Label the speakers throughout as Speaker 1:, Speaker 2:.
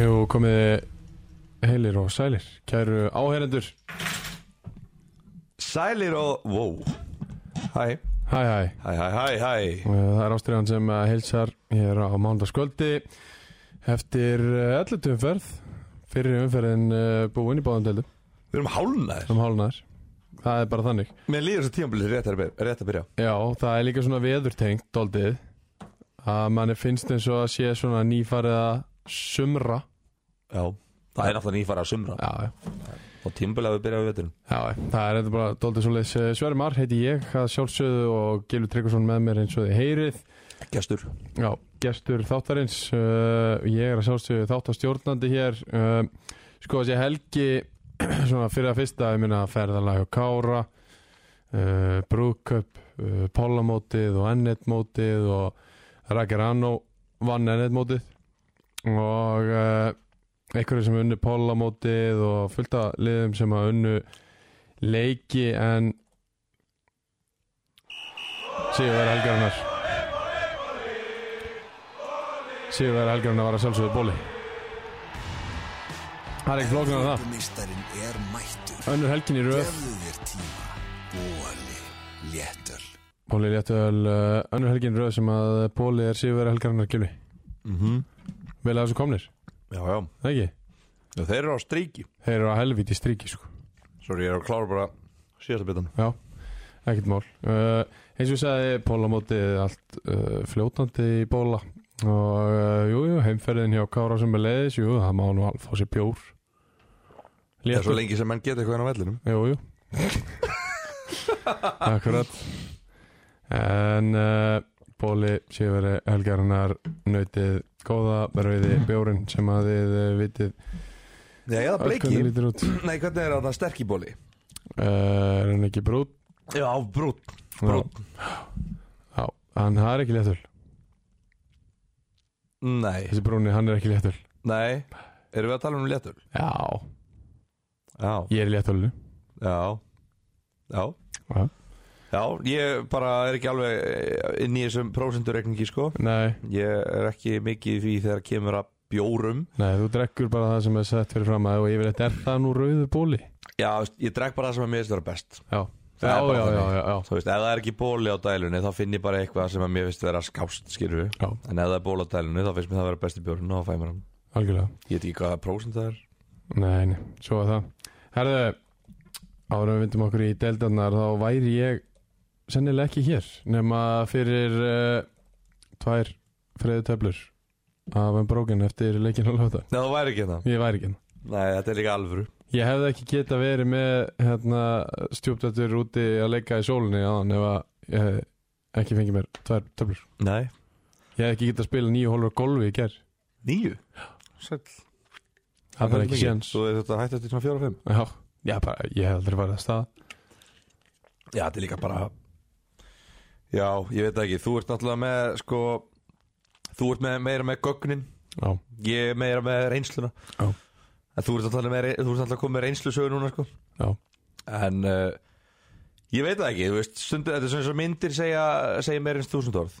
Speaker 1: Jú, komið heilir og sælir, kæru áherendur
Speaker 2: Sælir og Wow Hæ,
Speaker 1: Hæ, hæ,
Speaker 2: hæ, hæ, hæ, hæ
Speaker 1: Eh, það er ástriðan sem eh, heilsar hér á mánudagskvöldi eftir eh, 11. umferð fyrir umferðin eh, búin í báðum deildum
Speaker 2: Við erum hálnaðir
Speaker 1: um hálfnaðar, það er bara þannig
Speaker 2: Mér líður þessu tímabilið rétt, að byrja- rétt að byrja
Speaker 1: Já, það er líka svona veðurtengt doldið að manni finnst eins og að sé svona nýfarið að sumra
Speaker 2: Já Það er náttúrulega nýfara að sumra
Speaker 1: Já, já
Speaker 2: Og tímabilið að við byrja við veturinn
Speaker 1: Já, það er þetta bara doldið svoleiðis Eh, Sverri Mar heiti ég, að sjálfsögðu og Gilvi Tryggvason með mér eins og þið heyrið
Speaker 2: Gestur
Speaker 1: Já, gestur þáttarins uh, Ég er að sjálfsögðu þáttastjórnandi hér uh, Sko þessi helgi Svona fyrir að fyrsta Ég minna ferðalag og kára uh, Brúðköp uh, Pólamótið og ennetmótið Og Rækir Annó Vann ennetmótið Og uh, einhverju sem unnu Pólamótið og fullt af liðum Sem að unnu leiki En Sigur verið helgarinnar Sigurverðar Helgjörn var að sjálfsögðu bóli Það er ekki flóknar en það
Speaker 3: Meistarinn er mættur
Speaker 1: Önnur helgin í röð
Speaker 3: Gefðu þér tíma Bóli Léttöl
Speaker 1: Bóli léttöl uh, Önnur helgin í röð sem að bóli er Sigurverðar Helgjörn Gjöfli
Speaker 2: mm -hmm.
Speaker 1: Vel að þessu komnir,
Speaker 2: Já, já
Speaker 1: það ekki?
Speaker 2: Já, Þeir eru á stríki
Speaker 1: Þeir eru að helvíti stríki sko
Speaker 2: Sorry, ég er að klára bara síðasta bitan
Speaker 1: Já, ekkert mál uh, Eins og ég sagði, bólamótið er allt uh, fljótandi í bóla Og uh, jú, jú, heimferðin hjá Kára sem er leiðis Jú, það má nú alveg fá sér bjór
Speaker 2: Ég er svo
Speaker 1: Léttur.
Speaker 2: lengi sem menn geta eitthvað hérna á vellinum
Speaker 1: Jú, jú Akkurat En uh, Bóli Sýveri Helgarinnar Nautið góða Rauði
Speaker 2: Mm.
Speaker 1: bjórin sem að þið uh, vitið
Speaker 2: Já, eða
Speaker 1: öll hvernig lítur út
Speaker 2: Nei, hvernig er það sterk í bóli?
Speaker 1: uh, Er hann ekki brútt?
Speaker 2: Já, brút
Speaker 1: Brútt Já, hann það er ekki léttul
Speaker 2: Nei,
Speaker 1: Þessi brúni, hann er ekki léttul
Speaker 2: nei Erum við að tala um léttul?
Speaker 1: Já,
Speaker 2: Já,
Speaker 1: ég er í léttulinu
Speaker 2: já Já
Speaker 1: Já.
Speaker 2: Já, ég bara er ekki alveg eh, inn í þessum prósendurekningi sko
Speaker 1: Nei,
Speaker 2: Ég er ekki mikið í því þegar kemur að bjórum
Speaker 1: nei, þú drekkur bara það sem er sett fyrir fram að og yfirleitt er það nú rauðu bóli
Speaker 2: Já, veist, ég drekk bara það sem að mér finnst vera best
Speaker 1: Já, já,
Speaker 2: Það er bara
Speaker 1: já, já,
Speaker 2: þannig.
Speaker 1: já, já.
Speaker 2: Þú veist, ef það er ekki bóli á dælunni þá finn ég bara eitthvað sem að mér finnst vera skást skilur við
Speaker 1: Já.
Speaker 2: En ef það er ból á dælunni þá finnst mér það vera besti bjórn og þá fæ ég mér hann
Speaker 1: algjörlega
Speaker 2: Ég veit ekki hvað prósent það er
Speaker 1: Nei, nei, svo að það Herðu, árum við vindum okkur í deildarnar þá væri ég sennilega ekki hér nema fyrir uh, tvær freðu töflur af en brókin eftir leikin á löta
Speaker 2: Nei, það væri ekki það
Speaker 1: Ég væri ekki hérna
Speaker 2: Nei, þetta er líka alvöru
Speaker 1: Ég hefði ekki geta verið með hérna, stjúptættur úti að leika í sólinni áðan ef að ég hefði ekki fengið mér tvær töflur
Speaker 2: Nei
Speaker 1: Ég hefði ekki getað að spila nýju hólur á golfi í ger
Speaker 2: Níu? Sæll
Speaker 1: Það er bara ekki séns
Speaker 2: Svo er þetta hægt eftir svona fjóra og fimm
Speaker 1: Já, já bara, ég hef aldrei farið að stað
Speaker 2: Já, þetta er líka bara Já, ég veit það ekki, þú ert náttúrulega með sko, þú ert með, meira með gögnin,
Speaker 1: Já,
Speaker 2: ég er meira með reynsluna
Speaker 1: Já.
Speaker 2: En þú ert náttúrulega, með, þú ert náttúrulega komið með reynslusögu núna sko
Speaker 1: já,
Speaker 2: En uh, ég veit það ekki, þú veist, stundu, þetta er svona eins og myndir segja, segja meira eins þúsund orð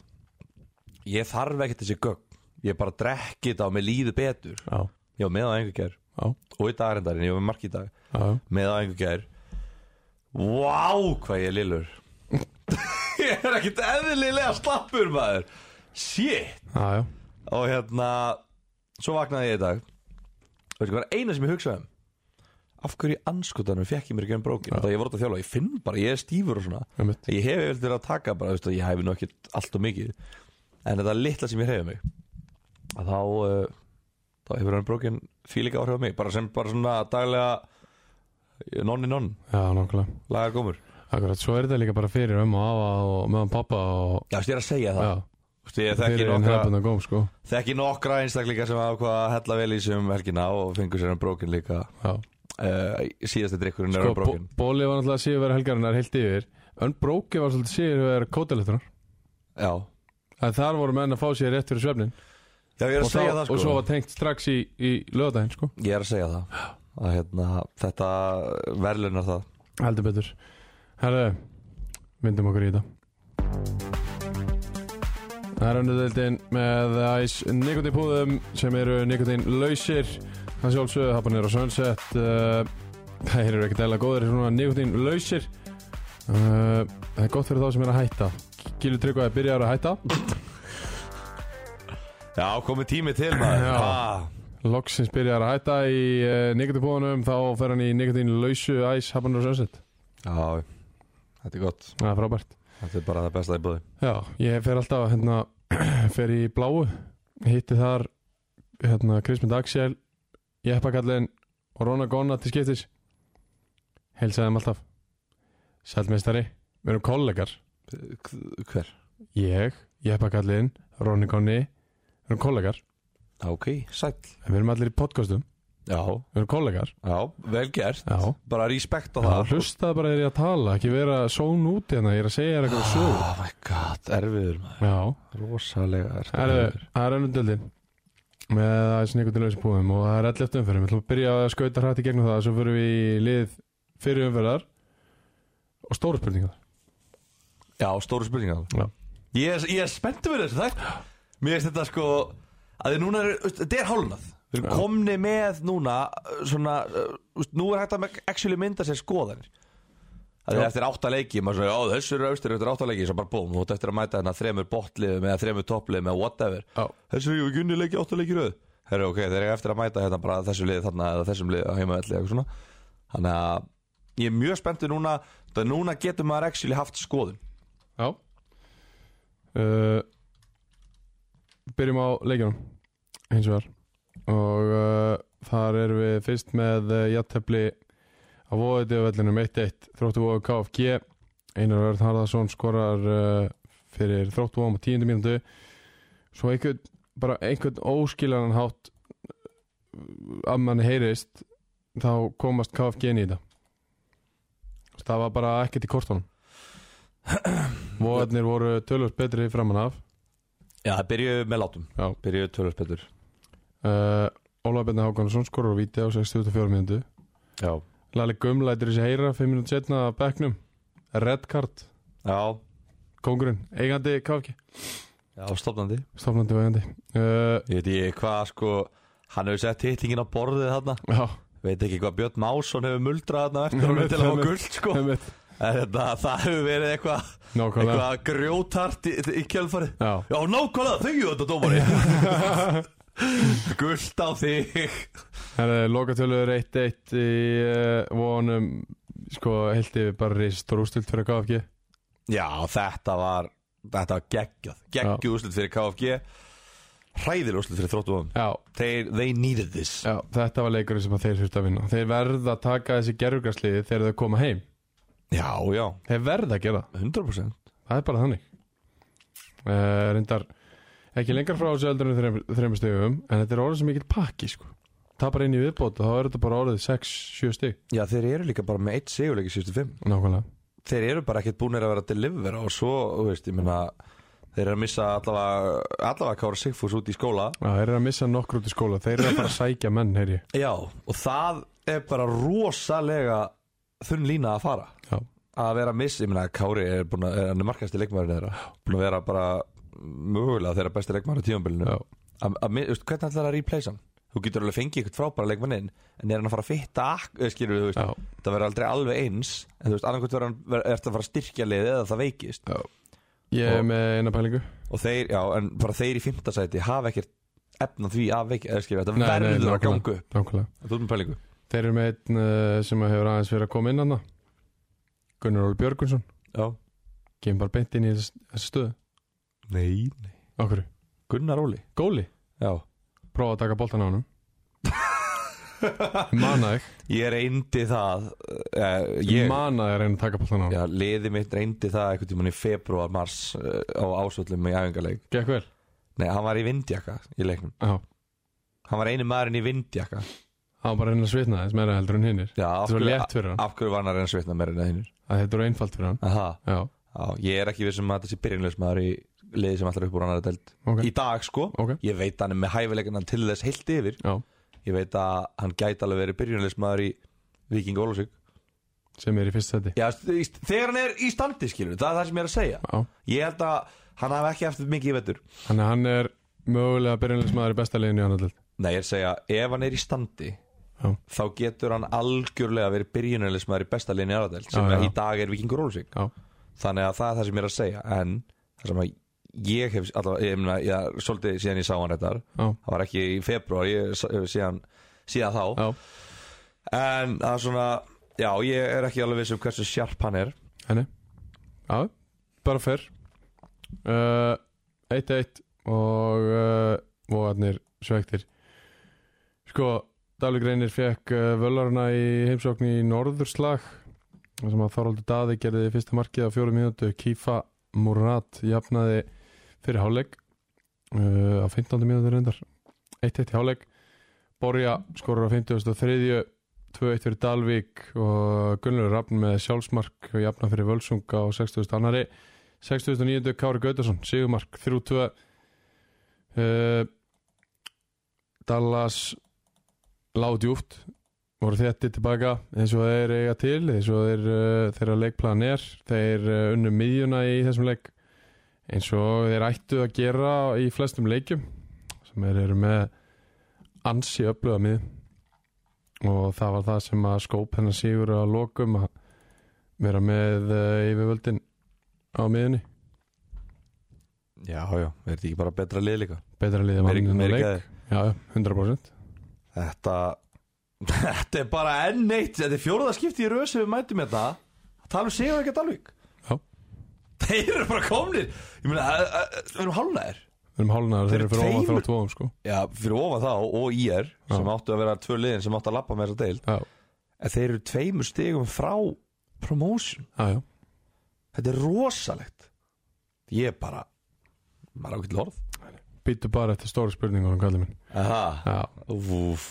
Speaker 2: Ég þarf ekkert þessi gögn, ég bara drekki þetta og mér líður betur
Speaker 1: já,
Speaker 2: Ég var með á einhver gær
Speaker 1: já,
Speaker 2: og í dagarndarinn, ég var með marki í dag
Speaker 1: já, já.
Speaker 2: með á einhver gær Vá, hvað ég er lillur Ég er ekkert eðlilega slappur maður Shit
Speaker 1: Já, já,
Speaker 2: Og hérna, svo vaknaði ég í dag Og veistu hvað var eina sem ég hugsaði um Af hverju í anskotanum fekk ég mér ekki um brókin Þá ég voru að þjálfa, ég finn bara, ég er stífur og svona
Speaker 1: einmitt
Speaker 2: Ég hef yfirleitt verið að taka bara, veistu, ég hefi nú ekkert allt og mikið En þetta litla sem ég hefði mig að Þá, uh, þá hefur hann brókin fílika áhrif á mig Bara sem bara svona daglega eh, Nonni nonn
Speaker 1: Já, nokkulega
Speaker 2: lagar gómur
Speaker 1: Akkurat, svo er þetta líka bara fyrir um og afa og meðan pappa og
Speaker 2: Já, veist, ég er að segja það
Speaker 1: já,
Speaker 2: Vist, Ég þekki
Speaker 1: fyrir en
Speaker 2: nokkra,
Speaker 1: hefðbundan góm sko
Speaker 2: um þekki nokkra einstaklinga sem hafa hvað að hella vel í sem helgina og fengur sér hann brókin líka
Speaker 1: Já,
Speaker 2: uh, síðasti drikkurinn er
Speaker 1: Sko,
Speaker 2: sko, broken
Speaker 1: Bóli var náttúrulega síðurverð helgarinnar heilt yfir Unbroken var svolítið síðurverð kótalettunar
Speaker 2: Já,
Speaker 1: að þar voru menn að fá sér rétt fyrir svefnin
Speaker 2: Já ég er að
Speaker 1: og,
Speaker 2: segja það sko
Speaker 1: og svo var tengt strax í, í lögadaginn sko.
Speaker 2: Ég er að segja það að hérna, þetta verðlunar það
Speaker 1: heldur betur herðu, myndum okkur í þetta það er öndudeldin með æs nikotínpúðum sem eru nikotínlausir það sjálfsögðu hapanir á Sunset uh, það eru ekkert eða góðir svona nikotínlausir uh, það er gott fyrir þá sem er að hætta Gilur Tryggvaði byrjar að hætta
Speaker 2: Já, komið tími til maður
Speaker 1: Já.
Speaker 2: ah,
Speaker 1: Loksins byrjar að hætta í uh, nikotínpúðunum þá fer hann í nikotínlausu æs hapanir á Sunset
Speaker 2: Já, þetta er gott
Speaker 1: það er frábært
Speaker 2: Þetta er bara það besta í búði
Speaker 1: Já, ég fer alltaf hérna, fer í bláu hitti þar hérna, Krismund Axel Jeppakallin og Rona Gonna til skiptis heilsaði þeim alltaf Sælmeistari, við erum kollegar
Speaker 2: Hver?
Speaker 1: ég, Jeppakallin, Roni Gonni við erum kollegar,
Speaker 2: Já, Ok, sæll
Speaker 1: En við erum allir í podcastum
Speaker 2: Já,
Speaker 1: við erum kollegar
Speaker 2: já, vel gert
Speaker 1: Já.
Speaker 2: Bara respekta
Speaker 1: Já,
Speaker 2: það
Speaker 1: hlustaði bara þegar ég er að tala, ekki vera són út hérna, ég er að segja þér eitthvað sögur
Speaker 2: Oh my god, erfiður maður
Speaker 1: Já,
Speaker 2: Rosalega
Speaker 1: Það
Speaker 2: erfiður
Speaker 1: eru- það er önnum döldin með það sem ykkur til lausum búðum og það er allir eftir umferðum, við ætlum að byrja að skauta hrætt í gegnum það svo fyrir við í lið fyrir umferðar og stóru spurningar
Speaker 2: Já, stóru spurningar
Speaker 1: Já.
Speaker 2: Ég er, ég er spenntur fyrir þessu þætt Mér finnst þetta sko að þið núna er, þetta er hálunað Við erum
Speaker 1: Já.
Speaker 2: komni með núna uh, svona, uh, veist, nú er hægt að me- actually mynda sér skoðanir Það er
Speaker 1: Já.
Speaker 2: eftir átta leiki maður svona, já þessu eru austur eftir átta leiki svo bara búm, þú ert eftir að mæta hérna þremur botliðum eða þremur toppliðum eða whatever
Speaker 1: Já,
Speaker 2: Þessu eru ekki unni leiki átta leiki í röð Herru, ok, þeir eru eftir að mæta hérna bara þessu liði þarna eða þessum liði á heimavelli eða eitthvað svona Þannig að ég er mjög spenntur núna, það núna getur maður actually haft skoðun
Speaker 1: já. Uh, Byrjum á leikjunum hins vegar og uh, þar erum við fyrst með uh, jattefli á vóðið og vellinum 1-1 þróttu vóðu KFG Einar Örn Harðarsson skorar uh, fyrir þróttu vóðum á tíundu mínútu svo einhvern bara einhvern óskiljanan hátt uh, að mann heyrist þá komast KFG inn í þetta Þú veist, það var bara ekkert í kortunum vóðarnir voru tölvöld betri framan af
Speaker 2: Já, það byrjuðu með látum
Speaker 1: Já.
Speaker 2: Byrjuðu tölvöld betur
Speaker 1: uh, Ólaf Bjarni Hákonarsson skorur á víti á 64 mínútu
Speaker 2: Já
Speaker 1: Lali Gum lætur þessi heyra 5 minút setna að bekknum Red card,
Speaker 2: Já,
Speaker 1: kongurinn, eigandi KFG
Speaker 2: stofnandi
Speaker 1: stofnandi og eigandi uh,
Speaker 2: Ég veit ekki hvað sko Hann hefur sett hitlingin á borðið þarna
Speaker 1: Já,
Speaker 2: Veit ekki hvað Björn Másson hefur muldrað þarna eftir
Speaker 1: Einmitt,
Speaker 2: honum til að fá
Speaker 1: einmitt.
Speaker 2: guld sko
Speaker 1: það
Speaker 2: En
Speaker 1: er mitt
Speaker 2: þetta, það hefur verið eitthvað
Speaker 1: Nákvæmlega
Speaker 2: eitthvað grjótart í, í kjölfarið
Speaker 1: Já,
Speaker 2: Já, nákvæmlega þegju þetta dómari Guld á þig
Speaker 1: það er eh, lokatölur 1-1 í uh, vonum sko, heilt yfir bara rist og rústilt fyrir KFG
Speaker 2: Já, þetta var Þetta var geggjað Geggjuð úrslit fyrir KFG Hræðileg úrslit fyrir þróttum
Speaker 1: Já,
Speaker 2: Þeir, they needed this
Speaker 1: já þetta var leikurinn sem að þeir þurftu að vinna Þeir verða að taka þessi gerfugarsliði þegar þau koma heim
Speaker 2: Já, já,
Speaker 1: Þeir verða að gera það
Speaker 2: 100%
Speaker 1: það er bara þannig uh, reyndar ekki lengar frá þessu eldur en þreim, þreim stegum en þetta er orðið sem mikill pakki sko. tapar inn í viðbót og þá er þetta bara orðið 6-7 steg
Speaker 2: Já, þeir eru líka bara með eitt sigurleiki síðustu fimm
Speaker 1: nákvæmlega
Speaker 2: Þeir eru bara ekkert búinir að vera að delivera og svo, þú veist, ég meina þeir eru að missa allavega, allavega Kára Sigfús út í skóla
Speaker 1: Já, þeir eru að missa nokkur út í skóla þeir eru að fara að sækja menn heyr ég
Speaker 2: Já, og það er bara rosalega þunn lína að fara
Speaker 1: Já.
Speaker 2: að vera að missa, ég meina Kári er búin að, er hann er markasti leikmæður þeirra búin að vera bara mögulega þeirra besti leikmæður á tímanbylinu
Speaker 1: Já.
Speaker 2: að, að, mi- þú veist, hvernig ætlar það að replace hann? Þú getur alveg fengið eitthvað frábæra leikmannin en er hann að fara að fitta ak- eh, skilur við, þú veist,
Speaker 1: Já.
Speaker 2: það verður aldrei alveg eins en þú veist, annarkvæmt verður hann ver, ertu að fara að styrkja liðið eða það veikist
Speaker 1: ég er
Speaker 2: Og-
Speaker 1: með eina pælingu
Speaker 2: og þeir, já, en bara þeir í fimmtasæti hafa ekkert efna því að veikja eða skilur,
Speaker 1: Nei,
Speaker 2: þetta
Speaker 1: nei,
Speaker 2: verður að
Speaker 1: nákvæmlega.
Speaker 2: gangu
Speaker 1: nákvæmlega
Speaker 2: Þú erum pælingu
Speaker 1: þeir eru með einn uh, sem hefur aðeins verið að koma inn hann Gunnar Óli Björgunsson
Speaker 2: Já,
Speaker 1: kemur bara beint inn í þess- þessu stöðu
Speaker 2: nei, nei
Speaker 1: okkur
Speaker 2: Gunnar Óli
Speaker 1: góli
Speaker 2: Já
Speaker 1: prófa að taka boltan á hann manaði
Speaker 2: Ég reyndi það uh,
Speaker 1: ég...
Speaker 2: ég,
Speaker 1: manaði að reyna að taka boltan á hann
Speaker 2: já, liðið mitt reyndi það einhvern tímann í februar, mars uh, á ásvöllum í æfingarleik
Speaker 1: gekk vel
Speaker 2: Nei, hann var í vindjaka í leiknum
Speaker 1: Já,
Speaker 2: Hann var einu maðurinn í vindjaka
Speaker 1: hann var bara að reyna að svitna þess meira heldur en hinnir
Speaker 2: Já, af
Speaker 1: Þetta var
Speaker 2: hverju-
Speaker 1: létt fyrir hann.
Speaker 2: Af hverju var hann að reyna að svitna meira en að hinnir
Speaker 1: að þetta var einfalt fyrir hann
Speaker 2: Aha,
Speaker 1: já,
Speaker 2: já, ég er ekki vissum að þetta sé byrjunleismæður í liði sem allar upp úr annar delt
Speaker 1: ok,
Speaker 2: Í dag sko,
Speaker 1: Ok.
Speaker 2: ég veit að hann er með hæfileikana til þess heilt yfir
Speaker 1: já,
Speaker 2: Ég veit að hann gæti alveg verið byrjunleismæður í Viking Ólásvík
Speaker 1: sem er í fyrst seti
Speaker 2: Já, í- þegar hann er í standi skilur, það er það sem ég er að segja
Speaker 1: já,
Speaker 2: Ég held að hann hafi ekki eftir mikið í vetur
Speaker 1: þannig að hann er mögulega byrjunleismæður í besta liðinu í annar deild.
Speaker 2: Nei, ég er að segja, ef hann er í standi
Speaker 1: Já.
Speaker 2: Þá getur hann algjörlega verið byrjunleismæður í besta liðin í aðradelt Sem
Speaker 1: Já, já.
Speaker 2: í dag er Vikingur Ólásvík
Speaker 1: já,
Speaker 2: þannig að það er það sem ég er að segja en það sem að ég hef allavega, ég meina, ég svolítið síðan ég sá hann réttar
Speaker 1: já,
Speaker 2: það var ekki í februar ég, eh, síðan, síðan þá
Speaker 1: já
Speaker 2: en það er svona, já, ég er ekki alveg viss um hversu sjarp hann er
Speaker 1: henni já, bara fyrr uh, 1-1 og uh, vogarnir svektir sko, Dalvik Reynir fekk uh, völarna í heimsókn í norðurslag þar sem að Þorvaldur Daði gerði fyrsta markið á fjóru mínútu Kífa Murat jafnaði fyrir hálfleik uh, á 15. mínútu reyndar 1-1 í hálfleik Borja skorur á 53. 2-1 fyrir Dalvík og Gunnlaugur Rafn með sjálfsmark og jafna fyrir Völsung á 60. annari 69. Kári Gautarsson, Sigurmark 3-2 uh, Dallas ládjúft voru þétti tilbaka eins og þeir eiga til eins og þeir, uh, þeirra leikplan er þeir uh, unnu miðjuna í þessum leik eins og þeir ættu að gera í flestum leikjum sem þeir eru með ansi öfluga miðjum og það var það sem að skóp hennar sigur að lokum að vera með uh, yfirvöldin á miðunni
Speaker 2: já, já, er þetta ekki bara betra lið líka
Speaker 1: betra liðið
Speaker 2: Meiri-
Speaker 1: mannin og
Speaker 2: meiri
Speaker 1: leik
Speaker 2: gæði.
Speaker 1: já, já, 100%
Speaker 2: þetta þetta er bara enn eitt þetta er fjóruða skipti í röð sem við mætum þetta að tala um sigur ekki að Dalvík
Speaker 1: Já.
Speaker 2: þeir eru bara komnir ég meina, eh, að- að- að- við erum hálfnaðir
Speaker 1: við erum hálfnaður
Speaker 2: Þeir
Speaker 1: þeir
Speaker 2: eru
Speaker 1: eru fyrir ofan
Speaker 2: tveimur-
Speaker 1: þrótt vóðum sko
Speaker 2: Já, fyrir ofan þá og IR sem
Speaker 1: Já.
Speaker 2: áttu að vera tvö liðin sem áttu að lappa með þessa deil
Speaker 1: já,
Speaker 2: en þeir eru tveimur stigum frá promotion
Speaker 1: já, já,
Speaker 2: þetta er rosalegt ég er bara maður ákveðt lorð
Speaker 1: býtu bara eftir stóru spurningunum kallið minn
Speaker 2: Aha.
Speaker 1: já,
Speaker 2: Úf.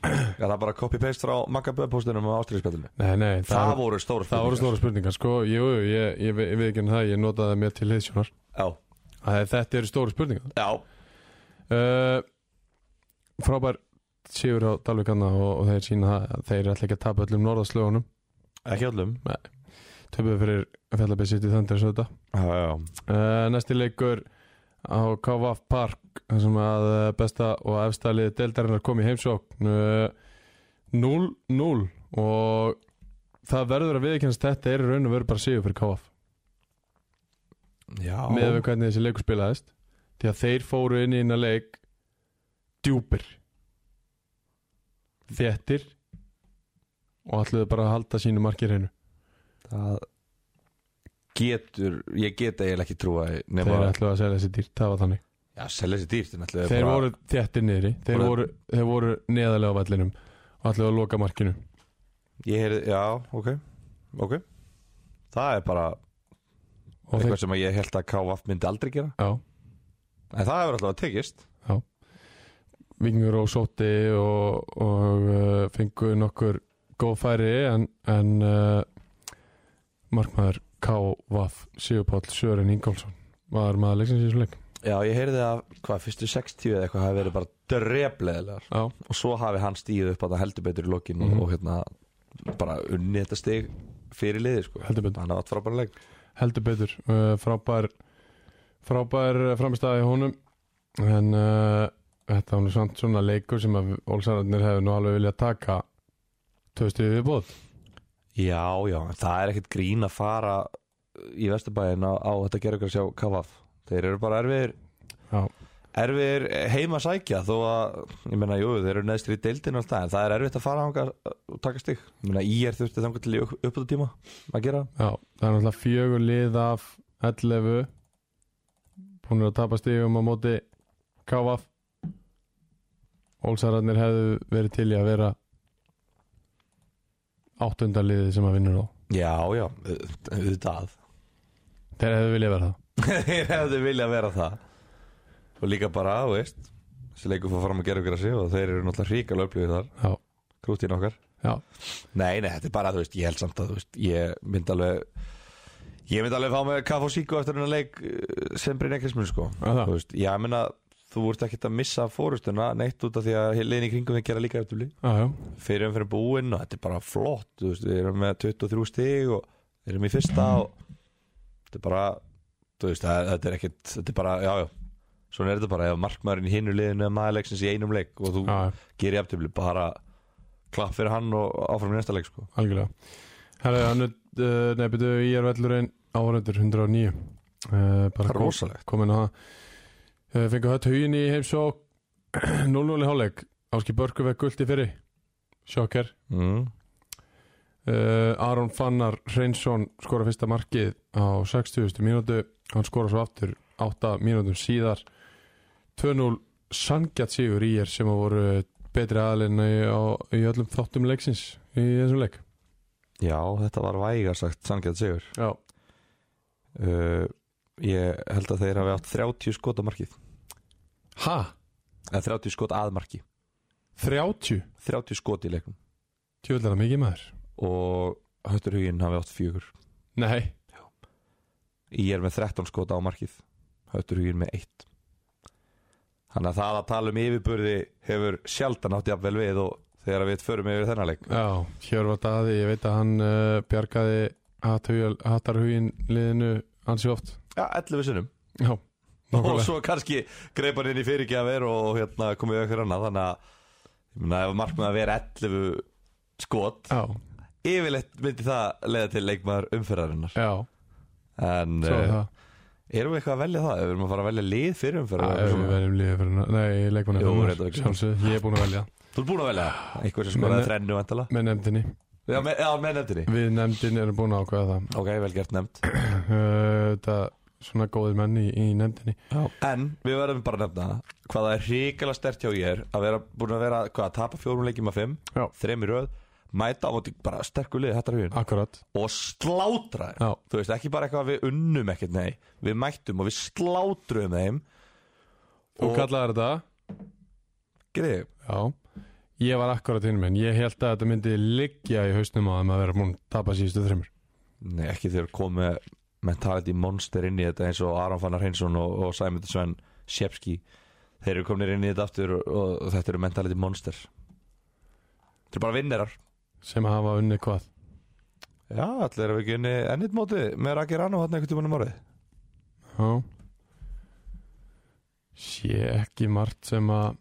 Speaker 2: er það bara copy paste frá Magga Böðpóstinum á ástriðspjallinu
Speaker 1: nei, nei,
Speaker 2: það, voru stóra
Speaker 1: það voru
Speaker 2: spurningar.
Speaker 1: stóru spurningar sko, jú, jú, ég, ég, ég við ekki það ég notaði það mér til liðsjónar að þetta eru stóru spurningar
Speaker 2: já, já,
Speaker 1: uh, frábær sigur á Dalvíkanna og, og þeir sína það að þeir ætla ekki að tapa öllum norðaslögunum
Speaker 2: ekki allum
Speaker 1: töpuðu fyrir fjallabæð sitt í þandir þetta
Speaker 2: já, já.
Speaker 1: uh, næsti leikur á KVF Park þar sem að eh, besta og efstælið deildarinnar kom í heimsókn eh, 0-0 og það verður að viðkennast þetta er í raun og veru bara sigur fyrir KVF
Speaker 2: já.
Speaker 1: með við hvernig þessi leikur spilaðist því að þeir fóru inn í eina leik djúpir þettir og ætluðu bara að halda sínu markir hennu
Speaker 2: það getur ég get eiginlega ekki trúa
Speaker 1: þeir
Speaker 2: nema
Speaker 1: ætluðu að selja þessi dýrt, það var þannig
Speaker 2: já, selja þessi dýrt en ætluðu
Speaker 1: þeir
Speaker 2: bara-
Speaker 1: voru þettir niðri, þeir
Speaker 2: Bara-
Speaker 1: voru, þeir voru neðarlega á vallinum og ætluðu að loka markinu
Speaker 2: ég heyrði, já, ok ok það er bara
Speaker 1: og
Speaker 2: eitthvað
Speaker 1: þeir,
Speaker 2: sem að ég held að KVF myndi aldrei gera
Speaker 1: já,
Speaker 2: en það hefur alltaf tekist
Speaker 1: Vingur og Sóti og, og uh, fengu nokkur góð færi en, en uh, markmaður K.Vaff Sigurpáll Sören Ingolson var maður leiksins í þessu leik
Speaker 2: já, ég heyrði að hvað, fyrstu 60 eða eitthvað hafi verið bara drefleðilegar
Speaker 1: Já,
Speaker 2: og svo hafi hann stíð upp að það heldur betur í lokin
Speaker 1: Mhm.
Speaker 2: og, og hérna bara unni þetta stig fyrir liði sko
Speaker 1: heldur betur,
Speaker 2: hann hafa átt frábæra leik
Speaker 1: heldur betur. Uh, frábær frábær framistæði honum en uh, þetta var nú samt svona leikur sem að Olsararnir hefur nú alveg viljað taka tvö stuði viðbóð
Speaker 2: já, já, en það er ekkit grín að fara í Vesturbæin á, á þetta gerur að sjá KVF þeir eru bara erfiðir
Speaker 1: Já.
Speaker 2: erfiðir heima að sækja þó að, ég meina, jú, þeir eru neðstir í deildinu og allt það, en það er erfitt að fara þangað og taka stig, ég meina, í er þurfti þangar til uppöðu tíma að gera
Speaker 1: Já, það er náttúrulega fjögur lið af 11 búinir að tapa stígum á móti KVF Ólsararnir hefðu verið til í að vera áttunda liðið sem að vinnur þá
Speaker 2: já, já, auð- auðvitað
Speaker 1: Þeir hefðu viljað vera það
Speaker 2: þeir hefðu viljað vera það og líka bara, þú veist þessi leikur fór fram að gera ykkur að sig og þeir eru náttúrulega ríkala upplýðið þar
Speaker 1: Já.
Speaker 2: krútin okkar
Speaker 1: Já,
Speaker 2: Nei, nei, þetta er bara, þú veist, ég held samt að, þú veist, ég myndi alveg Ég myndi alveg fá með kaff og síku eftir hennar leik eh, sem Brynja Kristmund, sko
Speaker 1: Já, það.
Speaker 2: Þú veist, ég meina, þú ert ekkert að missa fórustuna neitt út af því að liðin í kringum við gera líka eftir blí
Speaker 1: já, já,
Speaker 2: Fyrir um fyrir búinn og þetta er bara flott, þú veist, við erum með 23 stig og erum í fyrsta og þetta er bara, þú veist, það, þetta er ekkert, þetta er bara, já, já Svona er þetta bara, ef markmaðurinn í hinu liðinu eða maður leiksins í einum leik og þú
Speaker 1: já, já
Speaker 2: gerir jafntefli bara klapp fyrir hann og áfram í næsta leik sko.
Speaker 1: algjörlega Herra, hann er, uh, nei, byrju, ég er vellurinn áhverjandur 109 uh,
Speaker 2: Það
Speaker 1: Bara
Speaker 2: er
Speaker 1: kom-
Speaker 2: rosalegt
Speaker 1: komin að uh, fengu hött hugin í heimsók 0-0 í hálfleik Áski Börku vekk gullt í fyrri sjokker
Speaker 2: mm.
Speaker 1: uh, Aron Fannar Hreinsson skora fyrsta markið á 60. mínútu hann skora svo aftur 8 mínútum síðar 2-0 sangjart sigur í er sem að voru betri aðalinn í, á- í öllum þáttum leiksins í þessum leik
Speaker 2: Já, þetta var vægarsagt sangjað sigur
Speaker 1: Já,
Speaker 2: uh, Ég held að þeir hafi átt 30 skot að markið
Speaker 1: ha?
Speaker 2: eða 30 skot að marki
Speaker 1: 30?
Speaker 2: 30 skot í leikum
Speaker 1: Tjóðlega er það mikið maður
Speaker 2: og Höttur Huginn hafi átt fjögur
Speaker 1: Nei,
Speaker 2: Ég er með 13 skot á markið Höttur Huginn með 1 Þannig að það að tala um yfirburði hefur sjaldan átt jafnvel við og þegar við förum yfir þennan leik
Speaker 1: Já, Hjörvar Daði, ég veit að hann uh, bjargaði hattarhugin liðinu ansi oft
Speaker 2: Já, 11 sinnum
Speaker 1: Já,
Speaker 2: og
Speaker 1: nákvæmlega
Speaker 2: svo kannski greip hann inn í fyrirgjafir og hérna komið auðvitað annað þannig að ég meina, ef markmaður að vera 11 skot
Speaker 1: Já,
Speaker 2: yfirleitt myndi það leiða til leikmaður umferðarinnar
Speaker 1: já,
Speaker 2: en
Speaker 1: svo er
Speaker 2: uh,
Speaker 1: það
Speaker 2: erum við eitthvað að velja það? Ef við erum að fara að velja lið fyrir
Speaker 1: Já,
Speaker 2: umferðar
Speaker 1: ef við veljum liðið fyrir hana Nei, leikmanni
Speaker 2: Jú,
Speaker 1: fyrir
Speaker 2: reyndar
Speaker 1: hana
Speaker 2: ekki.
Speaker 1: Sjálfsög, ég er búin að velja
Speaker 2: Þú ert búin að velja
Speaker 1: Ah.
Speaker 2: það? einhver sem
Speaker 1: Nei, nei.
Speaker 2: skoraði þrennu vantala
Speaker 1: Með nefndinni
Speaker 2: Já, með, já, með nefndinni
Speaker 1: Við nefndin erum búin að ákveða það
Speaker 2: Ok, vel gert nefnd
Speaker 1: Uh, Þetta svona góðir menn í, í nefndinni
Speaker 2: En við verðum bara að nefna hvað það er hrikalega stert hjá ég er að vera búin að vera, hvað, að tapa fjórum leikjum af fimm
Speaker 1: Já.
Speaker 2: þrem í röð, mæta á móti bara sterkur lið, þetta er hugin
Speaker 1: Akkurat
Speaker 2: og slátra þeim
Speaker 1: Já.
Speaker 2: þú veist, ekki bara eitthvað að við unnum ekkert, nei við mættum og við slátruðum þeim
Speaker 1: Þú kallaðir þetta
Speaker 2: greið,
Speaker 1: Já Ég var akkurat hinn minn Ég held að þetta myndi liggja í hausnum á þeim að vera búin að tapa síðustu þreymur
Speaker 2: nei, ekki þegar komið mentality monster inn í þetta eins og Aron Fannar Hreinsson og, og Sæmundur Sven Sjepski, þeir eru komin inn í þetta aftur og, og þetta eru mentality monster þeir eru bara vinnerar
Speaker 1: Sem hafa unnið hvað
Speaker 2: já, allir eru ekki unni ennit móti með Raki Rano hann einhvern tímann um árið
Speaker 1: Já Sé ekki margt sem að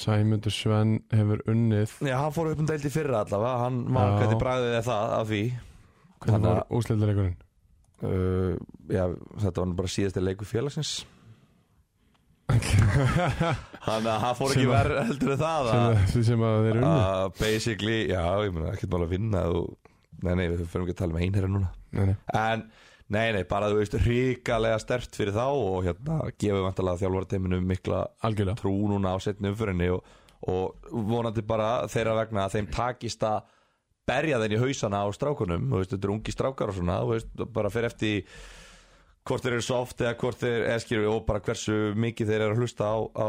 Speaker 1: Sæmundur Sven hefur unnið
Speaker 2: já, hann fór upp um deild í fyrra allavega hann
Speaker 1: Já.
Speaker 2: mann hvernig bragðið er það af því
Speaker 1: Hvernig
Speaker 2: Þannig
Speaker 1: voru
Speaker 2: að-
Speaker 1: úsleitleikurinn?
Speaker 2: uh, já, þetta var nú bara síðasti leiku félagsins Þannig að hann fór ekki
Speaker 1: Sem að-
Speaker 2: verð heldur en það
Speaker 1: sem,
Speaker 2: að,
Speaker 1: að- sem að þeir unnu
Speaker 2: að basically, já, ég meina, ekkert mál að vinna þú, nei, nei, við fyrir ekki að tala um einherja núna
Speaker 1: nei, nei.
Speaker 2: en, nei, nei, bara þú veist ríkalega stert fyrir þá og hérna, gefum vantalega þjálfarteiminu mikla
Speaker 1: Algjörlega
Speaker 2: trú núna á setni umfyrinni og, og vonandi bara þeirra vegna að þeim takist að berja þeim í hausana á strákunum þú veist, þetta eru ungi strákar og svona þú veist, og bara fyrir eftir í hvort þeir eru soft eða hvort þeir eskir og bara hversu mikið þeir eru að hlusta á, á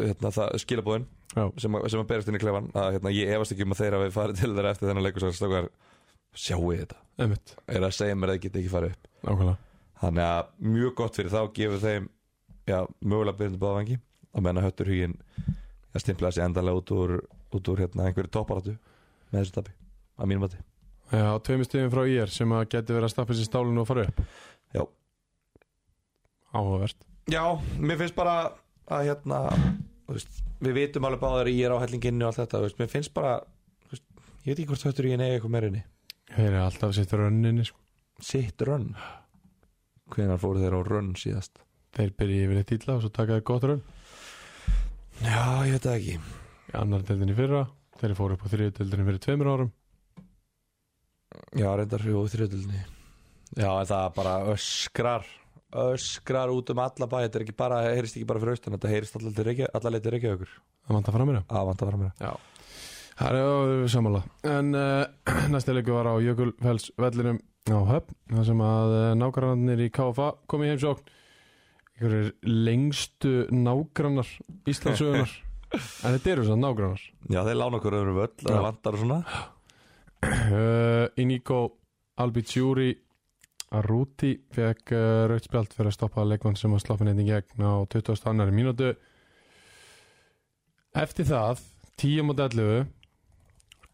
Speaker 2: hérna, það, skilabóðin
Speaker 1: Já,
Speaker 2: sem, að- sem að berast inn í klefan að hérna, ég efast ekki um að þeir hafi farið til þeirra eftir þennan leikur og sagði, strákar, sjáu þetta
Speaker 1: einmitt,
Speaker 2: er að segja mér að það geti ekki farið upp
Speaker 1: ákvæmlega
Speaker 2: Þannig að mjög gott fyrir þá gefur þeim já, mögulega byrjandi báðvangi að menna höttur hugin að stimpla þessi endalega út úr, út úr hérna, einhverju topparatu með þessu tabi að mínum vati
Speaker 1: Já, tveimur stöðum frá IR sem að geti verið að stappa sér stálinu og fara upp
Speaker 2: Já.
Speaker 1: Áhugavert
Speaker 2: Já, mér finnst bara að hérna þú veist, við vitum alveg báðar í ég er á hellinginni og allt þetta þú veist, mér finnst bara þú veist, ég veit ekki hvort höttur hugin eigi eitthvað meirinni
Speaker 1: Þeir eru alltaf sitt rönninni sko.
Speaker 2: sitt rönn hvenar fóru þeir á rönn síðast
Speaker 1: Þeir byrja yfirleitt illa og svo taka þeir gott rönn
Speaker 2: Já, ég veit það ekki
Speaker 1: Í annar deildinni fyrra Þeir fóru upp á þriðu deildinni fyrir tveimur árum
Speaker 2: Já, reyndar hrjú og þriðutöldinni Já, en það bara öskrar öskrar út um alla bæ þetta er ekki bara, heyrist ekki bara fyrir austan þetta heyrist alla til Reykja- alla leið til Reykjavíkur
Speaker 1: Það vantar fram meira
Speaker 2: að vanta fram mér
Speaker 1: Já Það er samanlega En uh, næsti leiku var á Jökulfells vellinum á Höfn þar sem að uh, nágrannarnir í KFA komi í heimsókn einhverjir lengstu nágrannar Íslandsögunar En þetta eru svona nágrannar
Speaker 2: Já, þeir lána okkur öðrum völl
Speaker 1: Já.
Speaker 2: Það vantar og svona
Speaker 1: uh, Inigo Albicuri Arruti fekk uh, rautt spjald fyrir að stoppa leikmann sem var sloppin einn í gegn á 20. annari mínútu Eftir það 10 mot 11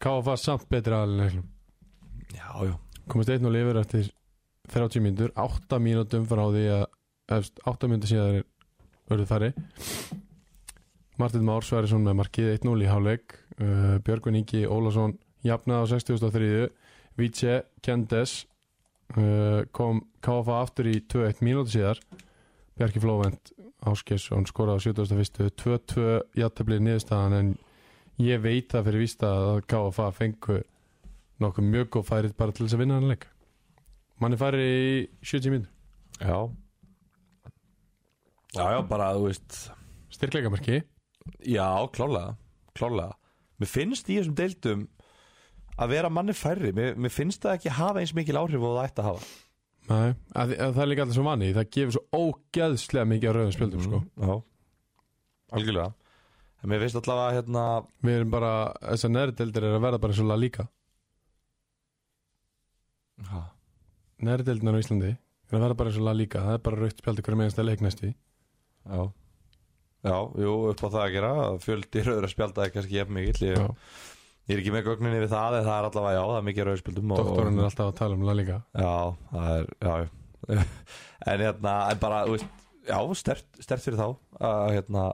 Speaker 1: KFA samt betri aðleiknum
Speaker 2: Já, já,
Speaker 1: komist 1-0 yfir eftir 30 mínútur 8 mínútum frá því að efst, 8 mínútur síðan verður færri Martin Már Sverrisson með markið 1-0 í hálfleik uh, Björgvin Ingi Ólason jafnaði á 60.3 Vítsje Kendes uh, kom KFA aftur í 2-1 mínútur síðar Bjarki Flóvent Áskis og hann skoraði á 71. 2-2 játtöflið niðurstaðan en ég veit það fyrir vísta að KFA fengu nokkuð mjög góð færið bara til þess að vinna hann leik mann er færið í 70 minn
Speaker 2: já Já, já, bara, þú veist
Speaker 1: styrkleikamarki
Speaker 2: Já, klálega, klálega Mér finnst í þessum deildum að vera manni færri Mér, mér finnst það ekki hafa eins mikil áhrif og það ætti að hafa
Speaker 1: Nei, að, að það er líka alltaf svo manni það gefur svo ógeðslega mikið af rauðum spjöldum sko.
Speaker 2: Mm, Já, algjörlega En mér finnst allavega hérna
Speaker 1: við erum bara, þessar neðrideldir er að verða bara svolítið líka
Speaker 2: ha,
Speaker 1: neðrideldinar á Íslandi er að verða bara svolítið líka það er bara rauðt spjöldu hverju meðan stæla eignast í
Speaker 2: Já Já, jú, upp á það að gera Fjöldi rauður að spjalda er kannski jefn mikill ég,
Speaker 1: Já.
Speaker 2: ég er ekki með gögninni við það en það er allavega, já, það er mikið rauður spjaldum og-
Speaker 1: doktorinn er alltaf að tala um það líka
Speaker 2: Já, það er, já, já En hérna, en bara, þú veist Já, stert, stert fyrir þá að hérna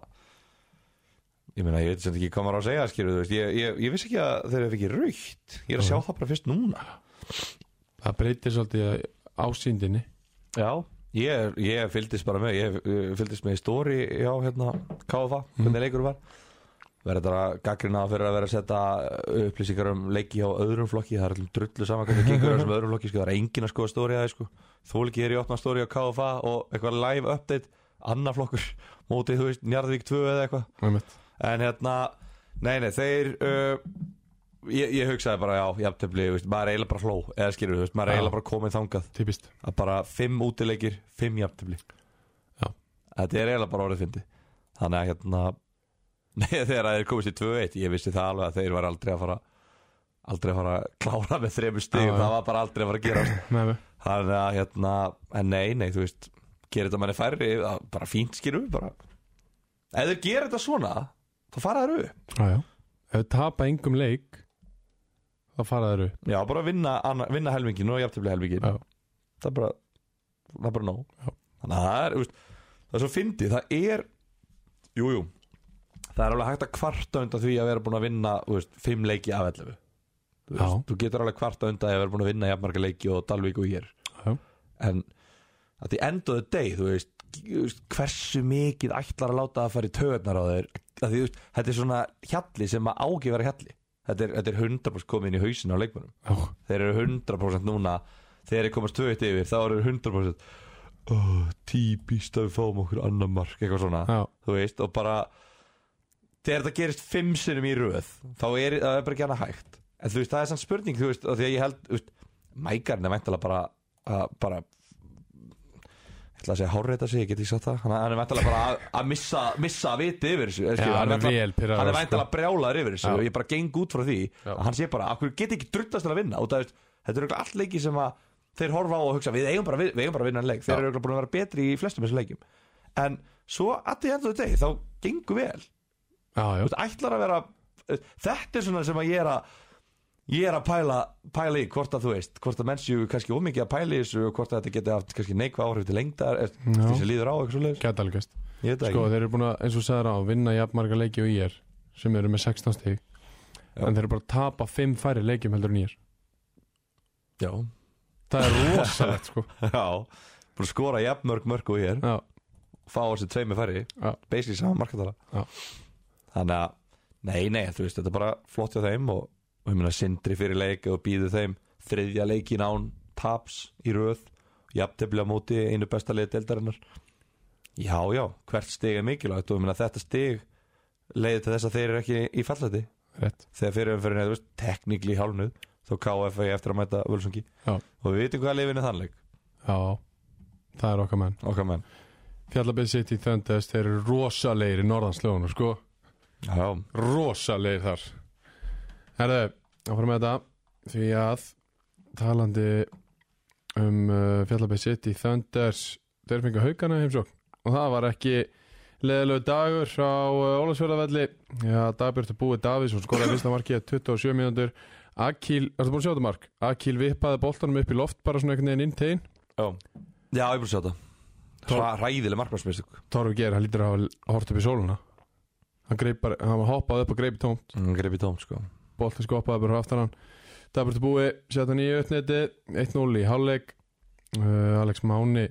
Speaker 2: Ég meina, ég veit sem ekki hvað maður á að segja, skýrðu, þú veist Ég, ég, ég vissi ekki að þeir eru ekki raukt Ég er að sjá það bara fyrst núna
Speaker 1: það breytir svolítið ásýndinni
Speaker 2: Já, ég, ég fylgdist bara með Ég eh, fylgdist með í stóri, já, hérna KFA, hvernig leikur var Verður þetta að gaggrina fyrir að vera að setja upplýsingar um leiki á öðrum flokki Það er allum drullu saman hvernig gengur á þessum öðrum flokki sko. Það er engin að skoða stóri aðeins sko. Þólki er í opna stóri á KFA og eitthvað live update Annar flokkur mótið, þú veist, Njarðvík 2 eða eitthvað
Speaker 1: Einmitt.
Speaker 2: En hérna, nei, nei, þeir uh, ég, ég hugsaði bara, já, jafntefli, þú veist, maður er eiginlega bara fló Eða skilur, þú veist, maður er
Speaker 1: Já.
Speaker 2: eiginlega bara komið þangað
Speaker 1: typist
Speaker 2: að bara fimm útileikir, fimm jafntefli
Speaker 1: Já.
Speaker 2: Þetta er eiginlega bara orðið fyndi Þannig að hérna Nei, þegar þeir komist í 2-1 Ég vissi það alveg að þeir var aldrei að fara Aldrei að fara að klára með þremur
Speaker 1: Já,
Speaker 2: stigum
Speaker 1: já.
Speaker 2: Það var bara aldrei að fara að gera
Speaker 1: Nei, nei.
Speaker 2: Þannig að hérna En nei, nei, þú veist Gerir þetta manni færri, það er bara fínt skilum við bara Ef þeir gerir þetta svona Þá fara þeir upp
Speaker 1: Já, já. ef við tapa engum leik þá fara þeir upp
Speaker 2: Já, bara vinna, anna, vinna helmingin og jafntefli helmingin
Speaker 1: Já.
Speaker 2: Það er bara Það er bara nóg
Speaker 1: Já.
Speaker 2: Þannig að það er, þú veist, það er svo fyndið Það er, jú, jú Það er alveg hægt að kvarta undan því að vera búin að vinna þú veist, Fimm leiki af 11 þú, veist,
Speaker 1: Já.
Speaker 2: þú getur alveg kvarta undan því að vera búin að vinna Jafnmarga leiki og Dalvík og hér
Speaker 1: Já.
Speaker 2: En að því endaðu deg Þú veist, þú veist, hversu mikið ætlar að láta að fara í töðnar á þeir að því, þú veist, Þetta er svona hjalli sem að ági vera hjalli Þetta er, þetta er 100% komið inn í hausin á leikmönum
Speaker 1: Já.
Speaker 2: þeir eru 100% núna þegar þeir komast 2-1 yfir þá eru þeir 100% oh, típist að við fáum okkur annar mark eitthvað svona,
Speaker 1: Já.
Speaker 2: þú veist og bara þegar þetta gerist 5 sinum í röð þá er það er bara ekki annað hægt en þú veist, það er sann spurning, þú veist, og því að ég held þú veist, mækarinn er væntalega bara að bara ég ætla að segja hárreita sig, ég get ekki sagt það hann hann er væntalega bara að, að missa, missa viti yfir þessu eh,
Speaker 1: Já,
Speaker 2: skilur,
Speaker 1: hann er
Speaker 2: væntanlega-
Speaker 1: vel pirraður,
Speaker 2: hann er
Speaker 1: sko.
Speaker 2: væntalega brjálaður yfir þessu
Speaker 1: Já.
Speaker 2: og ég bara geng út frá því
Speaker 1: Já.
Speaker 2: að hann sé bara, okkur get ekki druttast til að vinna og það, veist, þetta eru örugglega allt leiki sem að þeir horfa á og hugsa, við eigum bara, við, við eigum bara að vinna en leik, þeir
Speaker 1: Já.
Speaker 2: eru örugglega búin að vera betri í flestum þessum leikjum en svo að því endur þetta þá gengur vel,
Speaker 1: Já, já.
Speaker 2: þú veist, ætlar að vera eh, þetta er svona sem að ég er að ég er að pæla, pæla í hvort að þú veist hvort að menn séu kannski ómikið að pæla í þessu og hvort að þetta geti haft kannski neikvað áhrif til lengdar eftir
Speaker 1: Já.
Speaker 2: því sem líður á eitthvað svo leiðis
Speaker 1: Gæti alveg gerst.
Speaker 2: ég veit það
Speaker 1: Sko,
Speaker 2: ekki,
Speaker 1: þeir eru búin að, eins og sagður á, vinna jafnmarga leiki og ír sem eru með 16 stík
Speaker 2: Já.
Speaker 1: en þeir eru bara að tapa 5 færi leikjum heldur en ír
Speaker 2: já,
Speaker 1: Það er rosalegt, sko
Speaker 2: já búin að skora jafnmörg mörg og ég er
Speaker 1: Já,
Speaker 2: fá á sig tveimur færri
Speaker 1: Já.
Speaker 2: basically sama markatala
Speaker 1: Já.
Speaker 2: þannig að nei, nei, þú veist, þetta er bara flott hjá þeim og, og ég meina sindri fyrir leik og býðu þeim þriðja leikin án taps í röð jafntefli á móti einu besta liði deildarinnar já, já, hvert stig er mikilvægt og ég meina þetta stig leiði til þess að þeir eru ekki í falleti
Speaker 1: rétt
Speaker 2: þegar fyrir umfyrir neður, veist, teknikli í hálfnuð þó KFA eftir að mæta völsungi
Speaker 1: Já.
Speaker 2: og við vitum hvað lifinu þannleik
Speaker 1: Já, það er okkar menn
Speaker 2: okkar menn
Speaker 1: Fjallabæð City Thunders, þeir eru rosalegir í norðanslögunum, sko
Speaker 2: Já,
Speaker 1: rosalegir þar Herðu, áfram með þetta því að talandi um uh, Fjallabæð City Thunders, þeir fengu haugana í heimsókn og það var ekki leðilegu dagur á uh, Ólafsfjörðavelli Já, Dagbjörn Búi Davís og skoraði fyrsta markið 27 mínútur Akil, er það búin að sjá þetta mark? Akil vippaði boltanum upp í loft bara svona einhvern veginn inn teginn
Speaker 2: já Já, ég búið að sjá þetta
Speaker 1: Tól-
Speaker 2: Hra- Hræðileg markmannsmistök
Speaker 1: Torfi Geir, hann lítur að hafa hort upp í sóluna hann, greip bara, hann hoppaði upp og greipi tómt
Speaker 2: mm, Greip í tóm, sko
Speaker 1: bolti skoppaði bara á aftan hann Dabert Búi setja nýju uppniti 1-0 í hálfleik uh, Alex Máni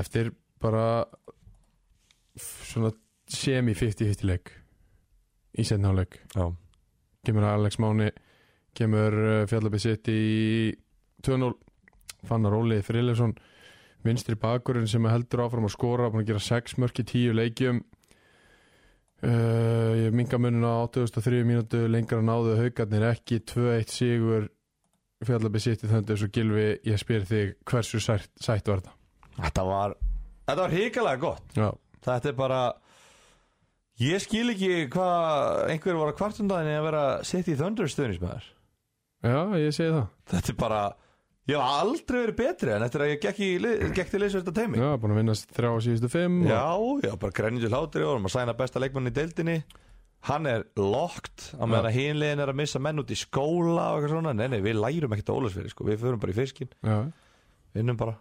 Speaker 1: eftir bara f- svona semi-50-50 leik í setna hálfleik
Speaker 2: Já,
Speaker 1: kemur Alex Máni kemur uh, Fjallabbi sitt í 2-0 fannar Óli Friðleifsson vinstri bakurinn sem heldur áfram að skora búin að gera 6 mörk í 10 leikjum uh, ég minga munin á 83 mínútu lengra náðu haugarnir ekki 2-1 sigur Fjallabbi sitt í þöndu svo gilvi ég spyr þig hversu sætt, sætt var þetta
Speaker 2: þetta var Þetta var hrikalega gott
Speaker 1: Já.
Speaker 2: Þetta er bara Ég skil ekki hvað einhver var að kvartundaðinni að vera sitt í Thunderstuðnis með þér
Speaker 1: Já, ég segi það
Speaker 2: Þetta er bara Ég hef aldrei verið betri en eftir að ég gekk, í, lið- gekk til leysverta teimi Já,
Speaker 1: Já, búin að vinna þrjá síðustu 5
Speaker 2: já, bara grænjur hlátri og erum að sæna besta leikmann í deildinni Hann er locked á meðan að hinlegin er að missa menn út í skóla og eitthvað svona Nei, nei, við lærum ekkert á Ólafsfyrir sko. Við förum bara í fiskin,
Speaker 1: Já.
Speaker 2: vinnum bara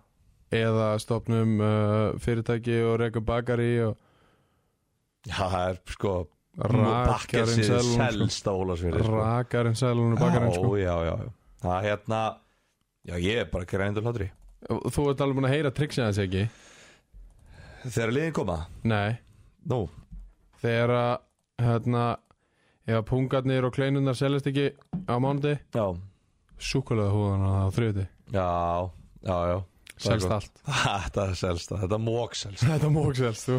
Speaker 1: eða stopnum uh, fyrirtæki og rekum bakari og
Speaker 2: Já, það er sko
Speaker 1: Rakarinn
Speaker 2: Pakkarinn sér
Speaker 1: sælun
Speaker 2: selst á Ólafsfyrir
Speaker 1: Rakarinn sælun sko. og bakarinn sko.
Speaker 2: Já, já, já, já Það er hérna Já, ég er bara grændur hlátri
Speaker 1: Þú ert alveg búin að heyra triksið hans ekki
Speaker 2: Þegar liðin koma
Speaker 1: Nei,
Speaker 2: Nú
Speaker 1: þegar að hérna, ef að pungarnir og kleinunnar seljast ekki á mánuði
Speaker 2: Já
Speaker 1: súkulega húðan á þriði
Speaker 2: Já, já, já Það er
Speaker 1: selst
Speaker 2: gott.
Speaker 1: allt
Speaker 2: Þetta er selst það Þetta er mók selst
Speaker 1: Þetta mók selst þú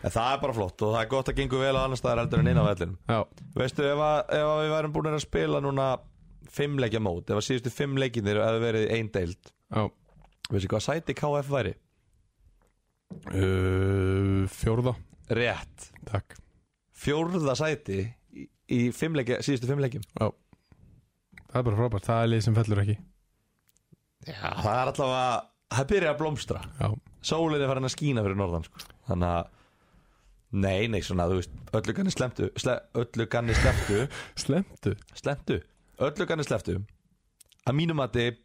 Speaker 2: En það er bara flott Og það er gott að gengur vel á annar staðar heldur en inn á vellinum
Speaker 1: Já,
Speaker 2: Veistu, ef, að, ef að við værum búin að spila núna Fimm leikja mót Ef að síðustu fimm leikinir hefði verið ein deild
Speaker 1: já
Speaker 2: Veistu hvað sæti KF væri?
Speaker 1: uh, Fjórða,
Speaker 2: Rétt
Speaker 1: takk
Speaker 2: Fjórða sæti í, í fimm leikja, síðustu fimm leikjum
Speaker 1: Það er bara frábært, það er lið sem fellur ekki
Speaker 2: Já Það er allavega Það byrja að blómstra
Speaker 1: Já,
Speaker 2: sólin er farin að skína fyrir norðan sko. þannig að nei, nei, svona, þú veist, öllu ganni slemtu sle, öllu ganni slemtu
Speaker 1: slemtu
Speaker 2: slemtu, öllu ganni slemtu að mínum að þið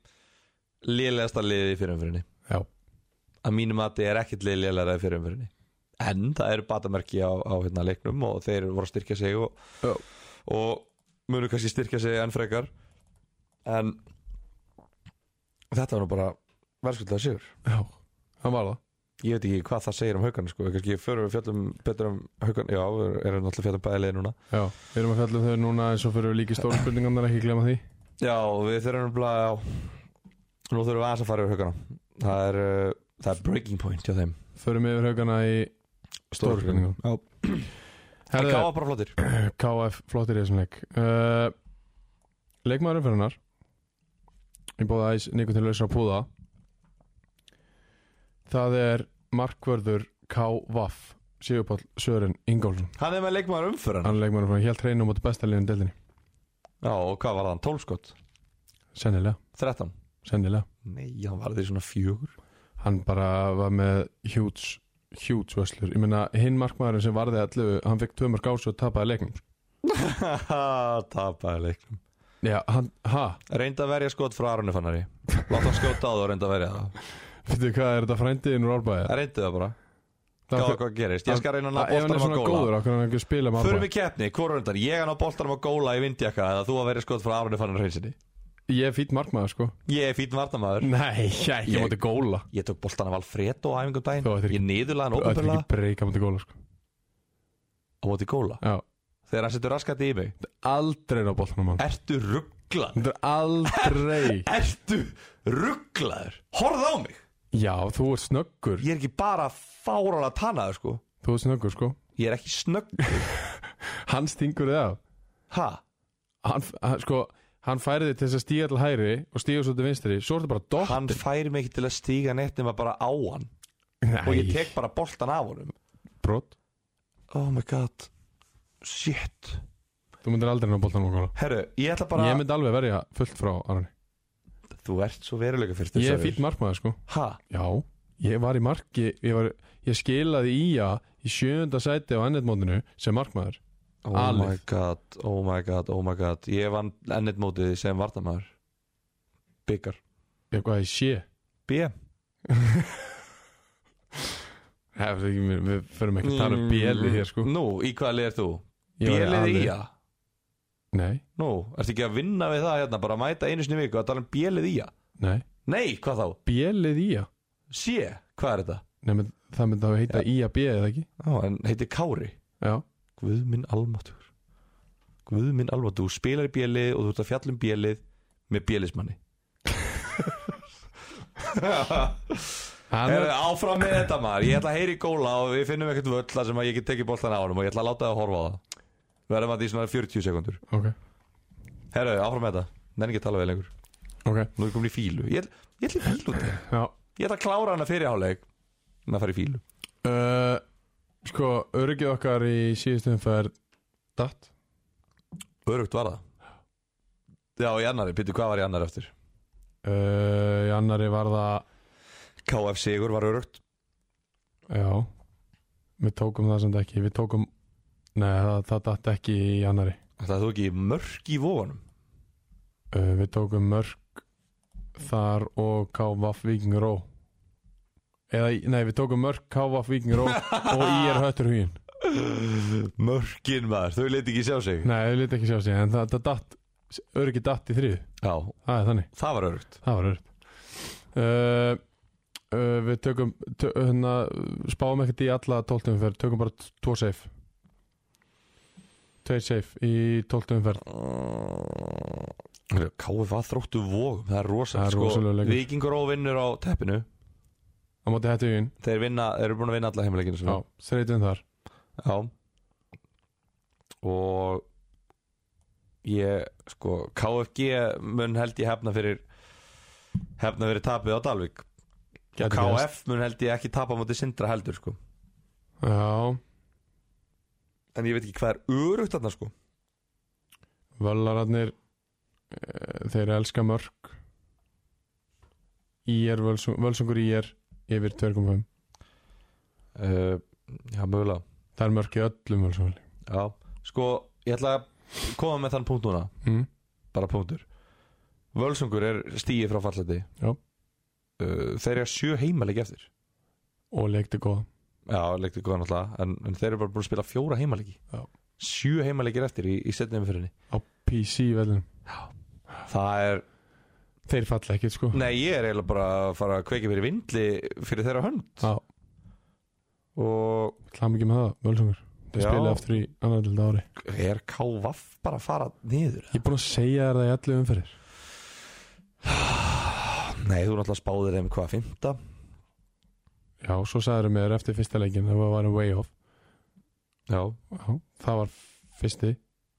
Speaker 2: lélegasta liðið í fyrirumfyrinni
Speaker 1: Já,
Speaker 2: að mínum að þið er ekkit liðið lélegara í fyrirumfyrinni en það eru batamerki á, á hérna, leiknum og þeir voru að styrkja sig og,
Speaker 1: Já.
Speaker 2: og munu kannski styrkja sig enn frekar en þetta var nú bara verðskuldlega sigur
Speaker 1: já, hann var það
Speaker 2: ég veit ekki hvað það segir um haugan sko. kannski förum við fjöllum betur um haugan já, við erum náttúrulega fjöllum bæði leið núna
Speaker 1: Já, við erum að fjalla um þau núna eins og fyrir við líki stóra spurningarnar ekki glemma því
Speaker 2: já, við þurfum bara já. nú þurfum við aðeins að fara yfir haugana það er, uh, það er breaking point hjá þeim
Speaker 1: Förum yfir haugana í Stóru spurningum.
Speaker 2: já, það
Speaker 1: Herðu,
Speaker 2: káða bara flottir
Speaker 1: KF flottir í þessum leik uh, Leikmaður umferðunar Ég bóða æs Nikotin Lausra Púða Það er markvörður KVAF Sigurpáll Sören Ingólfsson
Speaker 2: hann er með leikmaður umfyrir hann
Speaker 1: Hann er leikmaður umferðunar, helt reynum á besta liðin deildinni
Speaker 2: já, og hvað var hann, 12 skott
Speaker 1: Sennilega,
Speaker 2: 13
Speaker 1: sennilega
Speaker 2: nei, hann var því svona fjögur
Speaker 1: Hann bara var með hjúts hjúts vöslur, ég meina hinn markmaðurinn sem varði allu, hann fekk tvö mörg ás og tapaði leiknum
Speaker 2: tapaði leiknum
Speaker 1: Já, hann, ha,
Speaker 2: reynda að verja skott frá Arnu Fannari láta hann skjóta á það og reynda að verja það
Speaker 1: veitu hvað er þetta frændiðin úr árbæði?
Speaker 2: reyndu það bara, gáða hvað gerist ég skal reyna að ná
Speaker 1: Ef hann er
Speaker 2: boltanum
Speaker 1: svona
Speaker 2: að góla
Speaker 1: góður, okkur hann ekki að spila með
Speaker 2: Förum
Speaker 1: Arba
Speaker 2: við keppni, hvora undan, ég hann á boltanum á góla í vindjaka eða þú að verið skot frá Arunni Fannar Hreinsinni
Speaker 1: Ég er fýtt markmaður sko
Speaker 2: Ég er fín vartamæður
Speaker 1: Nei, ég ekki
Speaker 2: Ég-
Speaker 1: mátti góla
Speaker 2: Ég tók boltan af Alfredo á æfingum daginn
Speaker 1: Þú ættir ekki-
Speaker 2: Ég niðurlaði hann
Speaker 1: Þú ættir
Speaker 2: ópenbarlega
Speaker 1: ekki breyka mátti góla sko
Speaker 2: á móti góla
Speaker 1: Já
Speaker 2: Þegar hann setur raskati í mig
Speaker 1: Aldrei er á boltanum hann
Speaker 2: Ertu rugglan?
Speaker 1: Þetta er aldrei
Speaker 2: Ertu rugglaður? Horð á mig!
Speaker 1: Já, þú ert snöggur
Speaker 2: Ég er ekki bara fárala tannaður sko
Speaker 1: Þú ert snöggur sko
Speaker 2: Ég er ekki snögg
Speaker 1: Hann stingur þið af
Speaker 2: Ha?
Speaker 1: Hann, hann sko Hann færi þig til þess að stíga til hægri og stíga svo til vinstri Svo er þetta bara dott
Speaker 2: Hann fær mig ekki til að stíga neitt nema bara á hann
Speaker 1: Nei,
Speaker 2: og ég tek bara boltan af honum
Speaker 1: brot
Speaker 2: Oh my god shit
Speaker 1: Þú myndir aldrei ná boltan og góla
Speaker 2: herru, ég ætla bara
Speaker 1: Ég myndi alveg verja fullt frá Arni
Speaker 2: þú ert svo veruleika fyrst
Speaker 1: Ég er fýtt markmaður sko
Speaker 2: ha,
Speaker 1: Já, ég var í marki Ég, var, ég skilaði í að í sjönda sæti á ennetmótinu sem markmaður
Speaker 2: oh my
Speaker 1: Alif.
Speaker 2: god, oh my god, oh my god ég vann ennit mótið sem vartamæður byggar,
Speaker 1: Eitthvað að ég sé
Speaker 2: B
Speaker 1: Hef, við, við förum ekki að tala um bjeli hér sko
Speaker 2: Mm. nú, í hvaða lið ert þú?
Speaker 1: Ég var í
Speaker 2: bjelið í
Speaker 1: Ali.
Speaker 2: að
Speaker 1: Nei,
Speaker 2: nú, ertu ekki að vinna við það hérna bara að mæta einu sinni í viku að tala um bjelið í að
Speaker 1: nei,
Speaker 2: nei, hvað þá,
Speaker 1: bjelið í að
Speaker 2: sé, hvað er þetta?
Speaker 1: Nei, menn, það myndi að heita í að bjelið eða ekki
Speaker 2: Ó, en heitir Kári
Speaker 1: Já,
Speaker 2: Guð minn almatur Guð minn almatur, þú spilar í bjelið og þú ert að fjalla um bjelið með bjelismanni
Speaker 1: hann
Speaker 2: Heru,
Speaker 1: er,
Speaker 2: Áfram með þetta maður, ég ætla að heyri góla og við finnum ekkert völl þar sem að ég get tekið boltan á honum og ég ætla að láta það að horfa á það Verðum að því svona 40 sekundur
Speaker 1: ok,
Speaker 2: Herru, áfram með þetta, nenni ekki að tala við lengur
Speaker 1: ok
Speaker 2: Nú er ég komin í fílu, ég, ég ætla í fílu út í þér.
Speaker 1: Já,
Speaker 2: Ég ætla að klára hana fyrir háleik En að fara í fílu
Speaker 1: uh, sko, öryggið okkar í síðustum ferð Datt
Speaker 2: Örugt var það Já, í annari, pýttu hvað var í annari eftir?
Speaker 1: uh, Í annari var það
Speaker 2: KF Sigur var örugt
Speaker 1: Já, við tókum það samt ekki Við tókum, nei, það, það datt ekki í annari
Speaker 2: Það þú ekki mörk í vóanum
Speaker 1: uh, Við tókum mörg Þar og K.V.A.F. Vikingur Ó Eða, í- nei, við tókum mörg K.V.A.F. Vikingur Ó Og í er höttur hugin
Speaker 2: Mörkin maður, þau leit ekki sjá sig
Speaker 1: Nei, við lítið ekki sjá sig En það, það datt, öryggið datt í þriðu
Speaker 2: Já,
Speaker 1: Það er þannig
Speaker 2: það var örugt
Speaker 1: Það var örd uh, uh, Við tökum tö, hérna, Spáum ekkert í alla tóltum umferð Tökum bara t- tvo safe Tveir safe í tóltum umferð
Speaker 2: KFA þróttu vógum, það
Speaker 1: Það
Speaker 2: er rosalega
Speaker 1: er rosalegur leikur.
Speaker 2: Víkingur og vinnur á teppinu
Speaker 1: Á móti hættu í inn
Speaker 2: Þeir vinna, þeir eru búin að vinna alla heimileikinu
Speaker 1: Já, þreytum þar
Speaker 2: Já Og Ég, sko, KFG mun held ég hefna fyrir hefna fyrir tapið á Dalvik
Speaker 1: Gæti
Speaker 2: KF mun held ég ekki tapa á móti sindra heldur, sko
Speaker 1: Já,
Speaker 2: En ég veit ekki hvað er örugt þarna, sko
Speaker 1: völararnir eh, Þeir elska mörg Í er völsung, völsungur í er Yfir 2.5
Speaker 2: uh, Já, mögulega
Speaker 1: Það er mörg í öllum völsungur
Speaker 2: Já, sko, ég ætla að koma með þann punkt núna,
Speaker 1: mm.
Speaker 2: bara punktur Völsungur er stíið frá falleti
Speaker 1: Já.
Speaker 2: uh, Þeir eru sjö heimaleik eftir
Speaker 1: Og leikti góða
Speaker 2: Já, leikti góðan alltaf en, en þeir eru bara búin að spila fjóra heimaleiki
Speaker 1: Já.
Speaker 2: Sjö heimaleikir eftir í, í setni umfyrinni
Speaker 1: Á PC velunum
Speaker 2: Það er,
Speaker 1: Þeir falla ekkert sko
Speaker 2: nei ég er eiginlega bara að fara að kveikja fyrir vindli fyrir þeirra hönd
Speaker 1: Já
Speaker 2: Og
Speaker 1: Það mikið með það, Völsungur Þeir
Speaker 2: Já.
Speaker 1: spila aftur í annar til ári
Speaker 2: er KVF bara að fara niður?
Speaker 1: Ég er búin að segja þér það í allu umferðir
Speaker 2: Nei, þú náttúrulega spáðir þeim hvað, fymta?
Speaker 1: Já, svo sagðið mér eftir fyrsta leikin Það var en way off
Speaker 2: Já
Speaker 1: Já, Það var fyrsti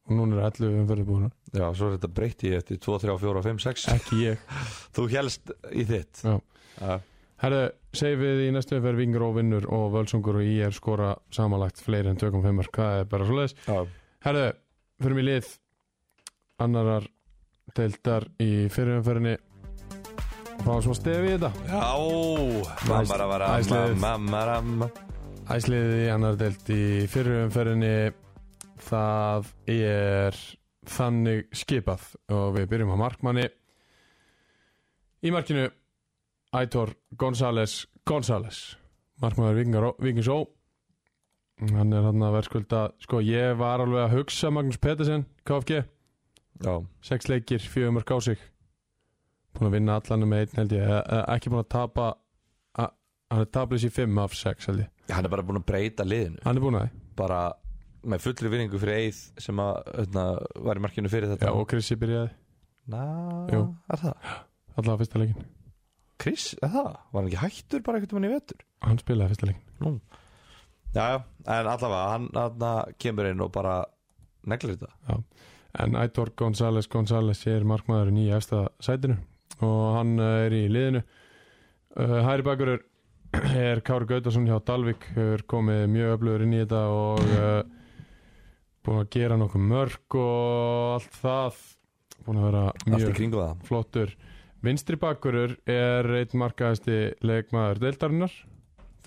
Speaker 1: Og núna er allu umferðir búin
Speaker 2: Já, svo er þetta breytti ég eftir 2, 3, 4, 5, 6
Speaker 1: Ekki ég
Speaker 2: Þú helst í þitt
Speaker 1: Eh. Já.
Speaker 2: Já.
Speaker 1: Herðu, segjum við í næstu umferð Vingur og vinnur og Völsungur og ég er skora samanlagt fleiri en 2.5 mörk. Það er bara svoleiðis
Speaker 2: Já.
Speaker 1: Herðu, förum í lið Annarar deildar í fyrirumferðinni Fáum svo stefi í þetta
Speaker 2: Já, mamma ramma ramma,
Speaker 1: Æsliðið.
Speaker 2: mamma ramma
Speaker 1: Æsliðið í annar delt í fyrirumferðinni það er þannig skipað og við byrjum á markmanni í markinu Ætor González González markmaður Vikings Ó hann er hann að verðskulda sko ég var alveg að hugsa Magnús Pettersen KFG,
Speaker 2: Já,
Speaker 1: sex leikir, fjögur mörg á sig búin að vinna allan með einn held ég, Eh, eh, ekki búin að tapa a- hann er tablis í 5 af 6 held ég,
Speaker 2: hann er bara búin að breyta liðinu
Speaker 1: hann er búin að því
Speaker 2: Bara með fullri vinningu fyrir Eið sem að, öðna, var í markinu fyrir
Speaker 1: Já,
Speaker 2: þetta
Speaker 1: og Krissi byrjaði
Speaker 2: Ná,
Speaker 1: Jú.
Speaker 2: er það?
Speaker 1: allavega fyrsta leikin
Speaker 2: Chris, er það? Var hann ekki hættur bara einhvern veginn í vetur?
Speaker 1: Hann spilaði fyrsta leikin
Speaker 2: Já, já, en allavega, hann, hann kemur inn og bara neglir þetta
Speaker 1: En Aitor González González er markmaðurinn í efsta sætinu og hann eh, er í liðinu uh, Hæri bakur er, er Kári Gautarsson hjá Dalvik hefur komið mjög öflugur inn í þetta og uh, búin eh, að gera nokkuð mörg og allt það búin að vera
Speaker 2: allt í
Speaker 1: mjög
Speaker 2: kringu það
Speaker 1: flottur vinstri bakkurur er einn markaðasti leikmaður deildarinnar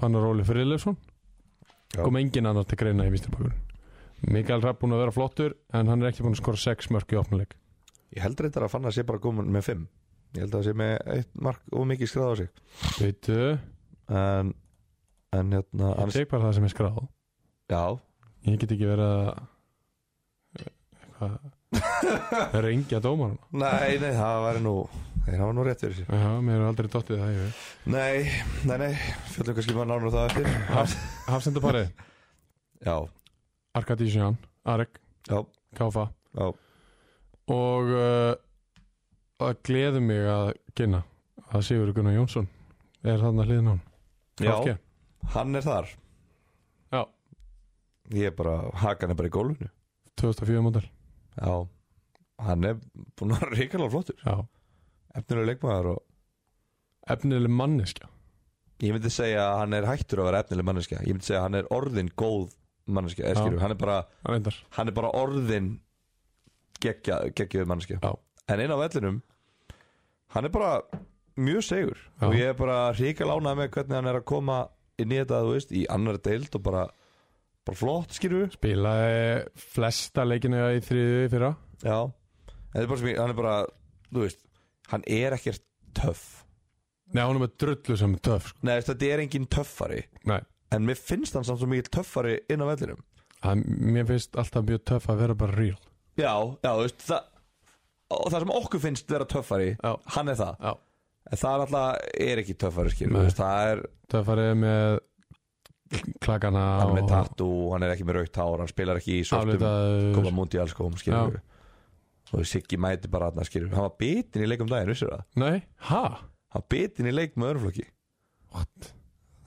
Speaker 1: Fannar Óli Friðlefsson
Speaker 2: Já.
Speaker 1: kom engin annar til greina í vinstri bakkurur Mikael Rapp búin að vera flottur en hann er ekki búin að skora 6 mörg í opnuleik
Speaker 2: Ég held reyndar að fann að sé bara komin með 5 Ég held að það sé með eitt mark og mikið skráð á sig
Speaker 1: veitu,
Speaker 2: En, en hérna
Speaker 1: ég
Speaker 2: annars,
Speaker 1: tek bara það sem er skráð
Speaker 2: Já,
Speaker 1: ég get ekki verið að eitthvað rengja dómarana
Speaker 2: nei, nei, það væri nú Þeir hafa nú rétt fyrir sér
Speaker 1: já, mér er aldrei dottið það í við
Speaker 2: Nei, nei, nei, fjöldum kannski maður nánar það eftir
Speaker 1: Hafsendaparið,
Speaker 2: Já,
Speaker 1: Arkadísján, Arek
Speaker 2: já,
Speaker 1: Káfa
Speaker 2: já,
Speaker 1: og uh, að gleðu mig að kynna að Sigur Gunnar Jónsson er þarna hliðin á hann
Speaker 2: já Hann er þar
Speaker 1: Já.
Speaker 2: Ég er bara, hakan er bara í gólfinu
Speaker 1: 2004 mótel
Speaker 2: Já, hann er búin að vera ríkarlega flottur Efnilega leikmaður og
Speaker 1: efnileg manneskja
Speaker 2: Ég myndi segja að hann er hættur að vera efnileg manneskja Ég myndi segja að hann er orðin góð manneskja
Speaker 1: Já.
Speaker 2: Eskir, hann, er bara,
Speaker 1: reyndar
Speaker 2: hann er bara orðin geggja, geggjöð manneskja
Speaker 1: Já.
Speaker 2: En inn á vellinum Hann er bara mjög segur
Speaker 1: Já.
Speaker 2: Og ég er bara hríka lánað með hvernig hann er að koma inn í þetta, þú veist, í annar deild og bara, bara flott, skilur við
Speaker 1: spilaði flesta leikinu í þriðu í fyrra
Speaker 2: Já, þetta er bara sem ég, hann er bara, þú veist Hann er ekkert töff
Speaker 1: Nei, hún er með drullu sem er töf sko.
Speaker 2: Nei, veist, þetta er engin töffari
Speaker 1: Nei,
Speaker 2: En mér finnst hann samt svo mikið töffari inn á vellinum
Speaker 1: það, mér finnst alltaf mjög töf að vera bara real
Speaker 2: Já, já, þú veist það, og það sem okkur finnst vera töffari
Speaker 1: Já.
Speaker 2: Hann er það
Speaker 1: Já.
Speaker 2: En það er alltaf, er ekki töffari skilur
Speaker 1: Nei.
Speaker 2: þú veist, Það er,
Speaker 1: töfarið með klakana
Speaker 2: hann er með tattu Hann er ekki með raukt hár, hann spilar ekki í svartum Góða
Speaker 1: aflitaður
Speaker 2: múndi í alls góðum sko, um, skilur við. Og Siggi mæti bara hann skilur við. Hann var bitin í leikum daginn, vissir það
Speaker 1: Nei, ha?
Speaker 2: Hann var bitin í leik með örflokki
Speaker 1: What?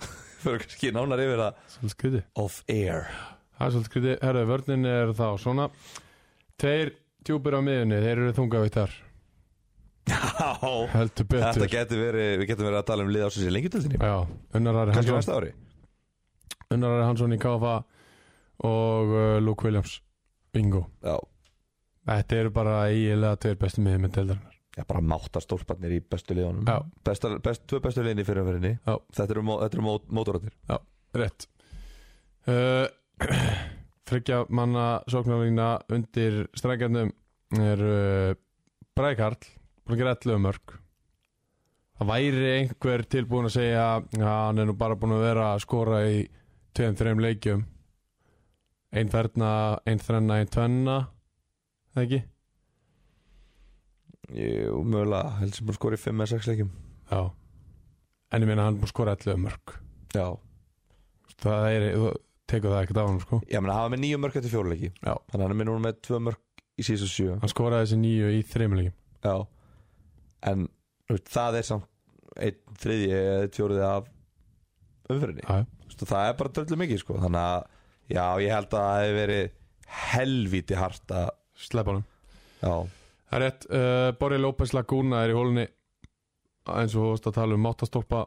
Speaker 2: Fyrir kannski nánar yfir það
Speaker 1: Svolítið skriði
Speaker 2: Off air
Speaker 1: Það er svolítið skrítið, herru, vörnin er þá svona Tveir djúpir á miðunni, þeir eru þungavittar
Speaker 2: Já,
Speaker 1: Heldur betur
Speaker 2: Þetta getur verið, við getum verið að tala um lið ásins í lengjutildinni
Speaker 1: Já, Unnarari
Speaker 2: Kannski
Speaker 1: Hansson,
Speaker 2: næsta ári
Speaker 1: Unnarari Hansson í KFA og uh, Luke Williams Bingo
Speaker 2: Já,
Speaker 1: Þetta eru bara eiginlega tveir bestu miðum með deildarinnar
Speaker 2: Já, bara máttar stórparnir í bestu liðunum
Speaker 1: Já,
Speaker 2: Bestar, best, Tvö bestu liðin í fyrirferinni
Speaker 1: Já.
Speaker 2: Þetta eru, mó- þetta eru mó, mótorarnir
Speaker 1: rétt uh, Friggja manna sóknarlína undir strengarnum er uh, Bræði Karl búin að gera 11 mörg það væri einhver tilbúin að segja að hann er nú bara búin að vera að skora í 2-3 leikjum ein ferna, ein þrenna, ein tvenna það ekki?
Speaker 2: Jú, mögulega, heldur sem bara skori 5 eða 6 leikjum
Speaker 1: Já en ég meina hann er búin að skora 11 mörg
Speaker 2: Já
Speaker 1: það er, þú tekur það ekkert af hann sko
Speaker 2: Ég meina, hafa með 9 mörg eftir 4 leiki
Speaker 1: Já.
Speaker 2: Þannig að hann er með núna með 2 mörg í síðustu 7
Speaker 1: hann skoraði þessi nýju í 3 leikjum
Speaker 2: Já En þú veist, það er samt einn þriðji eða einn fjóriði af umfyrinni
Speaker 1: Já, já.
Speaker 2: Það er bara dröllu mikið sko Þannig að, já, ég held að það hefur verið helvíti hart að
Speaker 1: slepp honum
Speaker 2: Já,
Speaker 1: Það er rétt, uh, Borri López Laguna er í hólunni eins og þú varst að tala um máttastólpa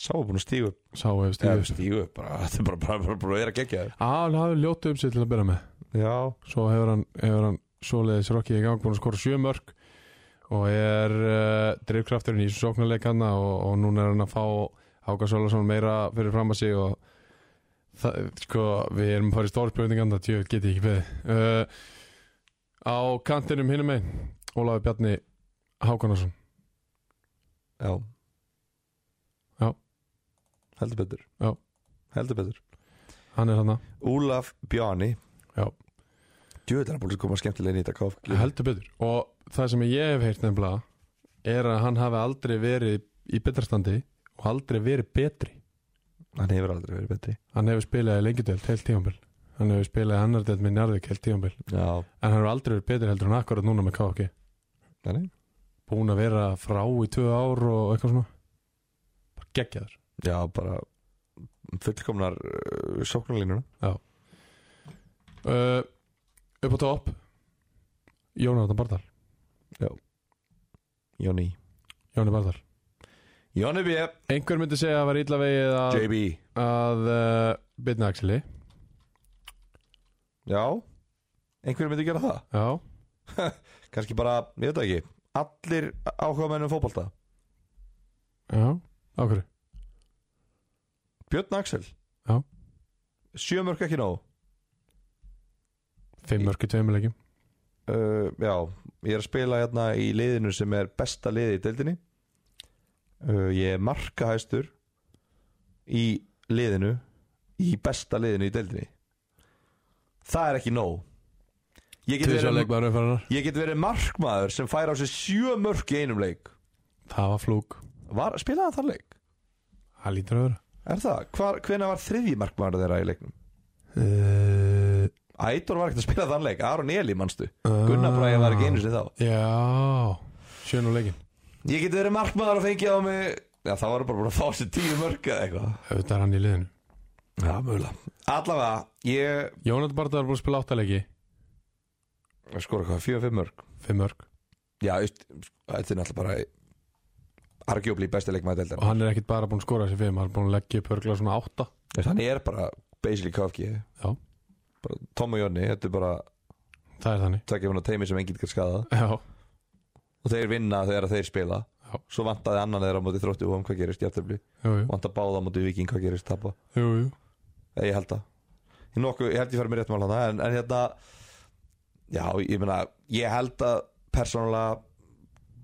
Speaker 2: sá er búin að stígu upp
Speaker 1: sá hefur
Speaker 2: Stígu,
Speaker 1: stíðust
Speaker 2: stígu upp bara, þetta er bara, bara, bara, bara að vera geggja þér
Speaker 1: Hann hafði ljótu um sig til að byrja með
Speaker 2: Já,
Speaker 1: svo hefur hann, hefur hann svoleiðis rokkið í gang búin að skora sjö mörg og er uh, drifkrafturinn í þessum sóknarleik hann og, og núna er hann að fá Háka Sólason meira fyrir fram að sig og það, sko, við erum að fara í stórspurningan það tjóð geti ég ekki beðið uh, á kantinum hinum einn Ólafur Bjarni Hákonarsson
Speaker 2: já
Speaker 1: Já.
Speaker 2: Heldur betur
Speaker 1: Já.
Speaker 2: Heldur betur
Speaker 1: hann er hann
Speaker 2: Úlaf Bjarni
Speaker 1: Já.
Speaker 2: Djöðlega hann búin að koma skemmtilega inn í þetta KFG
Speaker 1: heldur betur og það sem ég hef heyrt nefnilega er að hann hafi aldrei verið í betrastandi og aldrei verið betri
Speaker 2: Hann hefur aldrei verið betri
Speaker 1: hann hefur spilað í lengjudelt heilt tíambil hann hefur spilað í annar delt með Njarðvík heilt tíambil
Speaker 2: Já,
Speaker 1: en hann hefur aldrei verið betri heldur en akkurat núna með KFG
Speaker 2: þannig
Speaker 1: búin að vera frá í tvö ár og eitthvað svona bara geggjaður
Speaker 2: Já, bara fullkomnar uh, sóknarlínuna
Speaker 1: uh, upp á topp Jónatan Bardal
Speaker 2: Jóni
Speaker 1: Jóni Bardal
Speaker 2: Jóni B,
Speaker 1: einhver myndi segja að það var illa vegið að,
Speaker 2: JB
Speaker 1: að uh, byrna Axeli
Speaker 2: Já, einhverjum myndi gera það
Speaker 1: já,
Speaker 2: kannski bara, ég veit það ekki allir áhuga mennum fótbolta
Speaker 1: já, á hverju
Speaker 2: Björn Axel
Speaker 1: Já.
Speaker 2: sjö mörg ekki nóg
Speaker 1: Fimm mörg í tveimur leikjum
Speaker 2: uh, já, ég er að spila hérna í liðinu sem er besta liði í deildinni uh, ég er markahæstur í liðinu í besta liðinu í deildinni það er ekki nóg ég get,
Speaker 1: Tvísjá
Speaker 2: verið,
Speaker 1: leikmaður umferðanar
Speaker 2: ég get verið markmaður sem fær á sig sjö mörg í einum leik
Speaker 1: Það var flúk
Speaker 2: Var, spilaði hann þann leik?
Speaker 1: Það lítur að vera
Speaker 2: Er það? Hvar, hvena var þriðji markmaður þeirra í leiknum?
Speaker 1: Uh,
Speaker 2: Ædor var ekkert að spila þann leik Aron Eli, manstu?
Speaker 1: Ah.
Speaker 2: Gunnar Bræði var ekki einu sinni þá
Speaker 1: já, sjön og leikin
Speaker 2: Ég geti verið markmaður og fengið á mig Já, það var bara búin að fá sér tíu mörg eða eitthvað
Speaker 1: Auðvitað er hann í liðinu
Speaker 2: Já, mögulega Allavega, ég
Speaker 1: Jónat Barða er búin að spila áttalegi
Speaker 2: Ég skora hvað, fjögur fimm mörg
Speaker 1: Fimm mörg
Speaker 2: Já, veist, þetta er náttúrulega bara Argjóbli besti leikmaður
Speaker 1: Og
Speaker 2: deildar
Speaker 1: hann er ekkit bara búin að skora þessi fimm Hann er búin að leggja upp örgla svona átta
Speaker 2: Veist, Hann er bara basically KFG
Speaker 1: Já,
Speaker 2: bara, Tom og Jonni, þetta er bara
Speaker 1: það er þannig
Speaker 2: Tvekja fyrir teimi sem enginn kannski skada
Speaker 1: Já,
Speaker 2: Og þeir vinna þegar þeir spila
Speaker 1: Já.
Speaker 2: Svo vantaði annan þeirra á móti þróttu og um hvað gerist jafntefli
Speaker 1: jú, jú,
Speaker 2: Vantaði báða á móti viking hvað gerist tapa
Speaker 1: jú, jú.
Speaker 2: Nei, Eh, ég held það ég, nokku, ég held ég færi mér rétt mál hana en, en hérna Já, ég meina, ég held að persónulega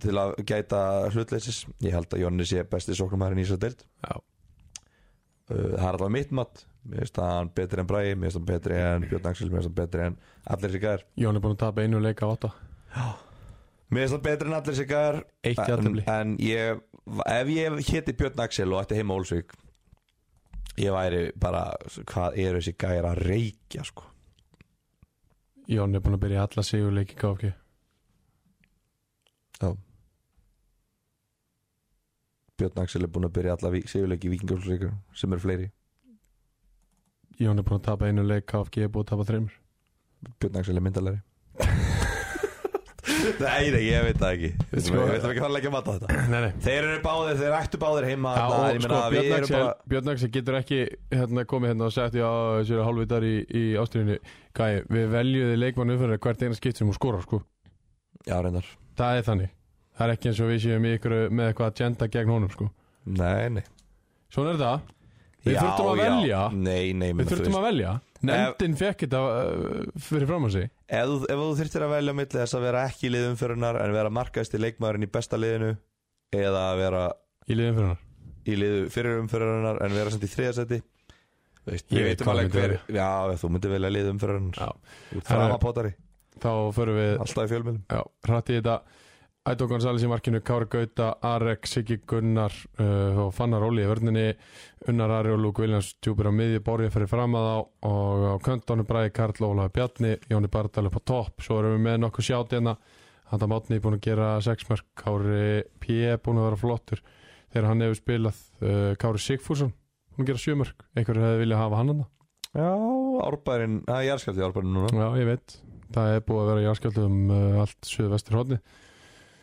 Speaker 2: til að gæta hlutleysis ég held að Jonni sé besti sóknumæðurinn í þessar deild
Speaker 1: Já.
Speaker 2: Uh, Það er alltaf mitt mat Mér finnst það hann betri en Bræði Mér finnst það betri en Björn Axel Mér finnst það betri en allir sér gæðar
Speaker 1: Jón er búin að tapa einu leika á átta
Speaker 2: Mér finnst það betri en allir sér gæðar
Speaker 1: Eitt
Speaker 2: en,
Speaker 1: játtumli
Speaker 2: en ég Ef ég héti Björn Axel og ætti heima Ólsvík Ég væri bara Hvað eru þessi gæðar að reykja sko
Speaker 1: Jón er búin að byrja alla sigur leiki KFG
Speaker 2: Björn Axel er búinn að byrja alla vi- sigurleiki vikingjóflsleikur sem eru fleiri
Speaker 1: Jón er búin að tapa einu leik KFG er búin að tapa þreymur
Speaker 2: Björn Axel er myndalari Nei, nei, ég veit það ekki Við
Speaker 1: Sko-
Speaker 2: veitum ekki hvað að leggja mat á þetta
Speaker 1: Nei, nei
Speaker 2: Þeir eru báðir, þeir ættu báðir heima
Speaker 1: Já,
Speaker 2: þarna,
Speaker 1: og
Speaker 2: ég
Speaker 1: sko,
Speaker 2: meina, við
Speaker 1: Björn
Speaker 2: erum
Speaker 1: Axel, Björn Axel getur ekki hérna, komið hérna og sagt já, þessi eru hálfvitar í, í ástriðinni Gæi, við veljuði leikmannu fyrir hvert eina skipt sem hún skorar sko.
Speaker 2: Já, reyndar
Speaker 1: það er þannig, það er ekki eins og við séum í ykkur með eitthvað að tjenda gegn honum sko.
Speaker 2: Nei, nei
Speaker 1: svona er það, Við
Speaker 2: Já,
Speaker 1: þurftum að
Speaker 2: já.
Speaker 1: velja.
Speaker 2: Nei, nei, menn,
Speaker 1: við þurftum að velja nefndin fekk þetta uh, fyrir fram að sig
Speaker 2: ef, þú- ef þú þurftir að velja á milli þess að vera ekki í liðum fyrirnar en vera markaðist í leikmaðurinn í besta liðinu eða að vera
Speaker 1: í liðin fyrir hann
Speaker 2: í liðu fyrir umfyrirunnar en vera samt í þriðasæti
Speaker 1: Ég veit hvað myndi
Speaker 2: Já, þú myndir velja liðu umfyrirunnar
Speaker 1: Herra.
Speaker 2: Framapótari,
Speaker 1: þá förum við
Speaker 2: alltaf í fjölmjölum
Speaker 1: Já, hratt í þetta Ædó Gonzáles í markinu, Kári Gauta, Arek, Siggi Gunnar uh, og Fannar Óli í vörninni Unnar Ari og Lúk Viljans djúpir á miði, Borja fyrir fram að þá og á köntónu bræði Karl Ólafi Bjarni Jóni Bardal upp á topp, svo erum við með nokkuð sjátt hérna, Handa Mátni búin að gera sexmörk, Kári P. búin að vera flottur þegar hann hefur spilað uh, Kári Sigfússon búin að gera sjömörk, einhverju hefði viljað hafa hann hann
Speaker 2: Já, árbærin, það er jarðskjálfti í árbærin núna
Speaker 1: Já, ég veit. Það er búið að vera jarðskjálfti um uh, allt suðvestur hodni.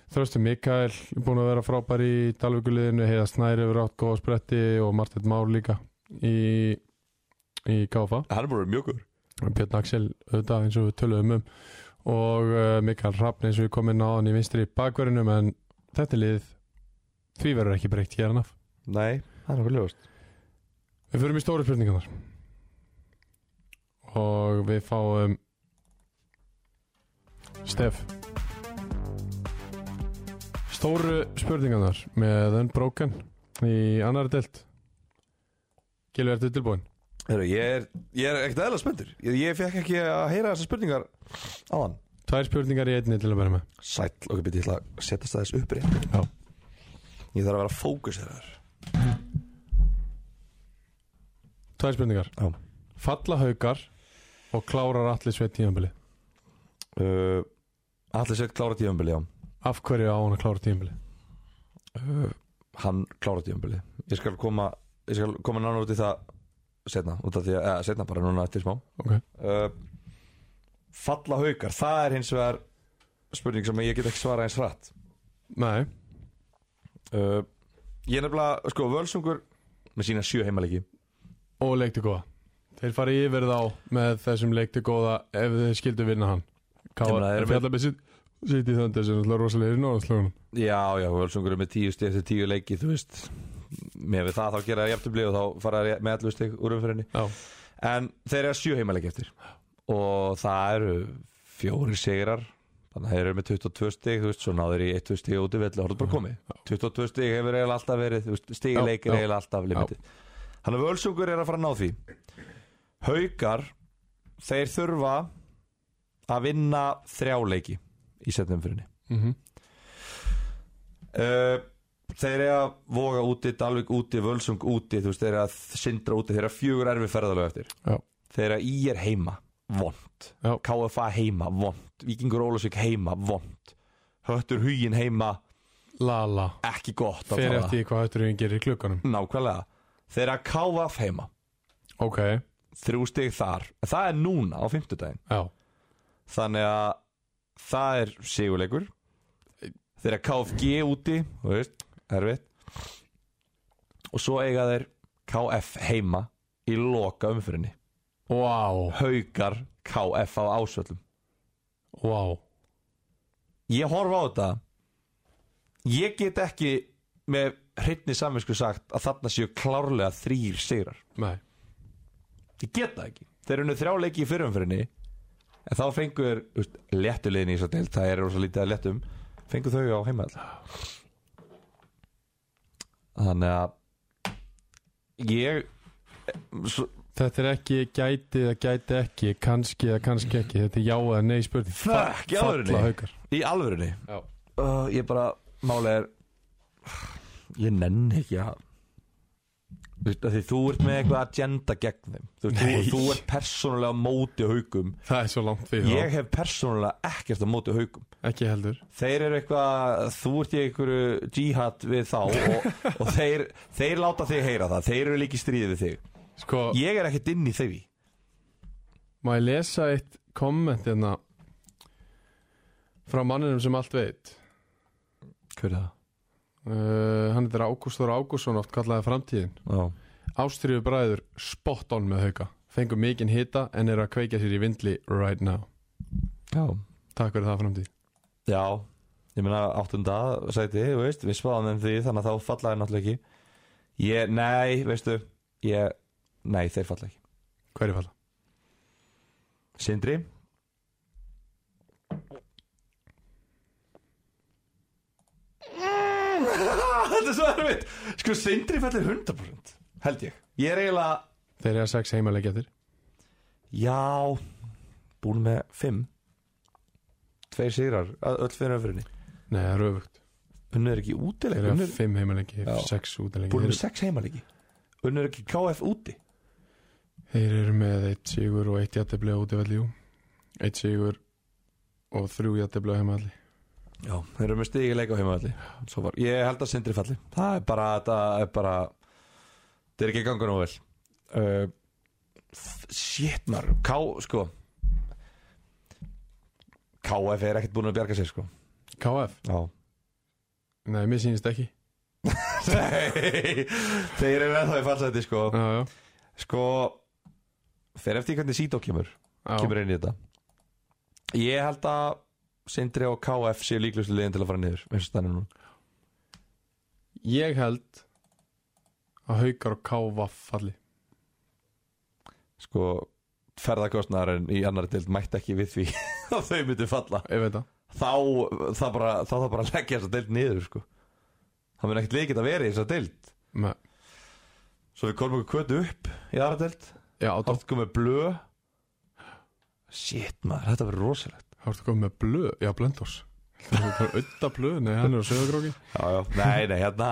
Speaker 1: Þröstur Mikael er búin að vera frábær í Dalvíkuliðinu, Heiða Snæri hefur átt góða spretti og Martin Már líka í, í KFA.
Speaker 2: Hann er bara mjögur
Speaker 1: Björn Axel auðvitað eins og við töluðum um og uh, Mikael Rappn eins og við komum inn á hann í vinstri bakverðinum en þetta lið því verður ekki breytt hér hann af.
Speaker 2: Nei, það er okkur ljóðast
Speaker 1: Við förum í stóru spurningarnar og við fáum Stef Stóru spurningarnar með Unbroken í annari delt Gilvi, ertu tilbúin?
Speaker 2: Heru, ég, er, ég er ekkert eðla spenntur ég, ég fekk ekki að heyra þessar spurningar á hann
Speaker 1: Tvær spurningar í einni til að bæra með
Speaker 2: Sæll, ok, byrja, ég ætla að setja staðis upp rétt
Speaker 1: Já.
Speaker 2: Ég þarf að vera fókus þeirrar
Speaker 1: Tvær spurningar
Speaker 2: Já.
Speaker 1: Falla haukar og klárar allir sveit tímanbili
Speaker 2: uh, Allir sér klára tíðanbili, já
Speaker 1: Af hverju á hann að klára tímanbili?
Speaker 2: uh, hann klára tíðanbili ég skal koma ég skal koma nánar út í það setna, út af því að, eða setna bara núna eftir smá
Speaker 1: Ok,
Speaker 2: uh, falla haukar, það er hins vegar spurning sem ég get ekki svarað eins hratt
Speaker 1: nei,
Speaker 2: uh, ég er nefnilega, sko, völsungur með sína sjö heimaleiki
Speaker 1: og leikti góða Þeir fara yfir þá með þessum leik til góða ef þeir skildu vinna hann
Speaker 2: Ég meina,
Speaker 1: Káar
Speaker 2: erum við-
Speaker 1: fjallabið sitt Sitt í þöndir sem er náttúrulega rosalegir í Norðurslóðunum
Speaker 2: Já, já, Völsungur er með tíu stíð eftir tíu leiki, þú veist Með við það þá gera það jafntöfli og þá fara það með allu stíð úr umfyrinni
Speaker 1: Já,
Speaker 2: En þeir eru sjö heimaleik eftir Og það eru fjóri sigrar Þannig að þeir eru með 22 stíð, þú veist Svo náður í 1 stíð út í velli, horfðu bara komið 22 stíð hefur eiginlega alltaf verið
Speaker 1: Já, já.
Speaker 2: Stíðleikir eiginlega alltaf limitið Þannig að Völsungur er að fara að ná því Haukar, þeir þurfa að vinna þrjá leiki í setnum fyrirni
Speaker 1: mm
Speaker 2: Uh, þeir eru að voga úti Dalvik úti, Völsung úti þú veist, þeir eru að sindra úti, þeir eru að fjögur erfi ferðalög eftir
Speaker 1: Já.
Speaker 2: þeir eru að í er heima, vond
Speaker 1: Já.
Speaker 2: KFA heima, vond Víkingur Ólusvík heima, vond Höttur Hugin heima,
Speaker 1: Lala
Speaker 2: ekki gott að
Speaker 1: Fer
Speaker 2: tala.
Speaker 1: eftir því hvað hættur hún gerir í klukkanum
Speaker 2: nákvæmlega þeir eru að KF heima,
Speaker 1: Ok,
Speaker 2: þrjú stig þar En það er núna á fimmtudaginn
Speaker 1: já
Speaker 2: þannig að það er sigurleikur þeir eru að KFG úti þú veist, erfitt og svo eiga þeir KF heima í loka umfyrinni
Speaker 1: Vá,
Speaker 2: haukar KF á ásvöllum
Speaker 1: vá
Speaker 2: ég horfa á þetta ég get ekki með hreitni saminsku sagt að þarna séu klárlega þrýr sigrar
Speaker 1: Nei,
Speaker 2: ég get það ekki þeir eru þrjá leiki í fyrrumfyrinni en þá fengur léttulegin í þess að deild það er rosa lítið að léttum fengur þau á heimall þannig að ég svo,
Speaker 1: þetta er ekki gæti eða gæti ekki Kanski eða kannski ekki Þetta er já eða nei spurning
Speaker 2: Fuck, í
Speaker 1: Fall-
Speaker 2: alvörunni?
Speaker 1: Falla haukar
Speaker 2: í alvörunni
Speaker 1: Já.
Speaker 2: uh, ég bara málega er ég nenn ekki að Þú veist, af Því þú ert með eitthvað agenda gegn þeim Þú, veist,
Speaker 1: Nei.
Speaker 2: þú, þú ert persónulega á móti haugum
Speaker 1: Það er svo langt fyrir
Speaker 2: Ég hef persónulega ekkert á móti haugum
Speaker 1: þá Ekki heldur
Speaker 2: þeir eru eitthvað, þú ert í einhverju jihad við þá og, og þeir, þeir láta þig heyra það þeir eru líki stríðið við þig
Speaker 1: Sko,
Speaker 2: ég er ekkert inn í þeir
Speaker 1: Má ég lesa eitt komment hérna frá manninum sem allt veit
Speaker 2: hver er það?
Speaker 1: uh, hann heitir Ágústur Ágússon oft kallaði framtíðin
Speaker 2: Já.
Speaker 1: Ástriðu bræður spot on með hauka fengu mikinn hita en eru að kveikja sér í vindli right now
Speaker 2: Já.
Speaker 1: Takk fyrir það framtíð
Speaker 2: Já, ég meina áttunda sæti, þú veist, við spáðum þeim því þannig að þá falla þeir náttúrulega ekki ég, nei, veistu ég, nei, þeir falla ekki
Speaker 1: Hverju falla?
Speaker 2: Sindri Þetta er svo erfitt Sko Sindri fellur 100% Held ég Ég er eiginlega
Speaker 1: Þeir eru að sex heimaleik eftir
Speaker 2: Já Búin með 5 Tveir sigrar ö- Öll fyrir öfrinni
Speaker 1: Nei, það er öfugt
Speaker 2: Unnur er ekki
Speaker 1: Þeir
Speaker 2: útileg
Speaker 1: eru
Speaker 2: Unnur
Speaker 1: að fimm heimaleiki,
Speaker 2: Já.
Speaker 1: sex útileiki
Speaker 2: Búin með
Speaker 1: þeir,
Speaker 2: 6 heimalegi Unnur er ekki KF úti
Speaker 1: þeir eru með eitt sigur og eitt jættibli á útivalli, jú Eitt sigur og þrjú jættibli á heimavalli
Speaker 2: Já, þeir eru með stigi leik á heimavalli Svo var, ég held að sindri falli Það er bara, það er bara Það er ekki gangur nú vel uh, Shit maður K, sko KF er ekkert búin að bjarga sér sko
Speaker 1: KF?
Speaker 2: Já
Speaker 1: Nei, mér sýnist ekki
Speaker 2: Nei, þeir eru ennþá í fallseti sko
Speaker 1: Já, já,
Speaker 2: Sko Fer eftir því hvernig Sító kemur
Speaker 1: já.
Speaker 2: Kemur inn í þetta Ég held að Sindri og KF séu líklustu liðin til að fara niður eins og stannir nú
Speaker 1: Ég held að haukar og káfa falli
Speaker 2: sko ferðakostnaðarinn í annari dild mætti ekki við því að þau myndi falla
Speaker 1: Ég veit það
Speaker 2: þá það bara, þá það bara að leggja þessa dild niður sko. það mun ekkert leikið að vera í þessa dild
Speaker 1: Með,
Speaker 2: svo við komum okkur kvötu upp í aðra dild
Speaker 1: Já, þá
Speaker 2: þá komum við blö shit maður, þetta verður rosalegt
Speaker 1: ertu komið með blöð Já, blöndós Það er bara auðda blöð, nei, hann er á sögurkróki
Speaker 2: já, já. nei, nei, hérna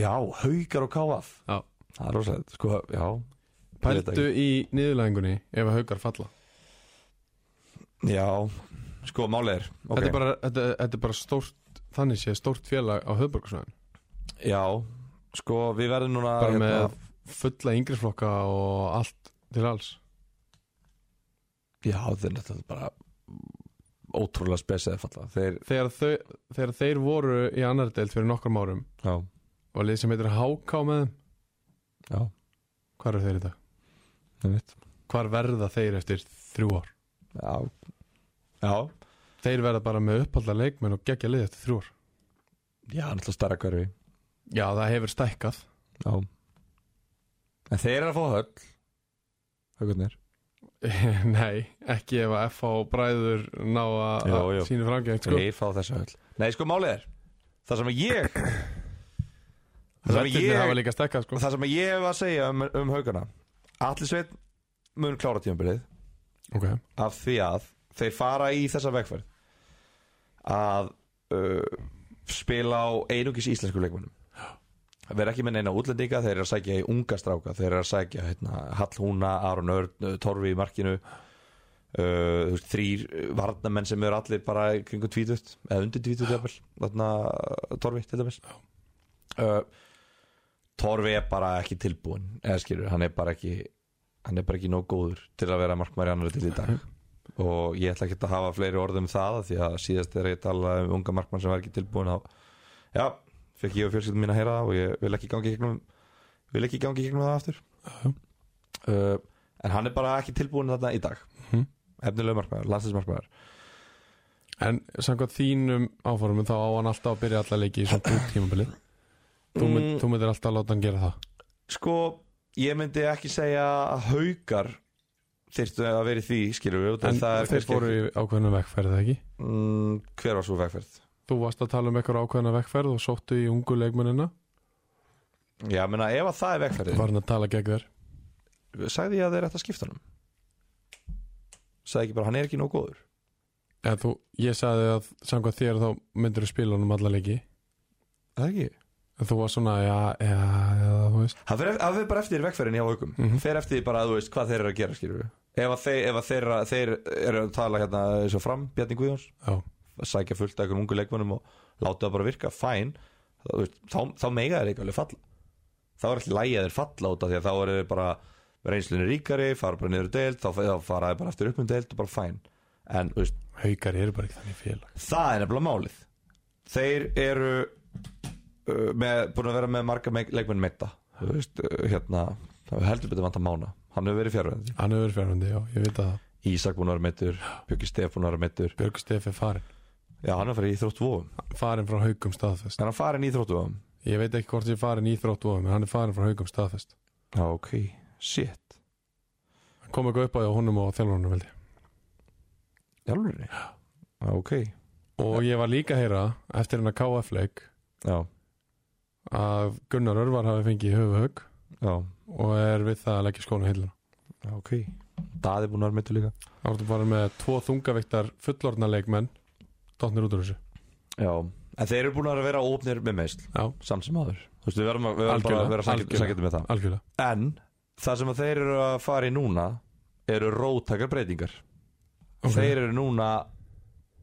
Speaker 2: já, haukar og káaf
Speaker 1: Já.
Speaker 2: það er rosalegt sko, já, Ég veit
Speaker 1: Pældu í niðurlæðingunni ef að haukar falla
Speaker 2: já sko, málið er
Speaker 1: þetta,
Speaker 2: ok.
Speaker 1: er bara, þetta, þetta er bara stórt Þannig sé stórt félag á höfðborgarsvæðin
Speaker 2: já, sko, við verðum núna
Speaker 1: Bara
Speaker 2: hérna,
Speaker 1: með fulla yngrisflokka og allt til alls
Speaker 2: Já, þeir náttúrulega bara ótrúlega spesaði falla Þeir,
Speaker 1: Þegar, þau, þegar þeir voru í annar deild fyrir nokkrum árum
Speaker 2: já,
Speaker 1: og lið sem heitir HK með þeim
Speaker 2: já
Speaker 1: Hvar eru þeir í dag?
Speaker 2: Ég veit.
Speaker 1: Hvar verða þeir eftir þrjú ár?
Speaker 2: Já Já,
Speaker 1: Þeir verða bara með uppalda leikmenn og gegja lið eftir þrjú ár
Speaker 2: já, náttúrulega stærra hverfi
Speaker 1: Já, það hefur stækkað
Speaker 2: Já En þeir eru að fá höll Haukarnir
Speaker 1: Nei, ekki ef að FH bræður ná að
Speaker 2: Jú,
Speaker 1: að
Speaker 2: jú.
Speaker 1: sínu framgengt sko.
Speaker 2: Þeir fá þessa höll Nei, sko, málið er Það sem ég Það sem
Speaker 1: Vettinni
Speaker 2: ég
Speaker 1: hafa líka stækkað sko.
Speaker 2: Það sem ég hef að segja um, um haugana Allir sveit mun klára tímabilið
Speaker 1: okay.
Speaker 2: af því að þeir fara í þessa vegferð að uh, spila á einungis íslensku leikmönnum þeir eru ekki með neina útlendinga þeir eru að sækja í unga stráka þeir eru að sækja hérna, Hallhúna, Aron Örn uh, Torfi í markinu uh, þú veist, þrýr uh, varnamenn sem eru allir bara í kringum tvítut eða undir tvítut jafnvel þarna uh, Torfi til dæmis uh, Torfi er bara ekki tilbúin eða skilur, hann er bara ekki hann er bara ekki nóg góður til að vera markmæri annar til í dag og ég ætla ekki að hafa fleiri orð um það af því að síðast er ég talað um unga markmann sem var ekki tilbúin á já, fekk ég og fjölskyldum mín að heyra það og ég vil ekki gangi í gegnum vil ekki gangi í gegnum það aftur uh, en hann er bara ekki tilbúin þarna í dag
Speaker 1: Mhm.
Speaker 2: efnilega markmæður, landsinsmarkmæður
Speaker 1: En samkvæmt þínum áformum þá á hann alltaf að byrja alla leiki í svona tímabili Þú, mynd,
Speaker 2: Mm.
Speaker 1: þú myndir alltaf láta hann gera það
Speaker 2: sko, ég myndi ekki segja að haukar þyrftu að vera í því, skilur við út af
Speaker 1: En
Speaker 2: það er
Speaker 1: þeir
Speaker 2: kannski-
Speaker 1: fóru í ákveðnum vegferð eða ekki
Speaker 2: mm, hver var svo vegferð?
Speaker 1: Þú varst að tala um eitthvað ákveðna vegferð og sóttu í ungu leikmennina
Speaker 2: Já, ég meina, ef að það er
Speaker 1: Þú
Speaker 2: vegferðin
Speaker 1: var hann að tala gegn þér
Speaker 2: Sagði ég að þeir ætti að skipta honum Sagði ekki bara, hann er ekki nóg góður
Speaker 1: En þú, ég sagði að samkvæmt þér þá myndir þú spila hann um alla leiki
Speaker 2: Það er ekki
Speaker 1: En þú var svona, já, já, já, þú veist
Speaker 2: Það fer, það fer bara eftir vegferðin hjá aukum mm
Speaker 1: Mhm.
Speaker 2: Fer eftir því bara að þú veist hvað þeir eru að gera skilur Ef að þeir, ef að þeir, þeir eru að tala hérna eins og fram Bjarni Guðjóns
Speaker 1: Já,
Speaker 2: Sækja fullt að einhverjum ungu leikmannum og láta það bara virka Fæn, þá, þú veist, þá, þá mega þeir ekki alveg falla Þá er alltaf lægið þeir falla út af því að þá eru þeir bara Reynslunni ríkari, fara bara niður deild Þá, þá fara þeir bara eftir upp um deild og bara fæn En þú veist,
Speaker 1: haukar eru bara ekki þannig félag
Speaker 2: Það er nefnilega málið Þeir eru uh, með, búin að vera með marga meik- leikmenn meita Þú veist, uh, hérna það var heldur betur vant að mána Hann hefur verið fjárvændi
Speaker 1: Hann hefur fjárhundi, já, ég veit að það
Speaker 2: Ísak búin að vera meittur, Björki Stef búin að vera meittur
Speaker 1: Björg Stefi farin,
Speaker 2: Já, hann er farið í þrótt vofum
Speaker 1: farin frá haukum staðfest
Speaker 2: Er hann farin í þrótt vofum?
Speaker 1: Ég veit ekki hvort ég er farin í þróttvofum En hann er farin frá haukum staðfest
Speaker 2: Já, ok, shit
Speaker 1: Hann kom eitthvað upp á því á honum og þjálfurunum veldi
Speaker 2: Jálfurri Já, ok
Speaker 1: Og ég var líka að heyra eftir hennar KF-leik
Speaker 2: Já,
Speaker 1: að Gunnar Örvar hafi fengið höfuhög
Speaker 2: já,
Speaker 1: og er við það að leggja skóna hilluna.
Speaker 2: já, ok Daði búin að vera meittur líka
Speaker 1: Það vartu bara með tvo þungaviktar fullorðna leikmenn dottnir út úr þessu.
Speaker 2: Já, en þeir eru búin að vera ópnir með meisl
Speaker 1: Já,
Speaker 2: Samt sem aður Þú veist, við verðum, að, við verðum bara
Speaker 1: Algjörlega,
Speaker 2: að vera
Speaker 1: algjörlega.
Speaker 2: sækjandi með það
Speaker 1: algjörlega.
Speaker 2: En það sem að þeir eru að fara í núna eru róttakar breytingar
Speaker 1: Ok.
Speaker 2: Þeir eru núna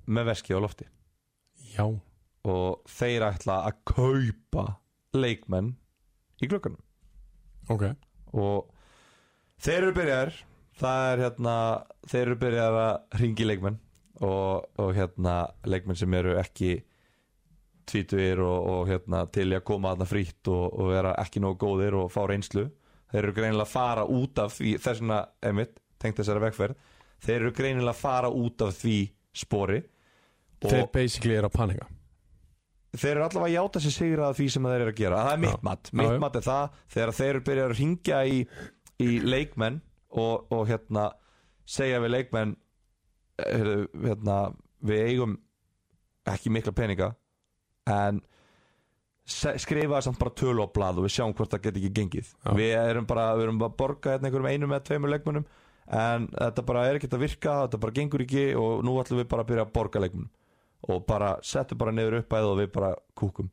Speaker 2: með veski á lofti
Speaker 1: Já,
Speaker 2: og þeir ætla að kaupa leikmenn í glöggunum
Speaker 1: ok.
Speaker 2: og þeir eru byrjar það er hérna þeir eru byrjar að ringi leikmenn og, og hérna leikmenn sem eru ekki tvítugir og, og hérna til í að koma þarna frýtt og, og vera ekki nógu góðir og fá reynslu þeir eru greinilega að fara út af því þessuna einmitt, tengt þessari vegferð þeir eru greinilega að fara út af því spori og
Speaker 1: Þeir
Speaker 2: þeir,
Speaker 1: basically eru að panika.
Speaker 2: eru allavega að játa sér sigra af því sem þeir eru að gera, það er
Speaker 1: Já.
Speaker 2: mitt mat
Speaker 1: Já, já.
Speaker 2: mitt mat er það, þegar þeir eru byrjar að ringja í, í leikmenn og, og hérna segja við leikmenn eh, heyrðu, hérna, við eigum ekki mikla peninga en se- skrifa samt bara tölu á blað og við sjáum hvort það get ekki gengið
Speaker 1: Já.
Speaker 2: við erum bara, við erum bara að borga hérna einhverjum einum eða tveimur leikmönnum en þetta bara er ekki að virka, þetta bara gengur ekki og nú ætlum við bara að byrja að borga leikmönnum og bara settum bara niður uppæð og við bara kúkum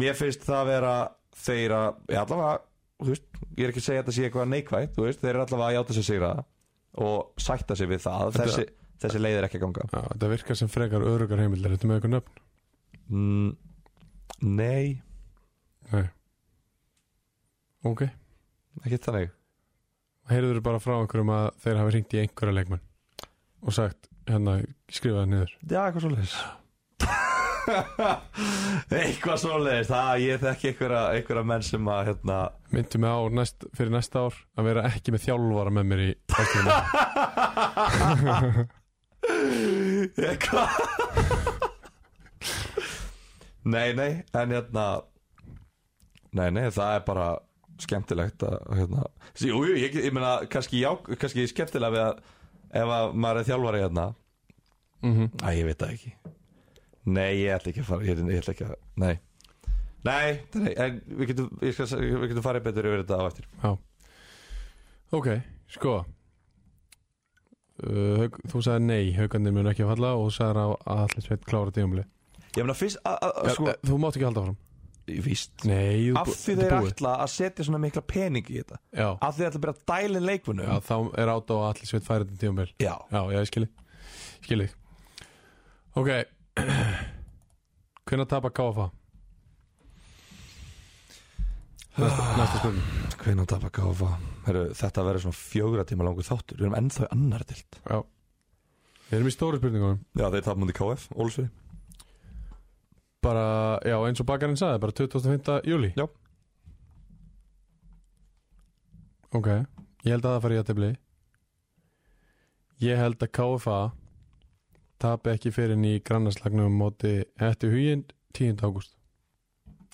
Speaker 2: mér finnst það vera þeir að, ég allavega þú veist, ég er ekki að segja að þetta sé eitthvað neikvægt þú veist, þeir eru allavega að játa sig sigra og sætta sig við það að
Speaker 1: Þetta-
Speaker 2: þessi, þessi leið er ekki að ganga
Speaker 1: Já, þetta virkar sem frekar örugar heimildar. Þetta er með eitthvað nöfn.
Speaker 2: mm, nei,
Speaker 1: Nei. Ok.
Speaker 2: ekki þannig
Speaker 1: Heyrður bara frá einhverjum að þeir hafi ringt í einhverja leikmenn og sagt, hérna, skrifaði niður.
Speaker 2: Já, eitthvað svo leiðis eitthvað svoleiðist það ég þekki einhverja, einhverja menn sem að hérna,
Speaker 1: Myndi mig á næst, fyrir næsta ár að vera ekki með þjálfara með mér í ástæðinu.
Speaker 2: eitthvað nei nei en hérna nei nei það er bara skemmtilegt að hérna sí, jú, jú, ég, get- ég meina kannski, já, kannski skemmtilega við að ef að maður er þjálfari hérna Æ, ég veit það ekki Nei, ég ætla ekki að fara Ég, ég ætla ekki að, nei Nei, nei, en við getum, ég skal, við getum farið betur yfir þetta á eftir
Speaker 1: Já. Ok, sko. Uh, Hauk- þú sagði nei, haugandir mun ekki falla og þú sagði að allir sveit klára tíumli.
Speaker 2: Ég meina fyrst, a, a, a,
Speaker 1: Sko,
Speaker 2: sko
Speaker 1: þú mátt ekki halda fram.
Speaker 2: eh, Víst
Speaker 1: Nei, þú
Speaker 2: Af því
Speaker 1: þetta
Speaker 2: þeir
Speaker 1: búið.
Speaker 2: ætla að setja svona mikla pening í þetta
Speaker 1: Já,
Speaker 2: Af því þeir ætla að byrja að dæla inn leikmunu
Speaker 1: já, þá er át á að allir sveit færi þetta tíumli.
Speaker 2: Já,
Speaker 1: Já, já, ég skilji. Skilji. Ok. Hvernig tapar KFA? Næsta, næsta spurning.
Speaker 2: Hvenær tapa káfa Heru, Þetta verður svona fjögra tíma langur þáttur Við erum ennþá í annar dild
Speaker 1: Já. Við erum í stóru spurningunum.
Speaker 2: Já, þeir tapa múti KF, Ólsvið
Speaker 1: Bara, já, eins og bakarinn sagði, bara 25. júli
Speaker 2: Já.
Speaker 1: Ok, ég held að það fari í aðtefli Ég held að KFA tapi ekki fyrir inn í grannarslagnum á móti eftir huginn 10. ágúst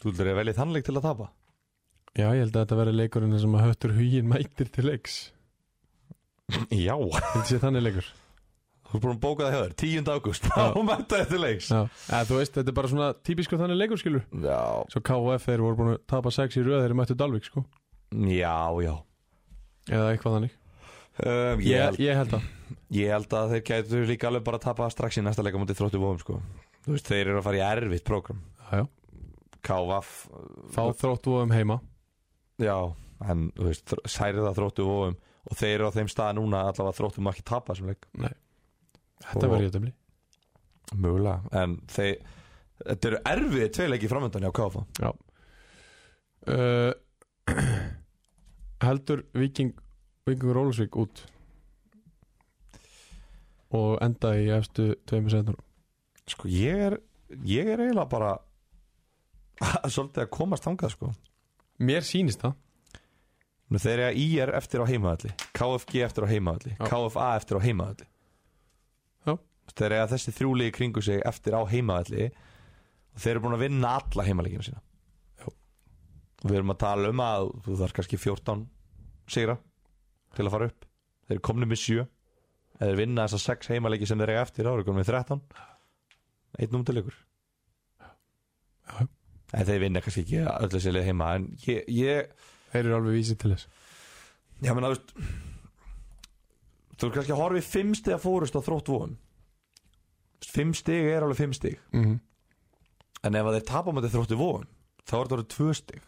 Speaker 2: Þú ætlar að velja þannleik til að tapa
Speaker 1: Já, ég held að þetta verði leikurinn þar sem að höttur huginn mætir til leiks
Speaker 2: Já Þú
Speaker 1: Þetta sé þannig leikur
Speaker 2: er búin að bóka það hjá þér, 10. ágúst Þá mæta þetta leiks
Speaker 1: Já, eða, þú veist, þetta er bara svona típisku þannig leikur skilur
Speaker 2: Já,
Speaker 1: Svo KF þeir voru búin að tapa 6 í röð þeir mættu Dalvik sko
Speaker 2: já, já
Speaker 1: Eða eitthvað þannig
Speaker 2: Um, ég,
Speaker 1: Ég, ég
Speaker 2: held,
Speaker 1: held að
Speaker 2: ég held að þeir gætu líka alveg bara að tapa strax í næsta leika mútið þróttu vóðum sko. Þú veist, þeir eru að fara í erfitt prógram
Speaker 1: Já, já.
Speaker 2: K.V.A.F.
Speaker 1: Fá þróttu um heima
Speaker 2: Já, en þú veist, þr- særið það þróttu vóðum og þeir eru á þeim stað núna allavega þróttum ekki tapa sem leik
Speaker 1: Þetta
Speaker 2: Og-
Speaker 1: verður ég að dæmli
Speaker 2: Mögulega, en þeir Þetta eru erfiði tveileiki framöndan hjá K.V.A.
Speaker 1: uh, Heldur Viking Vikingur Ólusvík út og enda í efstu tveimur setnur
Speaker 2: Sko, ég er, ég er eiginlega bara svolítið að komast þangað sko.
Speaker 1: Mér sýnist það
Speaker 2: Nú, Þeir eru að IR eftir á heimavalli KFG eftir á heimavalli
Speaker 1: Já.
Speaker 2: KFA eftir á heimavalli
Speaker 1: Já.
Speaker 2: Þeir eru að þessi þrjúlið kringu sig eftir á heimavalli og þeir eru búin að vinna alla heimaleikina sína
Speaker 1: Já.
Speaker 2: Og Við erum að tala um að þú þarf kannski 14 sigra til að fara upp Þeir eru komnir með 7 Eða þeir vinna þessar 6 heimaleiki sem þeir eru eftir ára komnir með 13 Einn umtilegur
Speaker 1: Já.
Speaker 2: En þeir vinna kannski ekki öll þessi lið heima en ég, ég
Speaker 1: Þeir eru alveg vísið til þess
Speaker 2: Já, menn, þú veist Þú er kannski að horfa í fimm stiga fórust á þrótt vóum Fimm stig er alveg fimm stig
Speaker 1: mm
Speaker 2: En ef að þeir tapa með þróttu vóum Þá er þetta orðið tvö stig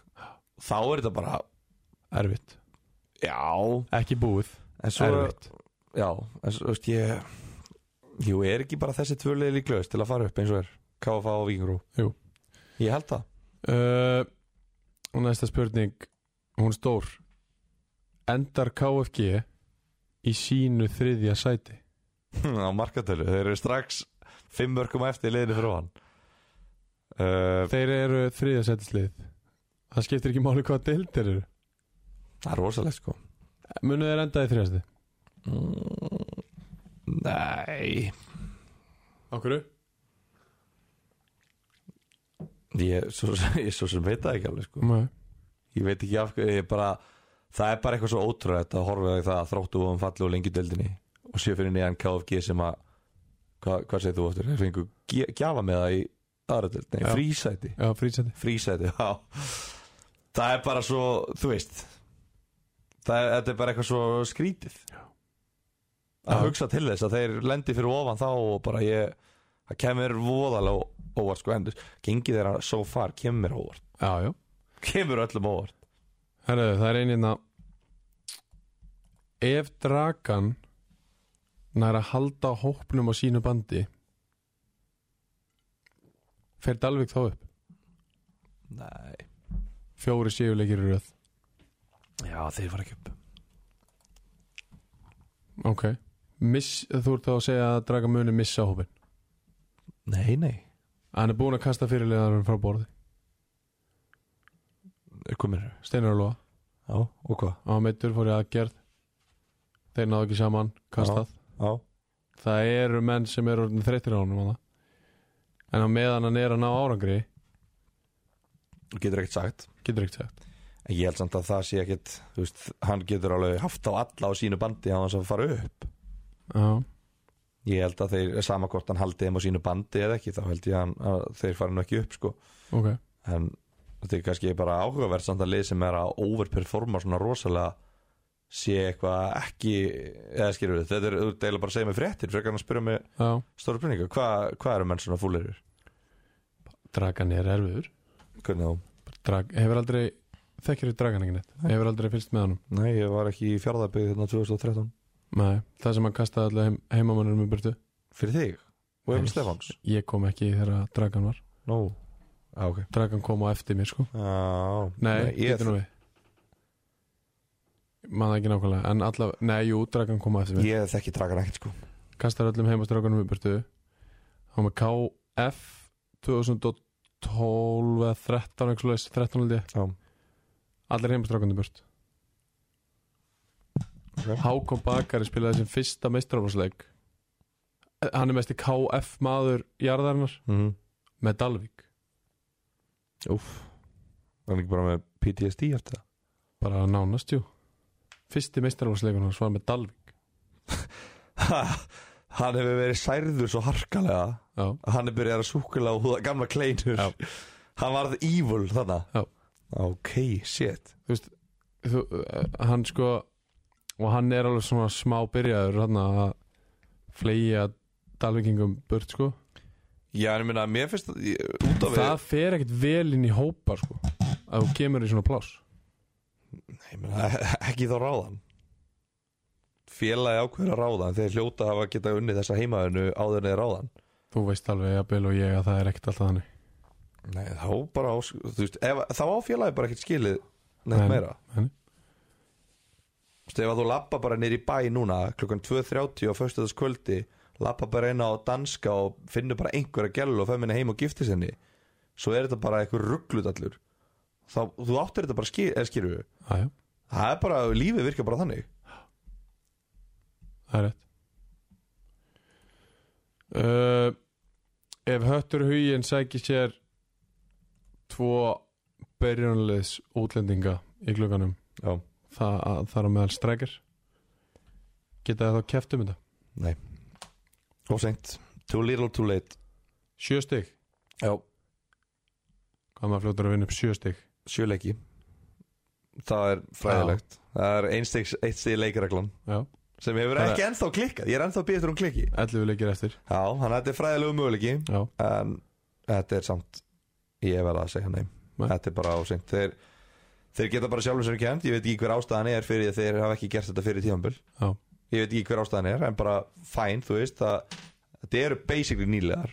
Speaker 2: Þá er þetta bara,
Speaker 1: Erfitt
Speaker 2: já
Speaker 1: Ekki búið,
Speaker 2: En svo,
Speaker 1: erfitt
Speaker 2: já, en svo, þú veist, ég Jú, er ekki bara þessi tvö liði líklaust til að fara upp eins og er KFA og Víkingrú
Speaker 1: Jú.
Speaker 2: Ég held það
Speaker 1: uh, Og næsta spurning Hún er stór Endar KFG í sínu þriðja sæti
Speaker 2: Hm, Á markatölu, þeir eru strax Fimm mörgum eftir í liðinu fyrir hann uh,
Speaker 1: Þeir eru þriðja sætislið Það skiptir ekki máli hvað deild þeir eru
Speaker 2: Það er rosalegt sko
Speaker 1: Munu þeir enda í þriðasti?
Speaker 2: Mm, Nei
Speaker 1: Okkur?
Speaker 2: ég svo, ég svo sem veit það ekki alveg sko.
Speaker 1: Nei
Speaker 2: Ég veit ekki af hverju ég bara, Það er bara eitthvað svo ótrúlegt að horfa á það að þróttu og um falli og lengi dildinni og sé fyrir neðan KFG sem að hva, hvað segir þú áttur? Þeir fengu gj- gjafa með það í aðra dild, nei,
Speaker 1: Já.
Speaker 2: frísæti
Speaker 1: Já, frítsæti
Speaker 2: frísæti, já Það er bara svo, þú veist það er, þetta er bara eitthvað svo skrítið já. að
Speaker 1: Já.
Speaker 2: hugsa til þess að þeir lendi fyrir ofan þá og bara ég það kemur voðalega ó- óvart sko endur, gengið þeirra so far kemur mér á óvart,
Speaker 1: Já, já
Speaker 2: kemur öllum á óvart
Speaker 1: Herðu, það er einina Ef dragan nær að halda hópnum á sínu bandi fer Dalvik þá upp
Speaker 2: Nei,
Speaker 1: fjóri séuleikir í röð
Speaker 2: já þeir fara ekki upp
Speaker 1: Ok Miss, Þú ert þá að segja að dragan muni missa hópin
Speaker 2: Nei, nei,
Speaker 1: Hann er búinn að kasta fyrirliðanum frá borði
Speaker 2: Hvað meður?
Speaker 1: Steinar og Lóa
Speaker 2: Já, og hvað?
Speaker 1: Á meittur fór í aðgerð Þeir náðu ekki saman, kastað
Speaker 2: Já,
Speaker 1: Það eru menn sem eru orðin þreyttir á honum þarna. En á meðan hann er að ná árangri
Speaker 2: þú getur ekkert sagt
Speaker 1: Getur ekkert sagt
Speaker 2: En ég held samt að það sé ekkert þú veist, Hann getur alveg haft á alla á sínu bandi á hans að fara upp
Speaker 1: Já,
Speaker 2: Ég held að þeir, sama hvort hann haldi þeim á sínu bandi eða ekki, þá held ég hann, að þeir fara nú ekki upp sko.
Speaker 1: ok
Speaker 2: En þetta er kannski bara áhugaverð samt að lið sem er að overperforma svona rosalega sé eitthvað ekki eða skilur við, þetta er þú deila bara að segja mig fréttir frekar en að spyrja mig
Speaker 1: Já,
Speaker 2: stóra spurningu Hva, hvað eru menn svona fúlirir?
Speaker 1: dragan er erfiður
Speaker 2: Hvernig þá?
Speaker 1: Drag, Hefur aldrei, þekkir þið dragan ekki neitt Hefur aldrei fylst með honum
Speaker 2: Nei, ég var ekki í fjárðabygg hérna 2013
Speaker 1: Nei, það sem hann kastaði allir heim, heimamannur með burtu
Speaker 2: Fyrir þig?
Speaker 1: Nei.
Speaker 2: Og Emil Stefáns?
Speaker 1: Ég kom ekki þegar dragan var
Speaker 2: Nú, á ok
Speaker 1: Dragan kom á eftir mér sko
Speaker 2: Já,
Speaker 1: Nei,
Speaker 2: ég,
Speaker 1: getur nú við Maður ekki nákvæmlega En allavega, nei, jú, dragan kom á eftir mér
Speaker 2: ég þekki dragan ekkert sko
Speaker 1: kastar öllum heimastrákunum í burtu hann var með KF 2012 eða 13 eitthvað svoleiðis, 13 held ég
Speaker 2: Já,
Speaker 1: allir heimastrákunum burt
Speaker 2: Ok.
Speaker 1: Hákon Bakari spilaði sem fyrsta meistrafársleik hann er mesti KF maður jarðarinnar
Speaker 2: mhm
Speaker 1: með Dalvik
Speaker 2: Úf Hann er ekki bara með PTSD eftir það
Speaker 1: bara nánast jú fyrsti meistrafársleikun hans var með Dalvik
Speaker 2: ha, Hann hefur verið særður svo harkalega
Speaker 1: já,
Speaker 2: að Hann er byrjað að súkula og húða gamla kleinur
Speaker 1: Já.
Speaker 2: Hann varð evil þarna
Speaker 1: Já.
Speaker 2: Ok, shit
Speaker 1: þú, eh, hann sko og hann er alveg svona smá byrjaður hann að fleia Dalvikingum burt sko
Speaker 2: Já, en ég meina, mér finnst það ég- út af
Speaker 1: það fer ekkert vel inn í hópar sko að þú kemur í svona pláss
Speaker 2: Ég meina, ekki þá ráðan Félagi ákveður að ráða en þeir hljóta hafa getað unnið þessa heimaðinu áður en þeir ráðan
Speaker 1: þú veist alveg að Bill og ég að það er ekkert alltaf þannig
Speaker 2: Nei, þá bara á, þú veist, ef, þá á félagi bara ekkert skilið neitt
Speaker 1: Nei,
Speaker 2: meira
Speaker 1: nei.
Speaker 2: Þú veist, ef að þú lappa bara nýr í bæ núna klukkan 2.30 á föstudagskvöldi lappa bara inn á danska og finnur bara einhverja gælu og feminni heim og gifti henni svo er þetta bara eitthvað rugglut allur þá, þú áttir þetta bara skil, eða skilur við
Speaker 1: Æja,
Speaker 2: það er bara, lífið virkar bara þannig
Speaker 1: það er rétt uh, ef höttur hugin sækir sér tvo byrjunaliðs útlendinga í glugganum
Speaker 2: Já.
Speaker 1: það að- þar á meðal strækir geta það þá keft um þetta
Speaker 2: og seint, too little too late
Speaker 1: sjö stig,
Speaker 2: Já,
Speaker 1: hvað maður fljótur að vinna upp sjö stig
Speaker 2: sjöleiki það er fræðilegt það er einstegs, eitt stig leikreglan
Speaker 1: já,
Speaker 2: sem hefur
Speaker 1: Það er-
Speaker 2: ekki ennþá klikkað ég er ennþá betur um klikki
Speaker 1: 11 leikir eftir
Speaker 2: Já, þannig að þetta er fræðilegu möguleiki
Speaker 1: já,
Speaker 2: en þetta er samt ég verða að segja nei,
Speaker 1: Nei.
Speaker 2: þetta er bara ásengt þeir, þeir geta bara sjálfur sem kent ég veit ekki hver ástæðan er fyrir því að þeir hafa ekki gert þetta fyrir tíðanböl
Speaker 1: Já.
Speaker 2: ég veit ekki hver ástæðan er, en bara fæn þú veist, það, þetta eru basically nýlegar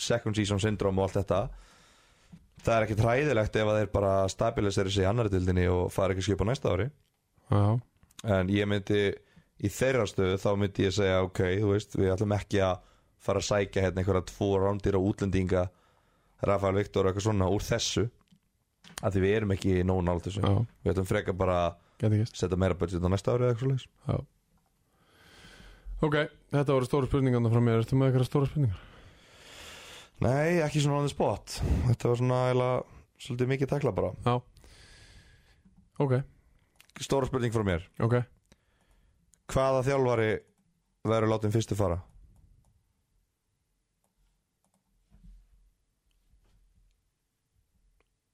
Speaker 2: second season syndrome og allt þetta það er ekki træðilegt ef að þeir bara stabilisera sig í annari dildinni og fara ekki að skipa næsta ári
Speaker 1: já,
Speaker 2: en ég myndi í þeirra stöðu þá myndi ég segja ok, þú veist, við ætlum ekki að fara að sækja hérna einhverja tvo rándýra útlendinga Rafael Viktor og eitthvað svona úr þessu að því við erum ekki nóg nált þessu
Speaker 1: já,
Speaker 2: við ætlum frekar bara að
Speaker 1: geta ekki
Speaker 2: setja meira budget á næsta ári eða eitthvað svoleiðis
Speaker 1: Ok, þetta voru stóru spurningarna frá mér Ertu með eitthvað stóra spurningar?
Speaker 2: Nei, ekki svona on the spot þetta var svona eila svolítið mikið tekla bara
Speaker 1: Ok,
Speaker 2: Stóra spurning frá mér
Speaker 1: ok
Speaker 2: Hvaða þjálfari verður látin fyrstu fara?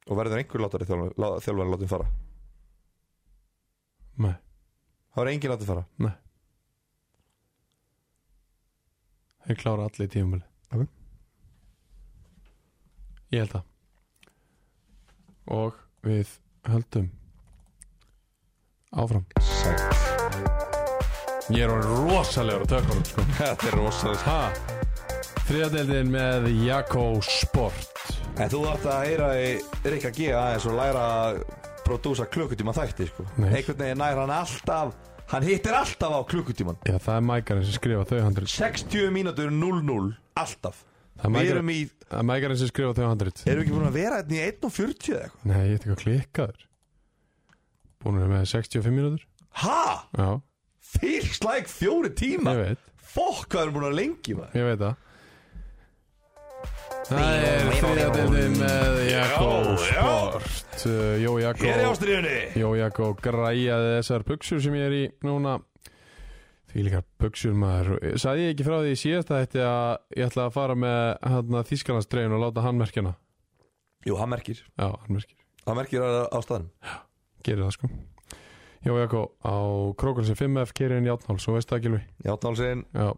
Speaker 2: Og verður einhver látari þjálfari, lá- þjálfari látin fara?
Speaker 1: Nei,
Speaker 2: Það verður engin látin fara
Speaker 1: ég klára allir í tímumvili
Speaker 2: Ok.
Speaker 1: Ég held það Og við höldum Áfram
Speaker 2: Sæt.
Speaker 1: Ég er orðin rosalegur að tökum sko.
Speaker 2: Þetta er rosalega
Speaker 1: Ha Þriðadeldin með Jakko Sport
Speaker 2: En þú þarft að heyra í Rikka G aðeins og læra að prodúsa klukkutíma þætti sko
Speaker 1: Nei.
Speaker 2: Einhvern veginn nær hann alltaf Hann hittir alltaf á klukkutíman
Speaker 1: Já, það er mækarinn sem skrifa þau handrið
Speaker 2: 60 mínútur 0-0 Alltaf
Speaker 1: Það
Speaker 2: Við
Speaker 1: mækar-
Speaker 2: erum í,
Speaker 1: það er mækarinn sem skrifa 200
Speaker 2: erum við ekki búin að vera hérna í 1.40 eða eitthvað?
Speaker 1: Nei, ég ætti ekki að klikka þér Búin að vera með 65 mínútur
Speaker 2: Ha?
Speaker 1: Já,
Speaker 2: Fyrir slæk fjóri tíma?
Speaker 1: ég veit,
Speaker 2: Fokk, hvað erum búin að lengi maður?
Speaker 1: ég veit það Það er þriðja deildin með Jakob
Speaker 2: Já, já.
Speaker 1: Sport Uh, Jó
Speaker 2: Hér er
Speaker 1: Jakob
Speaker 2: ástriðunni!
Speaker 1: Jó Jakob græjaði þessar buksur sem ég er í núna Því líka buksur maður Sæði ég ekki frá því í síðasta þetta að ég ætla að fara með hérna, Þískalandsdreifin og láta hann merkjana
Speaker 2: Jú, hann merkir.
Speaker 1: Já, hann merkir,
Speaker 2: Hann merkir á, á staðnum.
Speaker 1: gerir það sko Jó Jakob á Krókulsi 5F Keirinn Játnál, svo veist það Gilvi
Speaker 2: Játnálsinn.
Speaker 1: Já,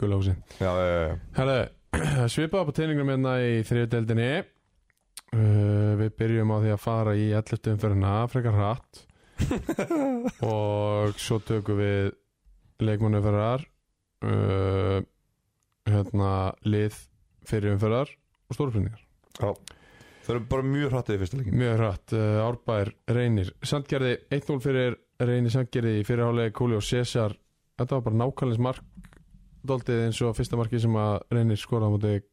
Speaker 1: gullósi
Speaker 2: Já, já, já.
Speaker 1: Herðu, svipað upp á teiningum hérna í þriðudeldinni uh, Við byrjum á því að fara í 11. umferðina frekar hratt og svo tökum við leikmannu umferðar uh, hérna lið fyrir umferðar og stórprendingar
Speaker 2: Þau eru bara mjög hrattið í fyrsta leikin.
Speaker 1: Mjög hratt, uh, Árbær reynir Sandgerði 1-0 fyrir reynir Sandgerði í fyrirhálega Kúli og César Þetta var bara nákvæmleins mark doldið eins og fyrsta marki sem að reynir skoraði á móti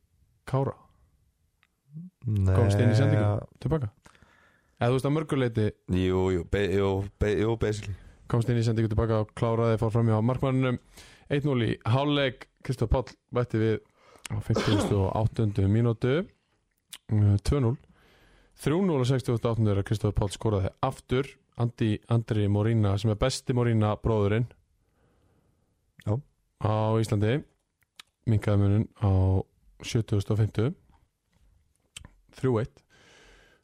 Speaker 1: Kára
Speaker 2: Nei.
Speaker 1: Komst inn í sendingu? tilbaka eða þú veist að mörguleiti
Speaker 2: Jú, jú, be, jú, be, jú, basically.
Speaker 1: komst inn í sendingu tilbaka og kláraði fór fram hjá markmannunum 1-0 í hálfleik Kristof Páll bætti við á 58. mínútu Eh, 2-0 3-0 og 68. er að Kristof Páll skoraði aftur Andi Andri Morína sem er besti Morína bróðurinn
Speaker 2: Já.
Speaker 1: á Íslandi minkaði munin á 70.50 3-1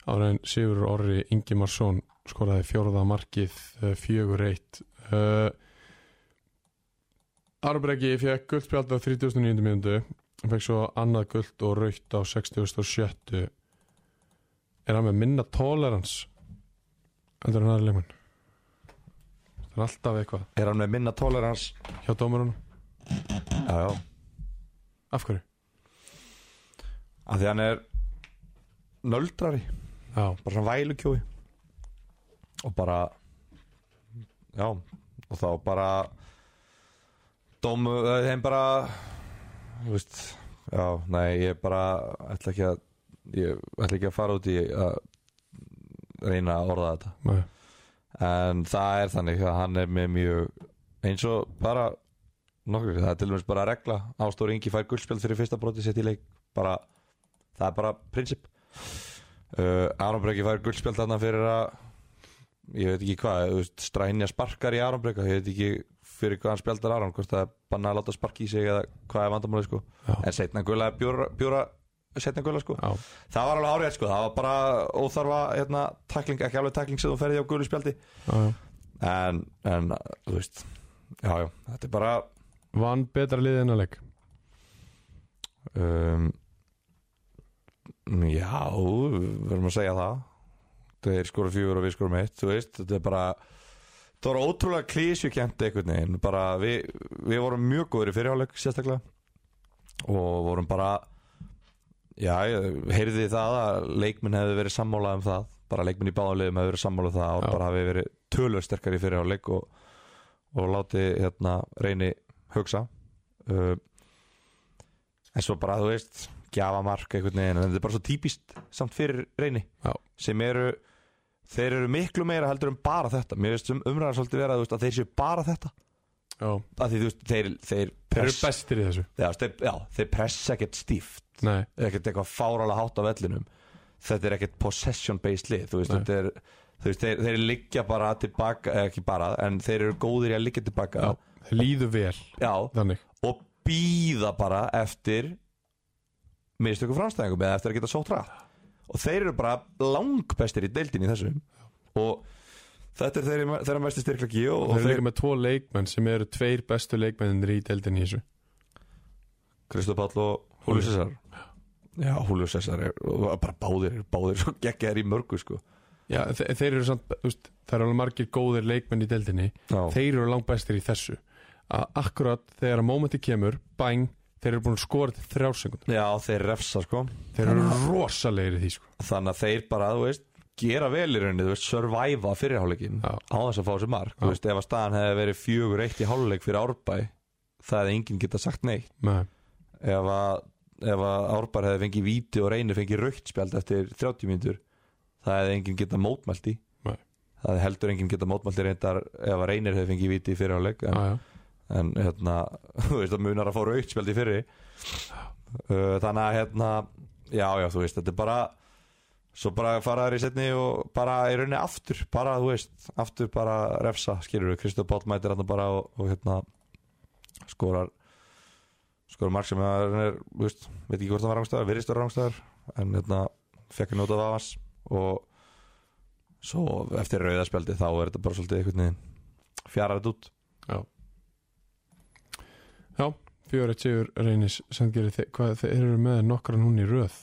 Speaker 1: ára en Sigur Orri Ingimarsson skoraði fjórða markið eh, 4-1 uh, Arbreggi fekk guldspjald á 39. minútu hann fekk svo annað guld og raukt á 60.7 er hann með minna tolerans heldur hann aðri leikmann það er alltaf eitthvað
Speaker 2: Er hann með minna tolerans?
Speaker 1: hjá dómarunum,
Speaker 2: Já, já.
Speaker 1: af hverju?
Speaker 2: Af því hann er nöldrari.
Speaker 1: Já,
Speaker 2: bara svona vælukjói og bara já, og þá bara dómu eh, þeim bara þú veist, já, nei, ég bara ætla ekki að ég ætla ekki að fara út í að reyna að orða þetta
Speaker 1: nei,
Speaker 2: en það er þannig að hann er með mjög eins og bara nokkur, það er til dæmis bara regla Ástóri Ingi fær guldspjöld fyrir fyrsta broti sett í leik bara, það er bara prinsip uh, Aron Breki fær guldspjöld þarna fyrir að ég veit ekki hvað, þú veist, strænja sparkar í Aron Breka, ég veit ekki fyrir hvað hann spjaldar Aron, hvort það er banna að láta sparki í sig eða hvað er vandamálið sko
Speaker 1: já,
Speaker 2: en setna gula er bjóra, bjóra setna gula sko
Speaker 1: já,
Speaker 2: það var alveg árið sko, það var bara óþarfa hérna, tækling, ekki alveg tækling sem þú ferði á gulu spjaldi
Speaker 1: já, já.
Speaker 2: en, en þú veist já, já, þetta er bara
Speaker 1: vann betra liðið en að leik
Speaker 2: um, já, við verðum að segja það þeir skora fjögur og við skorum eitt þú veist, þetta er bara það var ótrúlega klísjukent einhvern veginn bara við, við vorum mjög góður í fyrirháleik sérstaklega og vorum bara já, ég heyrði það að leikminn hefði verið sammálað um það bara leikminn í báðanliðum hefði verið sammálað um það og
Speaker 1: Já.
Speaker 2: bara hafi verið tölvöld sterkar í fyrirháleik og, og láti hérna reyni hugsa uh, en svo bara þú veist gjafamark einhvern veginn en þetta er bara svo típist samt fyrir reyni
Speaker 1: Já.
Speaker 2: sem eru þeir eru miklu meira heldur en bara þetta mér veist um umræðan svolítið vera þú veist, að þeir séu bara þetta
Speaker 1: já.
Speaker 2: að því þú veist þeir, þeir,
Speaker 1: þeir eru
Speaker 2: press,
Speaker 1: bestir í þessu
Speaker 2: já, þeir, já, þeir pressa ekkert stíft
Speaker 1: nei,
Speaker 2: ekkert eitthvað fáralega hátt á vellinum þetta er ekkert possession based lið þú veist,
Speaker 1: Nei.
Speaker 2: þetta er, þú veist þeir, þeir liggja bara tilbaka, eh, ekki bara en þeir eru góðir í að liggja tilbaka
Speaker 1: já, þeir líðu vel
Speaker 2: já
Speaker 1: þannig
Speaker 2: og býða bara eftir mistöku framstæðingum eða eftir að geta sótt rætt og þeir eru bara langbestir í deildin í þessu og þetta er þeirra, þeirra mesti styrklegi og,
Speaker 1: Þeir
Speaker 2: og
Speaker 1: eru
Speaker 2: þeir
Speaker 1: líka með tvo leikmenn sem eru tveir bestu leikmennir í deildinni í þessu
Speaker 2: Kristof Páll og Húlu Sessar já, Húlu Sessar er og bara báðir, eru báðir svo geggjær í mörgu sko.
Speaker 1: Já, þe þeir eru samt, þú veist, það eru alveg margir góðir leikmenn í deildinni
Speaker 2: þeir,
Speaker 1: Þeir eru langt bestir í þessu að akkurat þegar að mómenti kemur, bæng þeir eru búin að skora til þrjársengun
Speaker 2: já, þeir refsa sko.
Speaker 1: Þeir eru rosalegir í því sko.
Speaker 2: þannig að þeir bara, þú veist gera vel í rauninni, þú veist, surviva fyrirháleikin
Speaker 1: Já.
Speaker 2: á þess að fá sér mark,
Speaker 1: Já.
Speaker 2: þú veist, ef að staðan hefði verið fjögur eitt í háluleik fyrir árbæ það hefði enginn geta sagt neitt
Speaker 1: Nei,
Speaker 2: ef að ef að Árbar hefði fengið víti og reynir fengið raukt spjald eftir 30 mínútur það hefði enginn getað mótmælt í
Speaker 1: Nei.
Speaker 2: það hefði heldur enginn getað mótmælt í reyndar ef að reynir hefði fengið víti í fyrir áleik en,
Speaker 1: já, já.
Speaker 2: en hérna, þú veist að munar að fá raukt spjald í fyrri Uh, þannig að hérna já, já, þú veist, þetta er bara svo bara fara þær í setni og bara í rauninni aftur, bara, þú veist aftur bara refsa, skilur við, Kristof Páll mætir hérna bara og, og hérna skorar skorar mark sem að hann er, þú veist veit ekki hvort það var rángstæðar, virðist var rángstæðar en hérna, fekk að njóta af hans og svo eftir rauðaspjaldi þá er þetta bara svolítið einhvern veginn fjaraðið út
Speaker 1: Fjóra tjúr reynis Sandgeri, þe- hvað þeir eru með nokkra núna í röð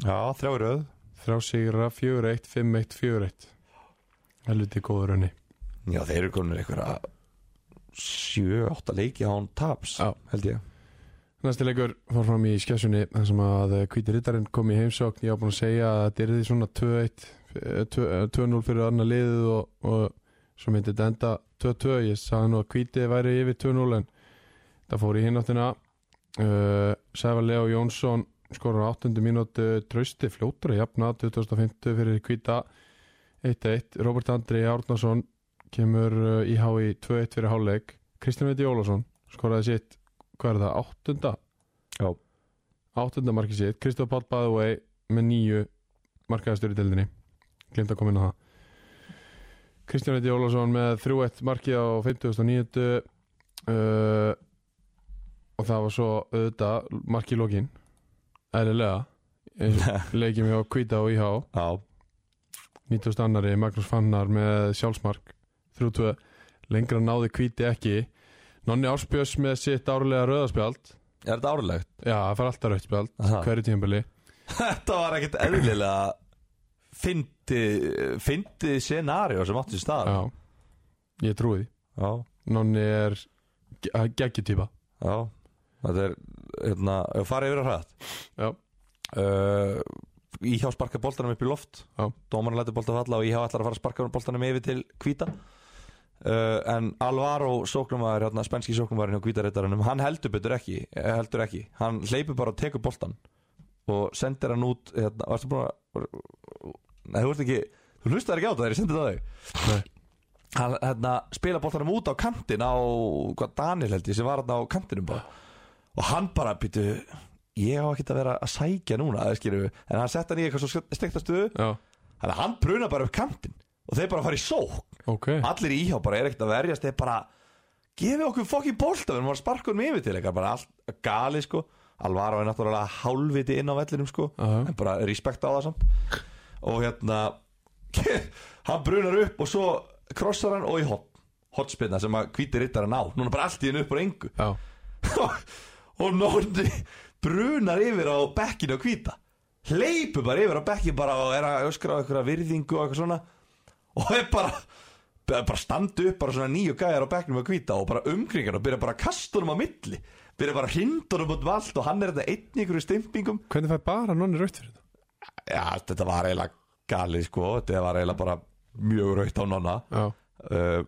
Speaker 2: já, þrjá í rauð
Speaker 1: Þrjá sigra, fjóra eitt, fimm eitt, fjóra eitt Helviti góður henni
Speaker 2: Já, þeir eru konur einhverja 7-8 leiki án taps
Speaker 1: Já.
Speaker 2: held ég
Speaker 1: Næsti leikur fór fram í skessunni þar sem að Kvíti Rittarinn kom í heimsókn ég á búin að segja að þetta er því svona 2-1 eh, 2 eh, 2-0 fyrir annar liðið og, og svo myndi þetta enda 2-2 ég sagði nú að Kvíti væri yfir 2-0 en það fór í hináttina uh, Sæfa Leo Jónsson skorur á 8. mínútu trösti fljótur að jafna 2050 fyrir Kvíta 1-1 Robert Andri Árnason kemur eh, í hái 2-1 fyrir háleik Kristján Veiti Ólafsson skoraði sitt hvað er það, áttunda
Speaker 2: Já.
Speaker 1: áttunda markið sitt, Kristof Páll by the way með nýju markaðastur í deildinni glemt að koma inn á það Kristján Eitti Ólafsson með 3-1 markið á 50.9 uh, og það var svo auðvitað markið lókin eðlilega eins og leikjum hjá Kvíta og Íhá
Speaker 2: Já,
Speaker 1: 90. annari Magnús Fannar með sjálfsmark 3-2 lengra náði Kvíti ekki Nonni Ársbjörns með sitt árlega rauðarspjald
Speaker 2: er þetta árlegt?
Speaker 1: Já, það fær alltaf rauðspjald
Speaker 2: Aha.
Speaker 1: hverju tímbili
Speaker 2: þetta var ekkert eðlilega fyndi, fyndi scenario sem átti sér stað
Speaker 1: Já, ég trúi því
Speaker 2: já,
Speaker 1: Nonni er geggjutýpa
Speaker 2: já. þetta er hérna, ef farið yfir að hræðat
Speaker 1: Já,
Speaker 2: uh, Íhjá sparka boltanum upp í loft
Speaker 1: Já.
Speaker 2: Dómarinn lætur boltan falla og Íhjá ætlar að fara að sparka boltanum yfir til Kvíta uh, En Alvaro sóknumæður, hérna, spenski sóknumæðurinn hjá Kvítareitarinnum Hann heldur betur ekki, eh, heldur ekki Hann hleypur bara og tekur boltan Og sendir hann út hérna, Varstu búin að Nei, þú ert ekki, þú hlustar ekki á það þegar ég sendi það á þig
Speaker 1: Nei.
Speaker 2: Hann hérna, spila boltanum út á kantin á hvað Daniel held ég sem var hérna á kantinum bara. og hann bara býtu ég á ekkert að vera að sækja núna eða skilur við, en hann sett hann í eitthvað svo stekta stuðu
Speaker 1: já,
Speaker 2: þannig að hann bruna bara upp kantinn og þeir bara fara í sók
Speaker 1: ok
Speaker 2: allir í íhjá bara er ekkert að verjast þeir bara gefið okkur fokkin bolta við erum að sparka um yfir til eitthvað bara allt galið sko Alvaro er náttúrulega hálfviti inn á vellinum sko
Speaker 1: Já.
Speaker 2: en bara respekt á það samt og hérna hann brunar upp og svo krossar hann og í hot hotspinna sem að hvíti rittar hann á núna bara allt í hennu upp úr engu
Speaker 1: Já,
Speaker 2: og Nonni brunar yfir á bekkinu og hvíta hleypur bara yfir á bekkinu bara og er að öskra á einhverja virðingu og eitthvað svona og er bara bara standu upp bara svona nýju gæjar á bekkinu og hvíta og bara umkringan og byrja bara að kasta honum á milli byrja bara að hrinda honum út vald og hann er þetta einn í einhverju stimpingum
Speaker 1: hvernig fær bara Nonni rautt fyrir þetta?
Speaker 2: já þetta var eiginlega galið sko þetta var eiginlega bara mjög raukt á Nonna
Speaker 1: Já,
Speaker 2: uh,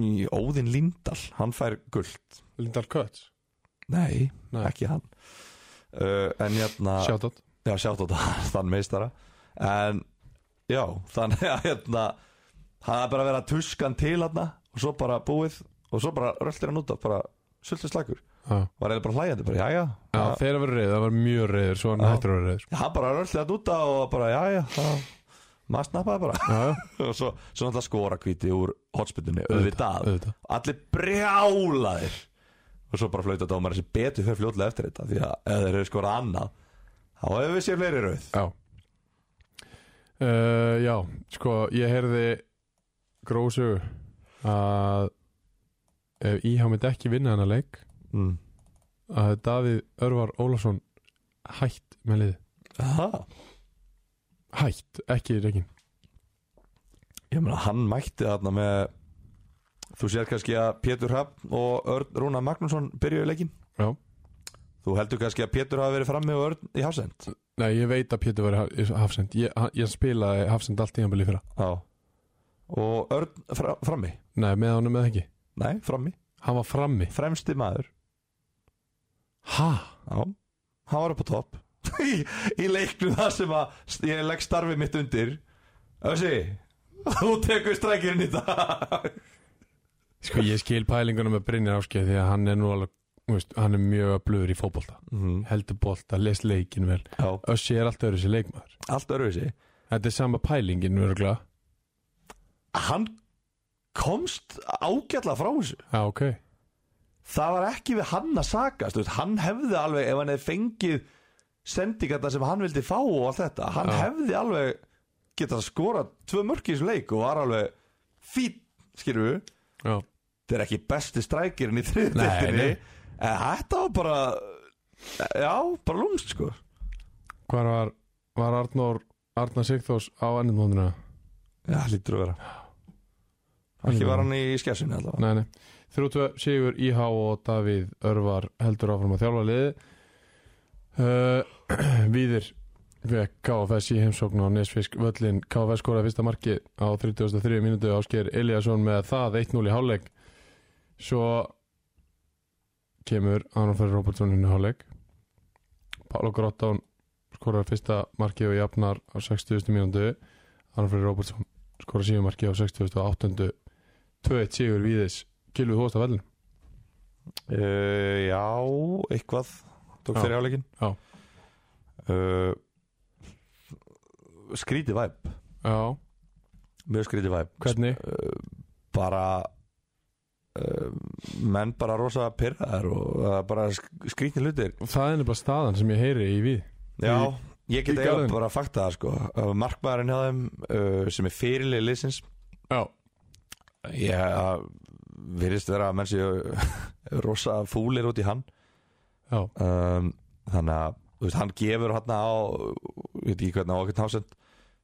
Speaker 2: í Óðinn Lindal hann fær guld
Speaker 1: Lindal Kötz
Speaker 2: nei,
Speaker 1: Nei.
Speaker 2: ekki hann uh, en hérna
Speaker 1: Shoutout
Speaker 2: Já, sjátt á það, þann meistara En, já, þannig að hérna Það er bara að vera tuskan til hérna Og svo bara búið Og svo bara röltir hann út af, bara sultið slagur
Speaker 1: Já,
Speaker 2: Var eða bara hlægjandi, bara, já, já
Speaker 1: já þeir að vera reyður, það var mjög reyður svo hann
Speaker 2: Já.
Speaker 1: hættur að vera reyður
Speaker 2: Já, hann bara röltir hann út af og bara, já, já það- Maður snappaði bara
Speaker 1: Já, já,
Speaker 2: Og svo, svo náttúrulega skora kvíti úr hotspillunni
Speaker 1: auðvitað,
Speaker 2: Auðvitað,
Speaker 1: auðvitað.
Speaker 2: allir brjálaðir og svo bara flauta dómar þessi betur fyrir fljótlega eftir þetta því að ef þeir eru skorað annað þá hefur við séð fleiri rauð
Speaker 1: Já uh, Já, sko, ég heyrði grósu að ef íhá myndi ekki vinna hennar leik
Speaker 2: mm.
Speaker 1: að Davíð Örvar Ólafsson hætt með liði
Speaker 2: Aha.
Speaker 1: hætt, ekki í reikin
Speaker 2: Ég meina, hann mætti þarna með Þú sér kannski að Pétur Hafn og Örn Rúna Magnússon byrjuðu leikinn
Speaker 1: Já.
Speaker 2: Þú heldur kannski að Pétur hafi verið frammi og Örn í hafsend
Speaker 1: Nei, ég veit að Pétur veri hafsend ég, hann- ég spilaði hafsend allt í hann byrja fyrra
Speaker 2: Já Og Örn fra, frammi
Speaker 1: Nei, með honum eða ekki
Speaker 2: Nei, frammi
Speaker 1: Hann var frammi
Speaker 2: Fremsti maður
Speaker 1: Ha?
Speaker 2: Já hann var upp á topp í, í leiknum það sem að ég legg starfið mitt undir Össi, þú tekur strækirinn í dag
Speaker 1: Sko ég skil pælinguna með Brynjar Áskeið því að hann er nú alveg, þú veist, hann er mjög öflugur í fótbolta,
Speaker 2: mm.
Speaker 1: heldur bolta, les leikin vel,
Speaker 2: Já,
Speaker 1: Össi er alltaf öðru sér leikmaður.
Speaker 2: allt öruvísi
Speaker 1: Þetta er sama pælingin örgulega.
Speaker 2: Hann komst ágætla frá þessu
Speaker 1: Já, ok.
Speaker 2: það var ekki við hann að sakast þú veist, hann hefði alveg, ef hann hefði fengið sendingarna sem hann vildi fá og allt þetta, hann
Speaker 1: Já.
Speaker 2: hefði alveg getað skorað tvö mörk í þessu leik og var alveg fín, skilur við
Speaker 1: Já.
Speaker 2: þetta er ekki besti strækirinn í
Speaker 1: Nei,
Speaker 2: þriðdeildinni
Speaker 1: nei.
Speaker 2: en þetta var bara já, bara lúmst sko
Speaker 1: Hvar var, var Arnór, Arnar Sigþós á ennumóndina?
Speaker 2: já, lítur að vera ekki var hann í skessinu allavega
Speaker 1: Nei, nei. 32 Sigur IH og Davíð Örvar heldur áfram að þjálfa liði uh, Víðir vekk KFS í heimsókn á Nesfisk völlin KFS skoraði fyrsta marki á 33 mínútu ásker Eliasson með það 1-0 í hálfleik svo kemur Aron Ferri Robertson inn í hálfleik Pálo Grottán skoraði fyrsta marki og jafnar á 60. mínútu Aron Ferri Robertson skoraði síðan marki á 68. 2-1 sigur Víðis Gylfi Hósta vellin
Speaker 2: uh, já, eitthvað tók
Speaker 1: Já.
Speaker 2: fyrir áleikin
Speaker 1: Já.
Speaker 2: uh, skrítið væp
Speaker 1: Já,
Speaker 2: mjög skrítið væp
Speaker 1: hvernig?
Speaker 2: uh, bara uh, menn bara rosa pyrraðar og uh, bara skrítið hlutir
Speaker 1: Það er nefnilega staðan sem ég heyri í Víð
Speaker 2: já, ég
Speaker 1: í
Speaker 2: get eiginlega
Speaker 1: garðinum.
Speaker 2: bara að fakta það sko Uh, markmaðurinn hjá þeim uh, sem er fyrirlið liðsins
Speaker 1: Já,
Speaker 2: ég uh, virðist vera að menn séu rosa fúlir út í hann
Speaker 1: já,
Speaker 2: um, þannig að þú veist, hann gefur hann á ég veit ekki hvernig á okkur tásend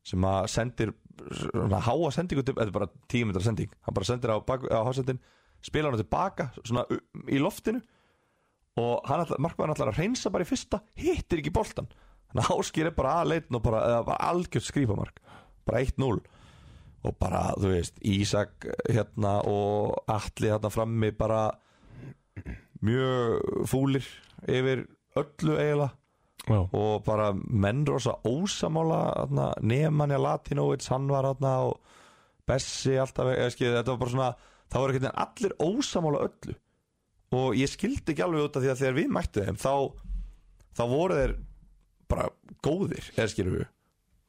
Speaker 2: sem að sendir svona háa sendingu til, þetta er bara tímyndar sending hann bara sendir á, bak, á hásendin spila hann tilbaka svona u- í loftinu og hann ætlar, markmann ætlar að reynsa bara í fyrsta, hittir ekki boltan þannig að áskýr er bara aðleitin og bara, eða bara algjört skrýpamark bara 1-0 og bara, þú veist, Ísak hérna og Atli hérna frammi bara mjög fúlir yfir öllu eiginlega
Speaker 1: já,
Speaker 2: og bara menn rosa ósamála þarna, Nemanja Latinovits hann var þarna og Bessi alltaf, eða skil, þetta var bara svona það var einhvern veginn allir ósamála öllu og ég skildi ekki alveg út af því að þegar við mættu þeim þá, þá voru þeir bara góðir, eða skilur við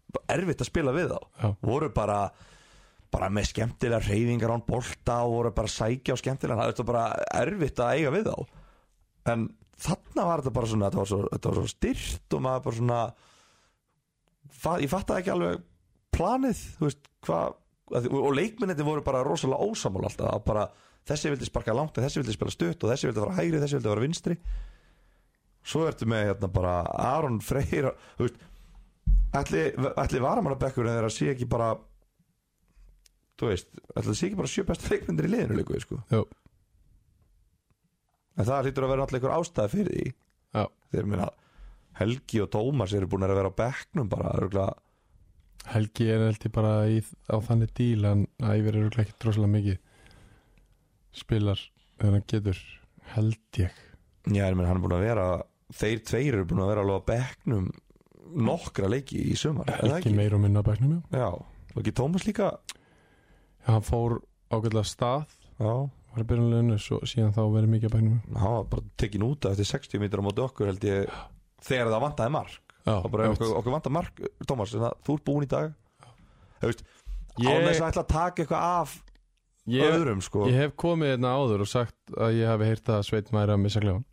Speaker 2: Bara erfitt að spila við þá
Speaker 1: já,
Speaker 2: voru bara bara með skemmtilega reyfingar án bolta og voru bara að sækja á skemmtilega það er bara erfitt að eiga við þá en þarna var þetta bara svona þetta var svo, þetta var svo styrt og maður bara svona fa- ég fattaði ekki alveg planið þú veist, hva, að, og- og leikminnetin voru bara rosalega ósamál alltaf að bara þessi vildi sparka langt og þessi vildi spila stutt og þessi vildi fara hægri, þessi vildi fara vinstri svo ertu með hérna bara Aron Freyr þú veist ætli, ætli varamannabekkurinn þeirra sé ekki bara þú veist, ætli það sé ekki bara sjö bestu leikmyndir í liðinu líku, sko
Speaker 1: já,
Speaker 2: en það hlýtur að vera allir einhver ástæði fyrir því
Speaker 1: já.
Speaker 2: þegar minna Helgi og Tómas eru búin að vera á bekknum bara, örgulega
Speaker 1: Helgi er held ég bara í, á þannig díl en æfir eru ekki droslega mikið spilar þegar hann getur held ég
Speaker 2: Já, en hann er búin að vera þeir tveir eru búin að vera alveg á bekknum nokkra leiki í sumar er það
Speaker 1: Helgi meir og minna á bæknum já.
Speaker 2: Já, og ekki Tómas líka
Speaker 1: já, hann fór ágætlega af stað
Speaker 2: Já,
Speaker 1: var í byrjunleginu, svo síðan þá verið mikið á bæknum
Speaker 2: hann var bara tekin út af eftir 60 mítrar á móti okkur held ég þegar það vantaði mark
Speaker 1: já,
Speaker 2: og bara
Speaker 1: einmitt.
Speaker 2: okkur, okkur vantaði mark, Tómas þannig að þú ert búin í dag Þú veist, ég... án þess
Speaker 1: ég,
Speaker 2: að ætla að taka eitthvað af
Speaker 1: ég,
Speaker 2: öðrum sko
Speaker 1: ég hef komið hérna áður og sagt að ég hafi heyrt að Sveit væri að missa klefan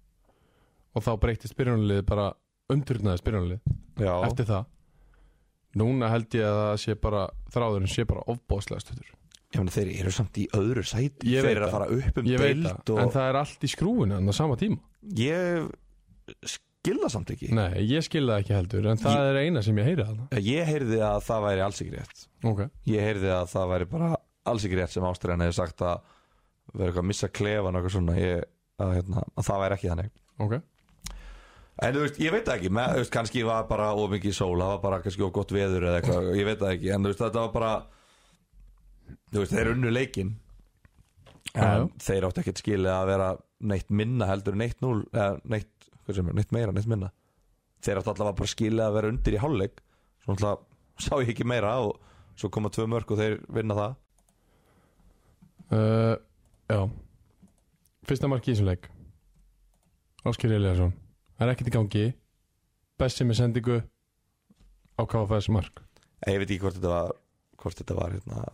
Speaker 1: og þá breytist byrjunlegið bara umturnaðist byrjunlegið
Speaker 2: Já,
Speaker 1: eftir það núna held ég að það sé bara þráðurinn sé bara ofbóðslega stöður
Speaker 2: ég meina þeir eru samt í öðru sæti
Speaker 1: Ég
Speaker 2: þeir
Speaker 1: veit
Speaker 2: eru að
Speaker 1: það.
Speaker 2: fara upp um
Speaker 1: ég veit
Speaker 2: deild
Speaker 1: það,
Speaker 2: og
Speaker 1: en það er allt í skrúinu en á sama tíma,
Speaker 2: ég skilða samt ekki
Speaker 1: nei, ég skil það ekki heldur en það er eina sem ég heyri þarna
Speaker 2: Ég heyrði að það væri alls ekki rétt
Speaker 1: ok,
Speaker 2: Ég heyrði að það væri bara alls ekki rétt sem Ástriðan hefði sagt að vera eitthvað að missa klefan og eitthvað svona ég, að, hérna, að það væri ekki þannig
Speaker 1: ok,
Speaker 2: En þú veist, ég veit það ekki, með, þú veist, kannski var bara of mikið sól, það var bara kannski of gott veður eða eitthvað,
Speaker 1: Mm.
Speaker 2: ég veit það ekki, en þú veist, þetta var bara þú veist, þeir unnu leikinn en
Speaker 1: Já, já.
Speaker 2: þeir áttu ekkert skilið að vera neitt minna heldur en neitt núl, eða neitt, hvað sem er, neitt meira, neitt minna þeir áttu allavega bara skilja að vera undir í hálfleik svo náttúrulega sá ég ekki meira og svo koma tvö mörg og þeir vinna það
Speaker 1: uh, Já Fyrsta mark í þessum leik Áskir Eliasson Það er ekkert í gangi Bessi með sendingu á KFS mark
Speaker 2: en ég veit ekki hvort þetta var hvort þetta var hérna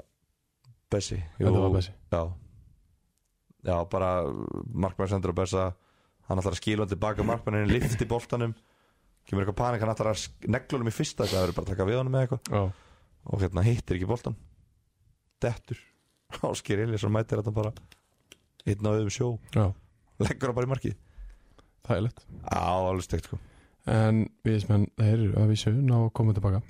Speaker 2: Bessi
Speaker 1: Þetta var Bessi
Speaker 2: já. já, bara markmann sendur að Bessa hann ætlar að skilja hann tilbaka markmannin lift í boltanum kemur eitthvað panik, hann ætlar að negla honum í fyrsta það verður bara að taka við honum með eitthvað
Speaker 1: Já,
Speaker 2: og hérna hittir ekki boltan dettur Ásker Eliasson mætir þetta bara hittin á auðum sjó
Speaker 1: já,
Speaker 2: leggur það bara í markið
Speaker 1: það er lett
Speaker 2: á, alveg stegt sko
Speaker 1: En viðismenn, þeir eru að vísu ná að koma tilbaka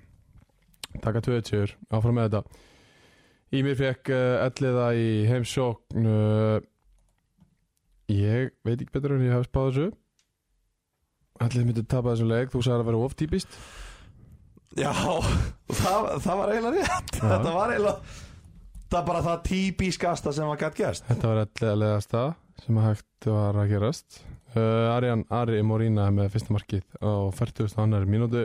Speaker 1: Taka 20, áfram með þetta Ímir fekk uh, elliða í heimsókn uh, Ég veit ekki betur en ég hef spáð þessu Allir myndu tapa þessum leik, þú sagði að vera of típist
Speaker 2: já, það, það var eiginlega rétt
Speaker 1: Já.
Speaker 2: þetta var eiginlega það er bara það típiskasta sem var gætt gerst
Speaker 1: Þetta var elliðalegasta sem að hægt var að gerast uh, Arjan Ari Morína með fyrsta markið á 40. annar mínútu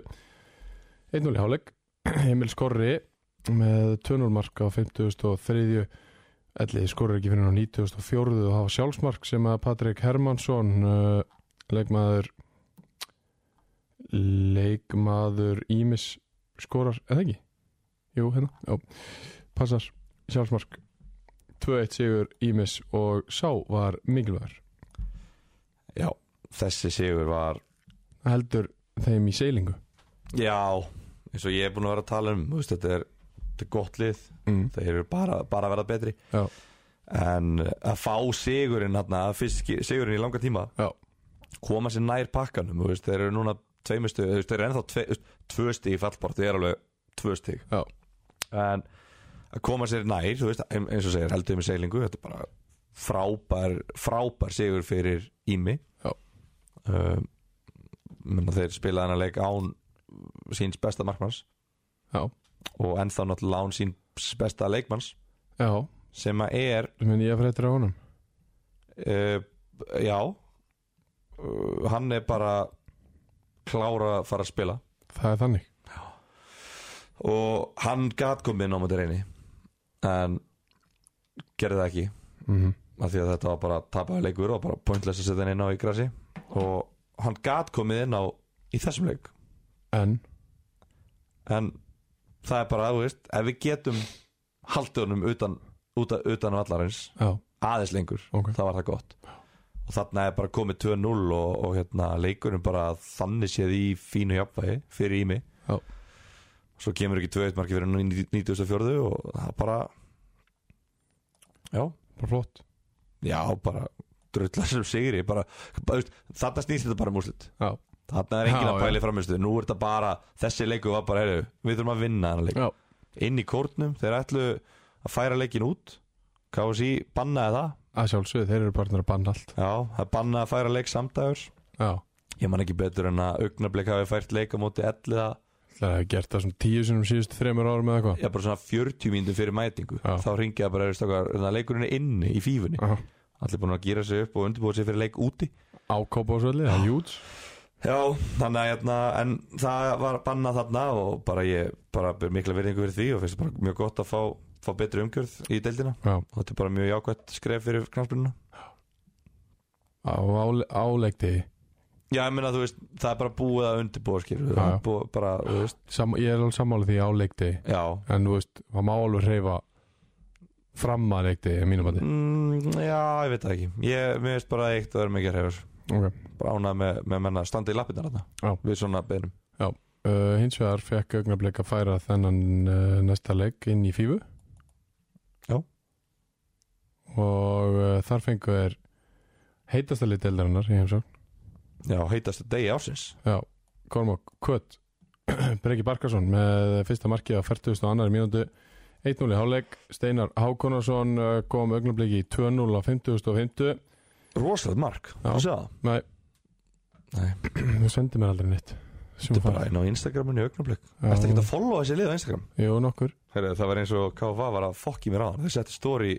Speaker 1: 1-0 í háleik Emil Skorri með 2-0 mark á 53. Ellið skorri ekki fyrir á 94. og hafa sjálfsmark sem að Patrik Hermansson uh, leikmaður leikmaður Ímis skorar, eða ekki? Jú, hérna, já passar sjálfsmark 2-1 sigur Ímis og sá var mikilvægur
Speaker 2: já, þessi sigur var
Speaker 1: heldur þeim í seilingu
Speaker 2: já, eins og ég er búin að vera að tala um þú veist, þetta er, þetta er gott lið
Speaker 1: mm.
Speaker 2: þeir eru bara, bara að vera betri
Speaker 1: Já.
Speaker 2: en að fá sigurinn hérna, fyrst ski- sigurinn í langa tíma
Speaker 1: Já.
Speaker 2: koma sér nær pakkanum þú veist, þeir eru núna tveimistu þeir eru ennþá tve, þú veist, tvö stig í fallbort þeir eru alveg tvö stig
Speaker 1: Já.
Speaker 2: en að koma sér nær þú veist, ein- eins og segir heldur með seilingu þetta er bara frábær frábær sigur fyrir Ími
Speaker 1: Já.
Speaker 2: um, menna þeir spilaði hennar leik án síns besta markmanns
Speaker 1: Já.
Speaker 2: og ennþá náttúrulega án síns besta leikmanns
Speaker 1: já,
Speaker 2: sem að er
Speaker 1: þú minn ég að fréttir á honum
Speaker 2: uh, já uh, hann er bara klára að fara að spila
Speaker 1: það er þannig
Speaker 2: og hann gat komið inn á móti reyni en gerði það ekki
Speaker 1: mm -hmm.
Speaker 2: af því að þetta var bara tapaði leikur og bara pointless að setja hann inn á í grasi og hann gat komið inn á í þessum leik
Speaker 1: en
Speaker 2: en það er bara, þú veist, ef við getum haldið honum utan, utan, utan vallarins
Speaker 1: já,
Speaker 2: aðeins lengur
Speaker 1: ok
Speaker 2: það var það gott og þarna er bara komið 2-0 og, og hérna, leikurinn bara þannig séð í fínu jafnvægi fyrir ími
Speaker 1: Já.
Speaker 2: svo kemur ekki 2-1 marki fyrir 94 og það bara já,
Speaker 1: bara flott
Speaker 2: já bara drullar sem sigri bara, bara, veist, þarna snýst þetta bara um úrslit
Speaker 1: já,
Speaker 2: þarna er enginn
Speaker 1: Já,
Speaker 2: að pæli framistu nú er þetta bara, þessi leiku var bara heru, við þurfum að vinna hann leik
Speaker 1: já,
Speaker 2: inn í kórnum, þeir ætlu að færa leikin út KSI bannaði það
Speaker 1: að sjálfsögðu þeir eru bara að banna allt
Speaker 2: Já, það er bannað að færa leik samdagur
Speaker 1: já,
Speaker 2: Ég man ekki betur en að augnablik hafi fært leik á móti elliða
Speaker 1: það er gert það svona tíu sinum síðustu þremur árum eða eitthvað
Speaker 2: Já, bara svona 40 mínútur fyrir mætingu
Speaker 1: Já.
Speaker 2: Þá ringi það bara, veist okkar, en það leikurinn er inni í fífunni
Speaker 1: Já.
Speaker 2: Allir búin að gýra sig upp og undirbúið sig fyrir leik úti
Speaker 1: á kópásvelli, það er júts
Speaker 2: Já, þannig að hérna, en það var bannað þarna og bara ég bara ber mikla verðingu fyrir því og finnst bara mjög gott að fá, fá betri umgjörð í deildina
Speaker 1: já,
Speaker 2: og þetta er bara mjög jákvætt skref fyrir knarspununa
Speaker 1: á, á, á leikdegi
Speaker 2: Já, ég meina, þú veist, það er bara búið að undirbúa skilur
Speaker 1: Já, já.
Speaker 2: Búið, bara, þú veist,
Speaker 1: Sam, ég er alveg sammála því á leikdegi
Speaker 2: já
Speaker 1: en þú veist, það má alveg hreyfa fram að leikdegi, að mínum að
Speaker 2: Mm, já, ég veit það ekki Ég mér veist bara eitt að vera mikið hefur
Speaker 1: ok
Speaker 2: Bránað með, með menna að standa í lappinnar
Speaker 1: Já.
Speaker 2: þarna Við svona beinum
Speaker 1: Uh, hins vegar fekk augnablik að færa þennan uh, næsta leik inn í Fífu
Speaker 2: Já.
Speaker 1: og uh, þar fengu þeir heitasta lit eldarinnar í heimsókn
Speaker 2: Já, heitast degi ásins
Speaker 1: já, Kormok Kvöt Breki Barkarsson með fyrsta markið á 40. annar mínútu 1-0 í hálfleik, Steinar Hákonarsson uh, kom augnabliki í 2-0 á 50. og 50
Speaker 2: Rosalegt mark,
Speaker 1: Já.
Speaker 2: þú sé það
Speaker 1: Nei.
Speaker 2: Nei,
Speaker 1: þú sendir mér aldrei neitt
Speaker 2: þetta er bara inn á Instagraminu í augnablik Ertu ekki að followa þessi lið á Instagram?
Speaker 1: Jú, nokkur
Speaker 2: Heru, það var eins og KFA var að fokki mér á hann Þeir settu stóri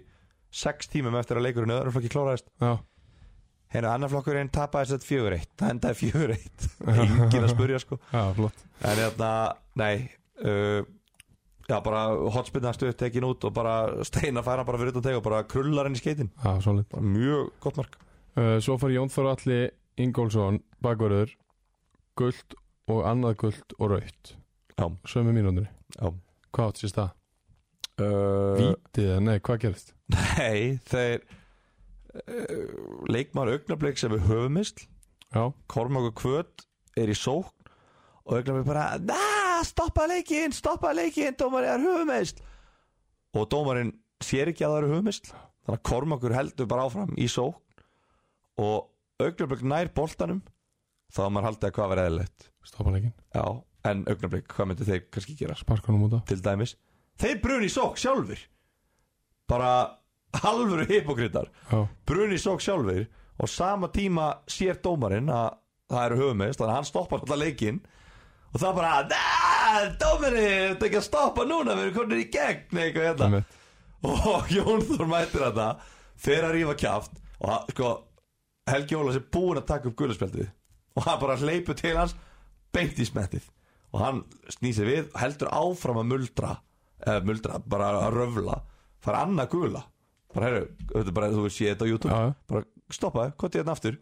Speaker 2: sex tímum eftir að leikurinn í öðrum flokki kláraðist
Speaker 1: Já,
Speaker 2: hérna annar flokkurinn tapaði þess að fjögur eitt það endaði fjögur eitt engin að spurja sko
Speaker 1: Já, flott
Speaker 2: en hérna, nei uh, já bara hotspinna stuð tekin út og bara steina færa bara fyrir utan teg og bara krullar henni í skeitin
Speaker 1: Já, svolít
Speaker 2: bara mjög gott mark
Speaker 1: Uh, Svo fær Jón Þór Alli Ingólfsson bakverður guld og annað guld og raut
Speaker 2: Já.
Speaker 1: Sömu mínúndri
Speaker 2: Já.
Speaker 1: Hvað átt sérst það?
Speaker 2: uh,
Speaker 1: Vítið eða nei, hvað gerist?
Speaker 2: nei, þeir uh, leikmar augnablik sem við höfum mist
Speaker 1: Já,
Speaker 2: Kormáku Kvöt er í sókn og auðvitað bara "Na, stoppa leikinn, stoppa leikinn dómarinn er höfumeist og dómarinn sér ekki að það eru höfumeist þannig að Kormákur heldur bara áfram í sókn og augnablik nær boltanum þá er maður haldið að hvað verið eðlilegt
Speaker 1: stoppalegin,
Speaker 2: já, en augnablik, hvað myndu þeir kannski gera
Speaker 1: sparkunum út á
Speaker 2: til dæmis, þeir bruni í sókn sjálfur bara halvuru hypokritar
Speaker 1: Já,
Speaker 2: Bruni sók sjálfur og sama tíma sér dómarinn að það eru höfumist þannig að hann stoppar alltaf leikinn og það bara "Nei, dómarinn, þetta er ekki að stoppa núna við erum konir í gegn eitthvað hérna
Speaker 1: einmitt.
Speaker 2: og Jón Þór mætir þetta fer að rífa kjaft og hann, sko, Helgi Ólafs er búinn að taka upp gulaspjaldið og hann bara hleypur til hans beint í smettið og hann snýsir við og heldur áfram að muldra eða muldra, bara að röfla fara annað gula bara herru, þetta er bara, þú sé þetta á YouTube
Speaker 1: Já, já.
Speaker 2: bara stoppaðu, kontið hérna aftur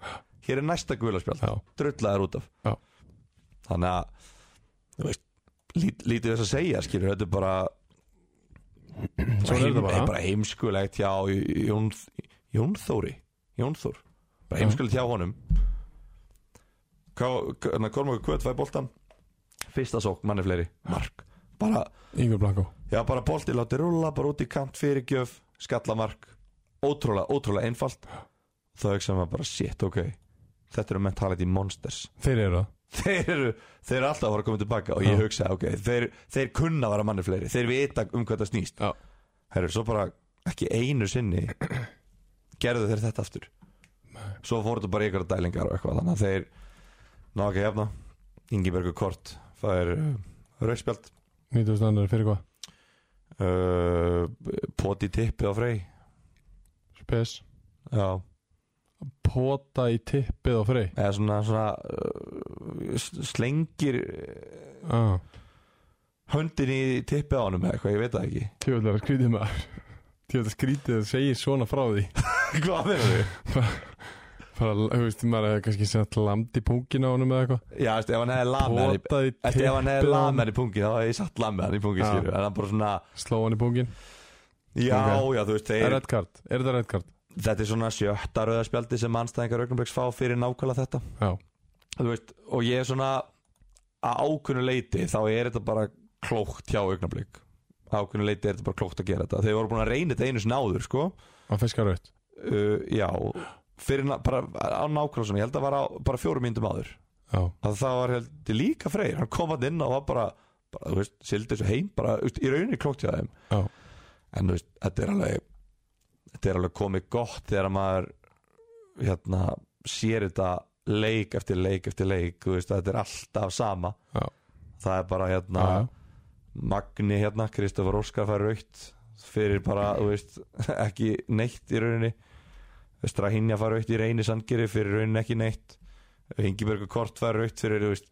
Speaker 2: hér er næsta gulaspjald,
Speaker 1: Já.
Speaker 2: drullaður út af
Speaker 1: Já.
Speaker 2: þannig að þú veist, lít, lítið þess að segja skilur, þetta er bara
Speaker 1: Svona er þetta bara.
Speaker 2: er bara heimskulegt hjá Jón, Jónþóri Jónþór, bara heimskulegt hjá honum Kormáku Kvöt fæ boltan fyrsta sókn, manni fleiri, mark bara,
Speaker 1: Ingur Blanko
Speaker 2: já bara bolti láti rúlla, bara út í kant fyrirgjöf skallamark, ótrúlega, ótrúlega einfalt, þá hugsaðum við bara shit, ok, þetta eru mentality monsters
Speaker 1: Þeir eru það
Speaker 2: þeir eru, þeir eru alltaf að fara að koma tilbaka og ég hugsa, ok, þeir, þeir kunna að vera manni fleiri, þeir vita um hvað það snýst
Speaker 1: Já.
Speaker 2: herru, svo bara ekki einu sinni gerðu þeir þetta aftur svo fór þetta bara í ykkur dælingar og eitthvað, þannig að þeir ná ekki að jafna, Ingibergur Kort það er rauðspjald
Speaker 1: 90.000 annar fyrir hvað?
Speaker 2: uh, poti tippi á frey
Speaker 1: Spes
Speaker 2: já,
Speaker 1: Pota í tippið á frey
Speaker 2: eða svona, svona uh, slengir eh,
Speaker 1: ah,
Speaker 2: höndin í tippi á honum eða eitthvað, ég veit það ekki
Speaker 1: Tjóðlega skrítið maður Tjóðlega skrítið að segja svona frá því
Speaker 2: hvað verður þið?
Speaker 1: Bara, þú veist, maður hefði kannski sett lamd í pungin á honum eða eitthvað
Speaker 2: Já, veist, ef hann hefði lamið hann í
Speaker 1: Pota í
Speaker 2: Eftir ef hann hefði
Speaker 1: tippið á
Speaker 2: lamið
Speaker 1: honum
Speaker 2: hann í pungi þá hefði ég satt lamið hann í pungi
Speaker 1: Já.
Speaker 2: skýru En hann bara svona,
Speaker 1: Sló hann í pungin
Speaker 2: já,
Speaker 1: Ok.
Speaker 2: já, þú veist
Speaker 1: Er
Speaker 2: þeir,
Speaker 1: þetta kart? Er þetta rætt kart?
Speaker 2: Þetta er svona sjötta rauðarspjaldi sem mannstæðingar augnaböks fá fyrir nákvæmlega þetta
Speaker 1: Já,
Speaker 2: Þú veist, og ég er svona að ákunnu leiti þá er þetta bara klókt hjá augnablik Ákunnu leiti er þetta bara klókt að gera þetta Þeir voru búin að reyna þetta einu sinni áður, sko
Speaker 1: hann fiskar raut
Speaker 2: uh, Já, fyrir, ná- bara á nákvæmlega svona, ég held að það var á, bara fjórum myndum áður
Speaker 1: Já,
Speaker 2: að það var held ég líka freyr hann kom hann inn og var bara, bara þú veist, sildi þessu heim, bara þú veist, í rauninni klókt hjá þeim
Speaker 1: Já.
Speaker 2: en þú veist, þetta er alveg þetta er alveg komið gott þegar maður hérna, sér þetta leik eftir leik eftir leik, þú veist, þetta er alltaf sama
Speaker 1: Já.
Speaker 2: það er bara hérna
Speaker 1: já, já.
Speaker 2: Magni hérna, Kristoffer Óskar fær raukt fyrir bara, þú veist, ekki neitt í rauninni Strahinja fær raukt í reyni sandgeri fyrir rauninni ekki neitt Ingibergur Kort fær raukt fyrir, þú veist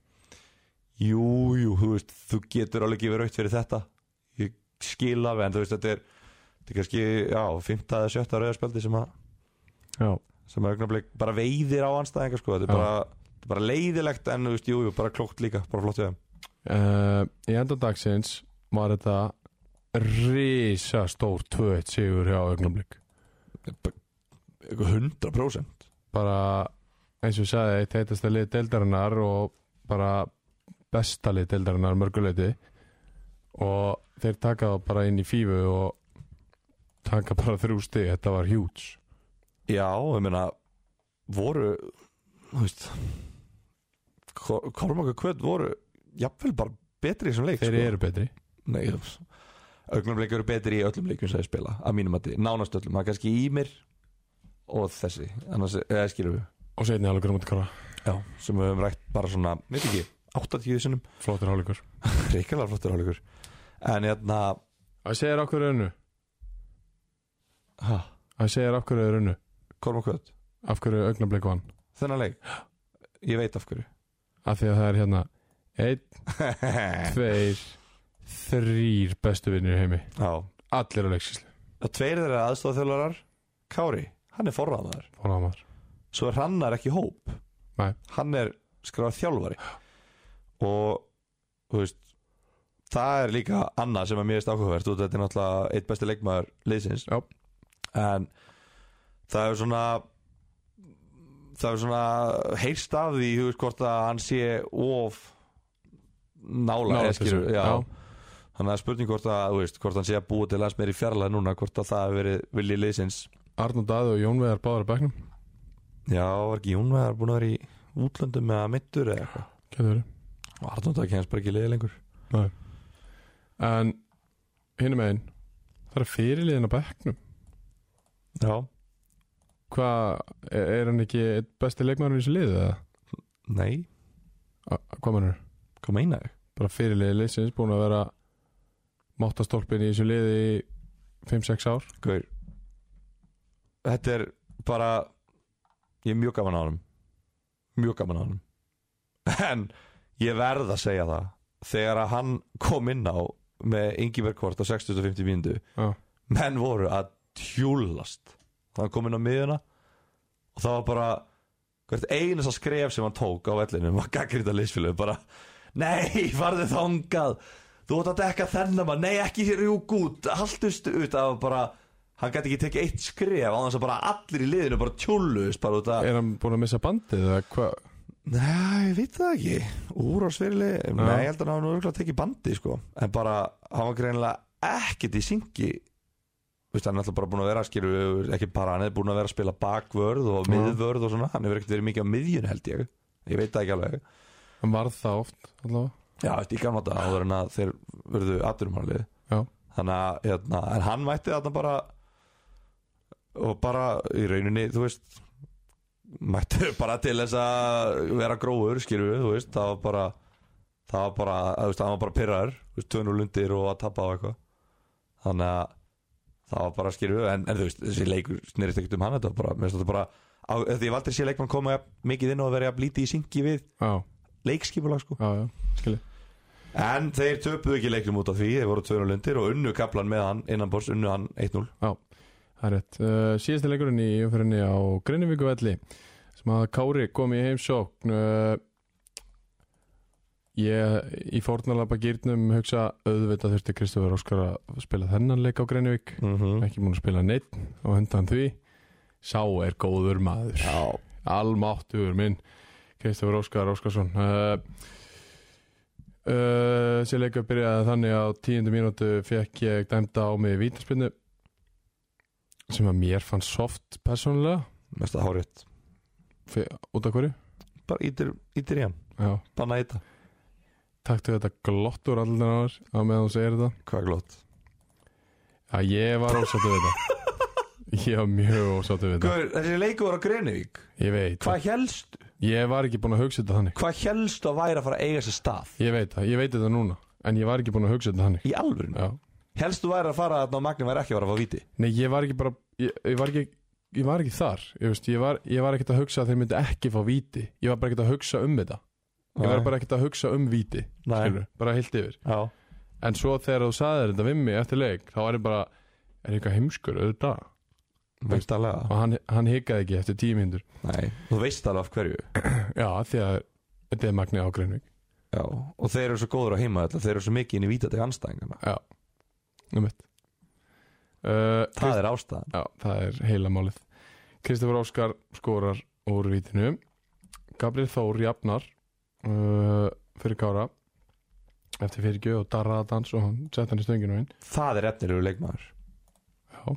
Speaker 2: Jú, jú, þú veist, þú getur alveg gefið raukt fyrir þetta Ég skil af, en þú veist, þetta er þetta er kannski, já, fymta eða sjötta rauðarspjaldi sem að,
Speaker 1: já.
Speaker 2: sem að augnablik bara veiðir á anstæðingar, sko, þetta er
Speaker 1: Já.
Speaker 2: bara þetta er bara leiðilegt, en þú veist, jú, jú, bara klókt líka bara flott við þeim,
Speaker 1: Uh, Í enda dagsins var þetta risastór 2-1 sigur hjá augnablik
Speaker 2: eitthvað 100%
Speaker 1: bara eins og ég sagði eitt heitasta lið deildarinnar og bara besta lið deildarinnar mörguleiti og þeir taka það bara inn í fífu og taka bara þrjú stig þetta var hjúts
Speaker 2: Já, ég meina voru þú veist Kormaka Kvöt voru jafnvel bara betri í þessum leik
Speaker 1: þeir
Speaker 2: sko.
Speaker 1: eru betri
Speaker 2: Nei, augnumleik eru betri í öllum leikum sem þeir spila, að mínum að nánast öllum, það er kannski Ímir og þessi, annars, eða skilur við
Speaker 1: og setni hálfleikur á móti kára
Speaker 2: Já, sem við höfum rætt bara svona, veit ekki 80 sinum,
Speaker 1: flottur hálfleikur
Speaker 2: reikalega flottur hálfleikur en hérna
Speaker 1: að segja okkur raunu
Speaker 2: ha,
Speaker 1: að segja okkur raunu
Speaker 2: Kormaka Kvöt
Speaker 1: af hverju augnablik vann
Speaker 2: þennan leik ég veit af hverju
Speaker 1: af því að það er hérna einn,
Speaker 2: já,
Speaker 1: tveir, þrýr bestu vinnir í heimi allir á leiksíslu,
Speaker 2: og tveir þeirra aðstofþjólarar Kári, hann er forraðmaður
Speaker 1: fórnámaður
Speaker 2: svo er hann er ekki í hóp
Speaker 1: Nei.
Speaker 2: hann er skráð þjálfari og þú veist það er líka annað sem er mjög stákvæðvert og þetta er náttúrulega eitt besti leikmaður liðsins
Speaker 1: Já.
Speaker 2: en það er svona það er svona heyrst af því þú veist hvort að hann sé of nála,
Speaker 1: Nálægt
Speaker 2: nála skilur,
Speaker 1: þessu,
Speaker 2: já.
Speaker 1: já.
Speaker 2: þannig að spurning hvort að þú veist, hvort hann sé að búa til aðeins meir í fjarlæð núna hvort að það hefur verið viljið liðsins
Speaker 1: Arnur Daði og Jón Veðar báður að bæknum
Speaker 2: Já, var ekki Jón Vegar búin að vera í útlöndum með að mittur eða eitthvað
Speaker 1: getur verið
Speaker 2: og Arnónda kemst bara ekki liðið lengur
Speaker 1: Nei. en hinum einn það er fyrirliðin á bæknum
Speaker 2: Já,
Speaker 1: hvað, er, er hann ekki einn besti leikmaður í þessu liði eða?
Speaker 2: nei,
Speaker 1: A- hvað mannur?
Speaker 2: hvað meina ég?
Speaker 1: bara fyrirliði liðsins búin að vera máttastólpin í þessu liði í 5-6 ár
Speaker 2: Gaur Þetta er bara ég er mjög gaman á honum mjög gaman á honum en ég verð að segja það þegar að hann kom inn á með Ingiberg Kvort á 60-50 mínútu
Speaker 1: Já.
Speaker 2: menn voru að tjúlast hann kom inn á miðuna og það var bara hvert einasta skref sem hann tók á vellinu var gaggrita liðsfélög bara nei, farðu þangað þú átt að dekka þennan maður, nei ekki rjúk út haldust út, það var bara hann gæti ekki tekið eitt skref á þess að bara allir í liðinu bara tjúlust bara út að,
Speaker 1: er hann búin að missa bandið eða hvað
Speaker 2: nei, ég veit það ekki úrvarsverili, nei, ég held að hann var að tekið bandi sko, en bara hann var greinilega ekkert í syngi Vist, hann er alltaf bara búin að vera skilu, ekki bara, hann er búin að vera að spila bakvörð og
Speaker 1: Já.
Speaker 2: miðvörð og svona, hann hefur ekkert verið mikið á miðjun held ég, ég veit það ekki alveg
Speaker 1: hann varð það oft allavega
Speaker 2: Já, þetta er gamla þetta áður en að þeir verðu aðdurumarlið
Speaker 1: Já.
Speaker 2: Þannig að, hérna, en hann mætti þarna bara og bara í rauninni, þú veist mætti bara til þess að vera gróður, skilur við, þú veist það var bara það var bara, þú veist, það var bara pyrraður þú veist, tönur lundir og að tappa á eitthvað þannig að það var bara, skilur við, en, en þú veist, þessi leikur snerist ekkert um hann, þetta var bara, mér finnst þetta bara á, því ég valdi að sé leikmann koma jafn mikið inn og verið að blíti í syngi við
Speaker 1: já,
Speaker 2: leikskipulag, sko
Speaker 1: já, já, skilji
Speaker 2: En þeir töpuðu ekki leiknum út af því Þeir voru tvöru lundir og unnu kaplan með hann innan bors, unnu hann 1-0
Speaker 1: Það er rétt. Uh, síðasti leikurinn í umfyrinni á Grinnivíku velli sem að Kári kom í heimsókn uh, ég í fórnalapa gýrnum hugsa auðvitað þurfti Kristofur Óskar að spila þennan leik á Grinnivík
Speaker 2: mm -hmm.
Speaker 1: ekki múin að spila neitt og hundan því sá er góður maður
Speaker 2: Já,
Speaker 1: almáttugur minn Kristofur Óskar Óskarsson uh, uh, sér leikur byrjaði þannig á tíundu mínútu fekk ég dæmda á mig vítarspinnu sem að mér fann soft persónulega
Speaker 2: mest að hárið
Speaker 1: Fe- út af hverju
Speaker 2: Bara ítir, ítir í hann,
Speaker 1: já.
Speaker 2: banna íta
Speaker 1: taktu þetta glott úr allir annar á meðan þú segir þetta
Speaker 2: Hvað glott
Speaker 1: já, ég var ósáttu við þetta ég var mjög ósáttu við þetta
Speaker 2: Guður, Þessi leiku voru á Grenivík
Speaker 1: ég veit,
Speaker 2: Hvað helst,
Speaker 1: ég var ekki búin að hugsa þetta þannig
Speaker 2: hvað helst að væri að fara að eiga sér stað
Speaker 1: ég veit það, ég veit þetta núna en ég var ekki búin að hugsa þetta þannig
Speaker 2: Í alvörinu
Speaker 1: já
Speaker 2: Helst þú væri að fara þarna og Magni væri ekki að fara að fá viti
Speaker 1: Nei, ég var ekki bara Ég, ég, var, ekki, ég var ekki þar Ég, veist, ég, var, ég var ekkert að hugsa að þeir myndi ekki fá víti Ég var bara ekkert að hugsa um þetta Ég var bara ekkert að hugsa um víti
Speaker 2: Nei.
Speaker 1: skilurðu, Bara heilt yfir
Speaker 2: Já,
Speaker 1: En svo þegar þú saðir þetta við mig eftir leik Þá var ég bara, er eitthvað heimskur auðvitað
Speaker 2: veistalega
Speaker 1: Og hann, hann hikaði ekki eftir tíu mínútur
Speaker 2: Nei, þú veist alveg af hverju
Speaker 1: Já, af því að þetta er magnið ágreinvík
Speaker 2: Já, og þeir eru svo góður á heima Þeir eru svo mikið inn í vítateg anstæðingana
Speaker 1: Já, um mitt uh,
Speaker 2: Það er ástæðan
Speaker 1: Já, það er heila málið Kristofur Óskar skorar úr vítinu Gabriel Þór jafnar uh, fyrir Kára eftir fyrir gjöð og darraða dans og hann sett hann í stönginu inn
Speaker 2: Það er efnilegu leikmaður
Speaker 1: Já,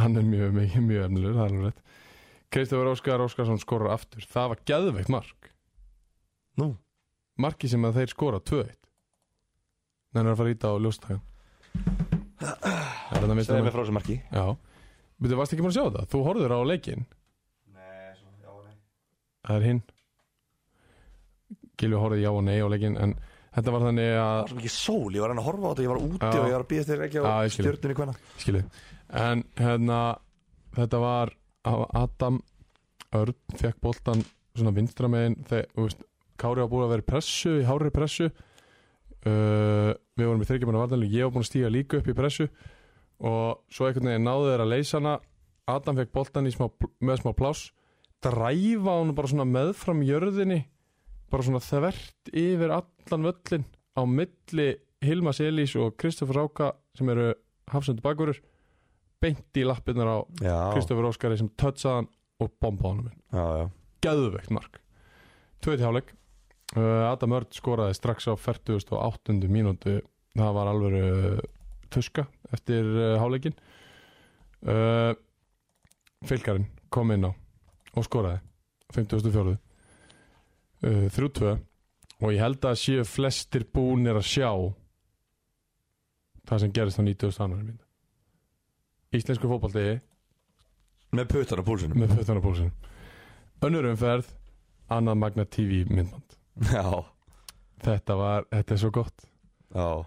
Speaker 1: hann er mjög, mjög, mjög efnilegur, það er alveg rétt Kristofur Óskar Óskarsson skorar aftur Það var geðveikt mark
Speaker 2: Nú.
Speaker 1: Marki sem að þeir skora 2-1 Þannig er að fara íta á ljóstakan Það um er þetta mitt
Speaker 2: Segðu mig frá þessu marki
Speaker 1: Já Þú varst ekki búin að sjá það? Þú horfður á leikin
Speaker 2: Nei, svona, já, nei
Speaker 1: það er hinn Gilvi horfði já og nei á leikin en þetta var þannig
Speaker 2: Það var
Speaker 1: að
Speaker 2: svo mikið sól, ég var hann að horfa á þetta, ég var úti
Speaker 1: Já.
Speaker 2: og ég var að býðast þér ekki á
Speaker 1: Já, ég skil.
Speaker 2: stjörnunni hvenna
Speaker 1: skilu en hérna þetta var á Adam Örn fekk boltan svona vinstra megin þegar, þú veist, Kári var búin að vera í pressu í hárið pressu uh, við vorum í þryggjumanna vartanlega ég var búin að stíga líka upp í pressu og svo einhvern veginn náðu þeir að leysa hana Adam fekk boltan í smá, með smá pláss dræfa hún bara svona meðfram jörðinni bara svona þvert yfir allan völlin á milli Hilmas Elís og Kristoffer Ráka sem eru hafsöndu bakverur beint í lappirnar á
Speaker 2: Já,
Speaker 1: Kristoffer Óskari sem tötsaði hann og bombaði honum inn
Speaker 2: já, já
Speaker 1: Gæðuveikt mark Tveit hjáleik uh, Adam Örd skoraði strax á 48. mínútu Það var alveg uh, tuska eftir uh, háleikin uh, Fylgarinn kom inn á og skoraði 54. Uh, 32 og ég held að séu flestir búnir að sjá það sem gerist á 90. annari mínútu Íslensku fótbolti
Speaker 2: Með puttar á púlsinum
Speaker 1: með fötana pólsin önnur umferð annað Magna TV myndband
Speaker 2: Já,
Speaker 1: þetta var, þetta er svo gott
Speaker 2: já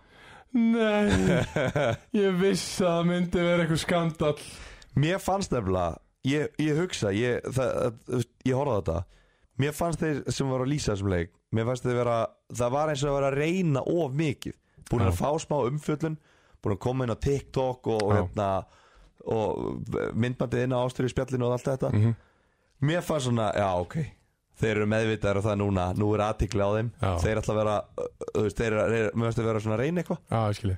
Speaker 1: nei, ég vissi að það myndi vera eitthvað skandal
Speaker 2: Mér fannst nefnilega Ég, ég hugsa, ég, það, það, ég horfði á þetta Mér fannst þeir sem var að lýsa þessum leik Mér fannst þeir vera Það var eins og að vera að reyna of mikið Búin að
Speaker 1: Já.
Speaker 2: fá smá umfjöllun Búin að koma inn á TikTok og, og,
Speaker 1: Já.
Speaker 2: hérna, og myndbandið inn á ástriðu spjallinu og allt þetta
Speaker 1: mm -hmm.
Speaker 2: Mér fannst svona, já ok Þeir eru meðvitaðar af það núna, nú er aðtikli á þeim
Speaker 1: Já.
Speaker 2: Þeir ætla að vera, ö, ö, þú veist, þeir, eru- þeir, mér fannst þeir vera svona að reyna eitthvað
Speaker 1: ah, skilji,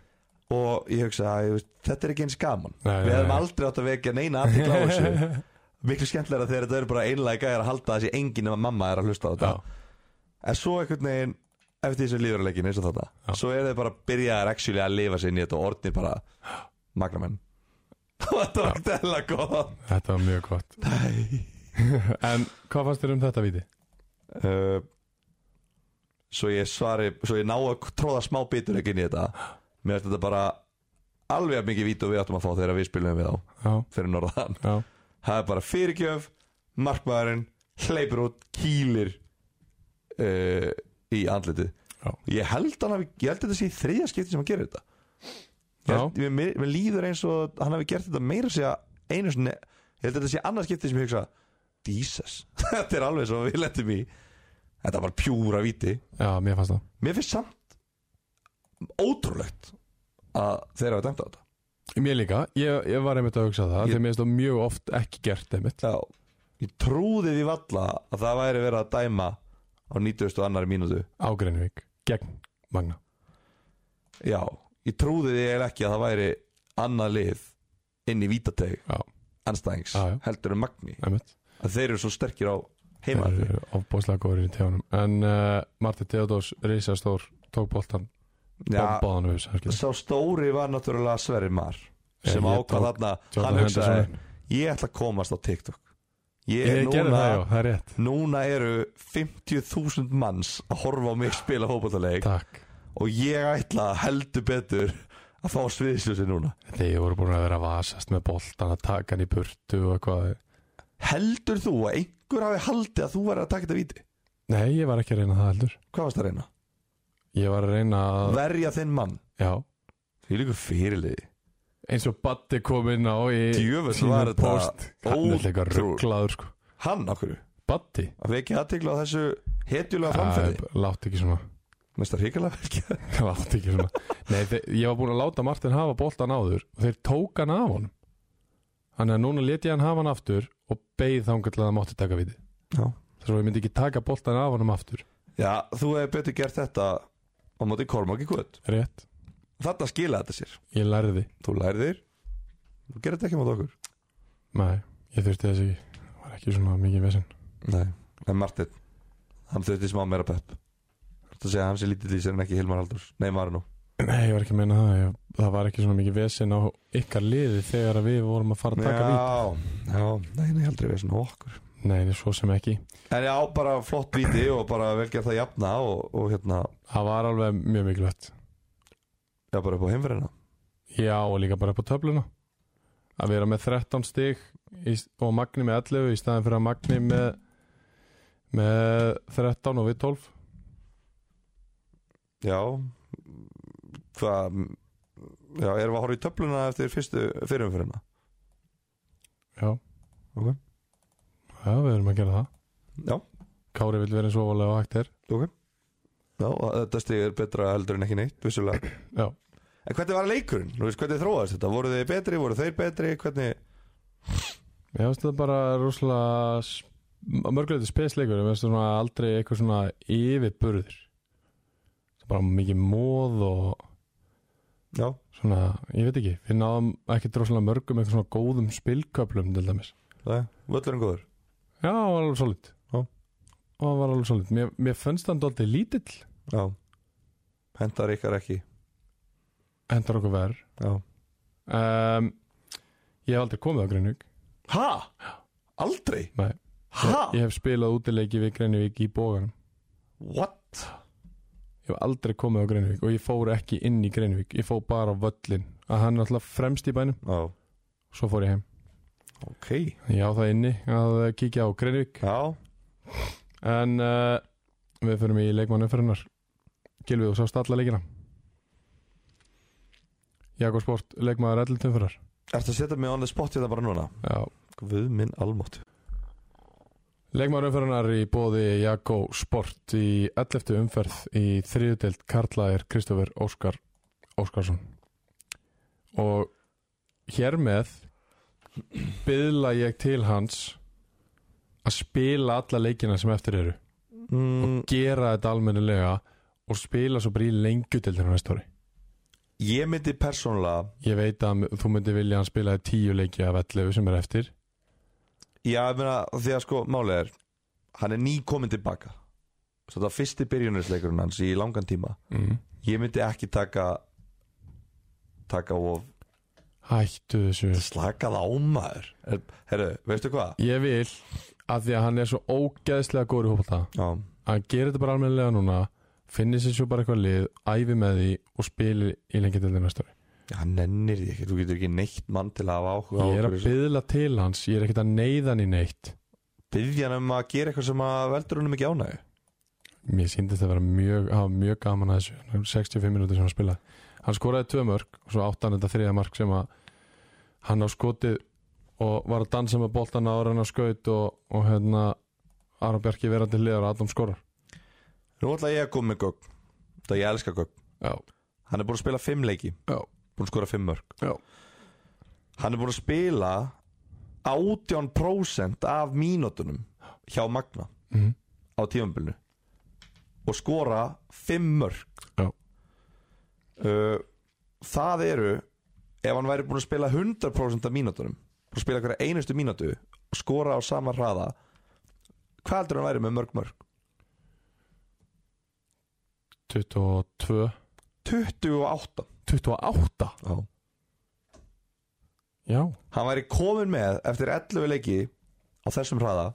Speaker 2: og ég hugsa að ég veist, þetta er ekki eins gaman
Speaker 1: Nei,
Speaker 2: við
Speaker 1: nei,
Speaker 2: hefum
Speaker 1: nei.
Speaker 2: aldrei átt að vekja neina aðtikla á þessu miklu skemmtilega þegar þetta eru bara einlega gæðar að halda þessi enginn ef að mamma er að hlusta á þetta
Speaker 1: já,
Speaker 2: en svo einhvern veginn eftir þessu lífurleikin eins og þetta
Speaker 1: Já.
Speaker 2: svo er þeir bara byrjaðar actually að lifa sér inn í þetta og orðnir bara magnamenn og þetta var dæla gott
Speaker 1: þetta var mjög gott en hvað fannst þér um þetta viti?
Speaker 2: uh, svo ég svari svo ég ná að tróða smá bitur ekki inn í þetta mér finnst þetta bara alveg jafn mikið vít og við áttum að fá þegar við spilum við þá
Speaker 1: já,
Speaker 2: fyrir norðan
Speaker 1: já,
Speaker 2: það er bara fyrirgjöf markmaðurinn hleypur út kýlir uh, í andlitið
Speaker 1: Já.
Speaker 2: ég held, hann hafi, ég held þetta sé í þriðja skipti sem hann gerir þetta Ég
Speaker 1: Já.
Speaker 2: held, mér, mér, mér líður eins og hann hafi gert þetta meira segja einu sinni ég held þetta sé annað skipti sem ég hugsa Jesus, þetta er alveg svo við letum í þetta var pjúra viti
Speaker 1: já, mér fannst það
Speaker 2: mér finnst samt ótrúlegt að þeir hafa dæmt á þetta
Speaker 1: Mér líka, ég, ég var einmitt að hugsa það
Speaker 2: Ég-
Speaker 1: þegar mér finnst það mjög oft ekki gert einmitt
Speaker 2: Já, ég trúði því valla að það væri verið að dæma á 90. annari mínútu
Speaker 1: á Greinvík, gegn Magna
Speaker 2: Já, ég trúði því eiginlega ekki að það væri annað lið inn í vítateg
Speaker 1: Já.
Speaker 2: anstæðings
Speaker 1: Já, já.
Speaker 2: heldur um Magni
Speaker 1: einmitt
Speaker 2: að þeir eru svo sterkir á
Speaker 1: Þeir
Speaker 2: heimaður
Speaker 1: eru ofbóðslega góður í tegunum En uh, Martin Theodors, risastór Tók boltan,
Speaker 2: Já,
Speaker 1: bombaðan við særlega.
Speaker 2: sá stóri var náttúrulega Sverri Mar
Speaker 1: Já,
Speaker 2: sem
Speaker 1: Eh, ég tók
Speaker 2: ákvað þarna hann
Speaker 1: Jordan
Speaker 2: hugsaði,
Speaker 1: Henderson.
Speaker 2: ég ætla að komast á TikTok Ég,
Speaker 1: Ég gerði
Speaker 2: núna,
Speaker 1: það, já, það er rétt
Speaker 2: núna eru 50.000 manns að horfa á mig spila hópaðaleik
Speaker 1: Takk,
Speaker 2: og ég ætla heldur betur að fá sviðsljósi núna
Speaker 1: þegar voru búin að vera að vasast með boltan að taka hann í burtu og eitthvað
Speaker 2: heldur þú að einhver hafi haldið að þú væri að taka þetta víti
Speaker 1: Nei, ég var ekki að reyna það heldur
Speaker 2: hvað varst að reyna?
Speaker 1: Ég var að reyna að,
Speaker 2: verja þinn mann
Speaker 1: já
Speaker 2: því líka fyrirliði
Speaker 1: Eins og Batti kom inn á í
Speaker 2: Djöfull
Speaker 1: sínum
Speaker 2: var þetta
Speaker 1: post Hann er líka
Speaker 2: ótrúlegt.
Speaker 1: rugglaður sko
Speaker 2: hann okkur
Speaker 1: Batti
Speaker 2: að vekja aðtegla á þessu hetjulega framferði
Speaker 1: Æ, Látt ekki svona
Speaker 2: mest að hrikalega verkja
Speaker 1: Látt ekki svona Nei, þeir, ég var búin að láta Martin hafa boltan áður og þeir tók hann af honum Þannig að núna let ég hann hafa hann aftur og beið þangar til að það mátti taka viti
Speaker 2: Já.
Speaker 1: Þess að ég myndi ekki taka boltan af honum aftur
Speaker 2: já, þú hefði betur gert þetta á móti Kormáki Kvöld
Speaker 1: Rétt,
Speaker 2: þetta skila þetta sér
Speaker 1: ég lærði
Speaker 2: þú lærðir þú gerir þetta ekki á móti okkur
Speaker 1: Nei, ég þurfti þess ekki Það var ekki svona mikið vesinn
Speaker 2: nei en Martin hann þurfti smá meira pepp Þú ert að segja að hann sé lítið í sér en ekki Hilmar Haldurs nei, maður nú
Speaker 1: Nei, ég var ekki að meina það ég, Það var ekki svona mikið vesinn á ykkar liði þegar að við vorum að fara að taka vít
Speaker 2: já, já, nei, nei, aldrei við svona okkur
Speaker 1: Nei, nei, svo sem ekki
Speaker 2: En já, bara flott víti og bara vel gert að jafna og, og hérna,
Speaker 1: Það var alveg mjög mikilvægt
Speaker 2: já bara upp á heimverðina
Speaker 1: Já, og líka bara upp á töfluna að vera með 13 stig í, og Magni með 11 í staðin fyrir að Magni með með 13 og við 12
Speaker 2: Já, hvað, já, erum við að horfa í töfluna eftir fyrstu fyrirumferðina?
Speaker 1: Já,
Speaker 2: Ok.
Speaker 1: það Já, við erum að gera það
Speaker 2: Já.
Speaker 1: Kári vil vera eins og ofalega og hægt er
Speaker 2: Já, og þetta stig er betra heldur en ekki neitt, vissulega
Speaker 1: Já.
Speaker 2: En hvernig var leikurinn? Nú veist, hvernig þróaðist þetta? Voru þið betri, voru þeir betri? Hvernig?
Speaker 1: Ég finnst þetta bara rosalega sp- mörguleiti spesleikur Ég finnst svona aldrei eitthvað svona yfirburðir Bara mikið móð og
Speaker 2: Já,
Speaker 1: svona, ég veit ekki Við náðum ekki rosalega mörgum eitthvað svona góðum spilköplum til dæmis
Speaker 2: það er völlurinn góður
Speaker 1: Já, það var alveg solid
Speaker 2: Já.
Speaker 1: Og það var alveg solid Mér, mér fannst hann dálítið lítill
Speaker 2: Já Hendar ykkar ekki
Speaker 1: Hendar okkur verð
Speaker 2: Já
Speaker 1: um, Ég hef aldrei komið á Greinvík
Speaker 2: Ha? Aldrei?
Speaker 1: Nei.
Speaker 2: Ha?
Speaker 1: Ég hef spilað útileiki við Greinvík í bóganum
Speaker 2: What?
Speaker 1: Ég hef aldrei komið á Greinvík og ég fór ekki inn í Greinvík Ég fór bara á völlin að hann er alltaf fremst í bænum
Speaker 2: Já,
Speaker 1: Svo fór ég heim
Speaker 2: ok
Speaker 1: Ég á það inni að kíkja á Greinvík
Speaker 2: Já,
Speaker 1: En uh, við förum í leikmannu fyrirnar Gilvið og sást alla leikina Jakob Sport, leikmaður 11 fyrir
Speaker 2: ertu að setja mig on the spot hérna bara núna?
Speaker 1: Já,
Speaker 2: Guð minn almáttu
Speaker 1: Leikmaður umferðunar í bóði Jakko Sport í 11. umferð í þriðutelt Karlaðir Kristoffer Óskar Óskarsson og hér með byðla ég til hans að spila alla leikina sem eftir eru
Speaker 2: mm,
Speaker 1: gera þetta almennilega og spila svo bara í lengju til þeirra næsta ári
Speaker 2: Ég myndi persónulega
Speaker 1: ég veit að þú myndir vilja að hann spila í tíu leiki af 11 sem er eftir
Speaker 2: Já, ég meina, því að sko, málið er Hann er ný komin tilbaka Svo þetta var fyrsti byrjunarsleikurinn hans í langan tíma
Speaker 1: mm.
Speaker 2: Ég myndi ekki taka Taka of
Speaker 1: hættu þessu
Speaker 2: Slakað á maður Er- Herru, veistu hvað?
Speaker 1: ég vil að því að hann er svo ógeðslega góður í hópað
Speaker 2: Já,
Speaker 1: að gera þetta bara almennilega núna finni sér svo bara eitthvað lið, æfi með því og spili í lengi til næsta ári
Speaker 2: hann nennir því ekki Þú getur ekki neitt mann til að hafa áhuga á
Speaker 1: ég er að
Speaker 2: einhverju sem-
Speaker 1: byðla til hans, ég er ekkert að neyða hann í neitt
Speaker 2: Biðja hann um að gera eitthvað sem að veldur honum ekki ánægju
Speaker 1: mér síndist að vera mjög, hafa mjög gaman að þessu Hann er 65 minútur sem hann spilaði hann skoraði tvö mörg og svo átti hann þetta þriða mark sem að hann á skotið og var að dansa með boltan ára hann á skaut og, og hérna Aron Bjarki verandi hliðar að Adam skorar
Speaker 2: Nú ætla ég að koma með Gugg Það ég elska Gugg
Speaker 1: já,
Speaker 2: Hann er búin að spila fimm leiki
Speaker 1: Já.
Speaker 2: Búin að skora fimm mörg
Speaker 1: Já.
Speaker 2: Hann er búin að spila 18% af mínútunum hjá Magna
Speaker 1: Mhm.
Speaker 2: á tífambilinu og skora fimm mörg
Speaker 1: Já.
Speaker 2: uh, Það eru ef hann væri búin að spila 100% af mínútunum búin að spila hverja einustu mínútu og skora á sama hraða hvað heldur hann væri með mörg mörg?
Speaker 1: 22
Speaker 2: 28
Speaker 1: 28?
Speaker 2: Já.
Speaker 1: já,
Speaker 2: hann væri komin með eftir 11 leiki á þessum hraða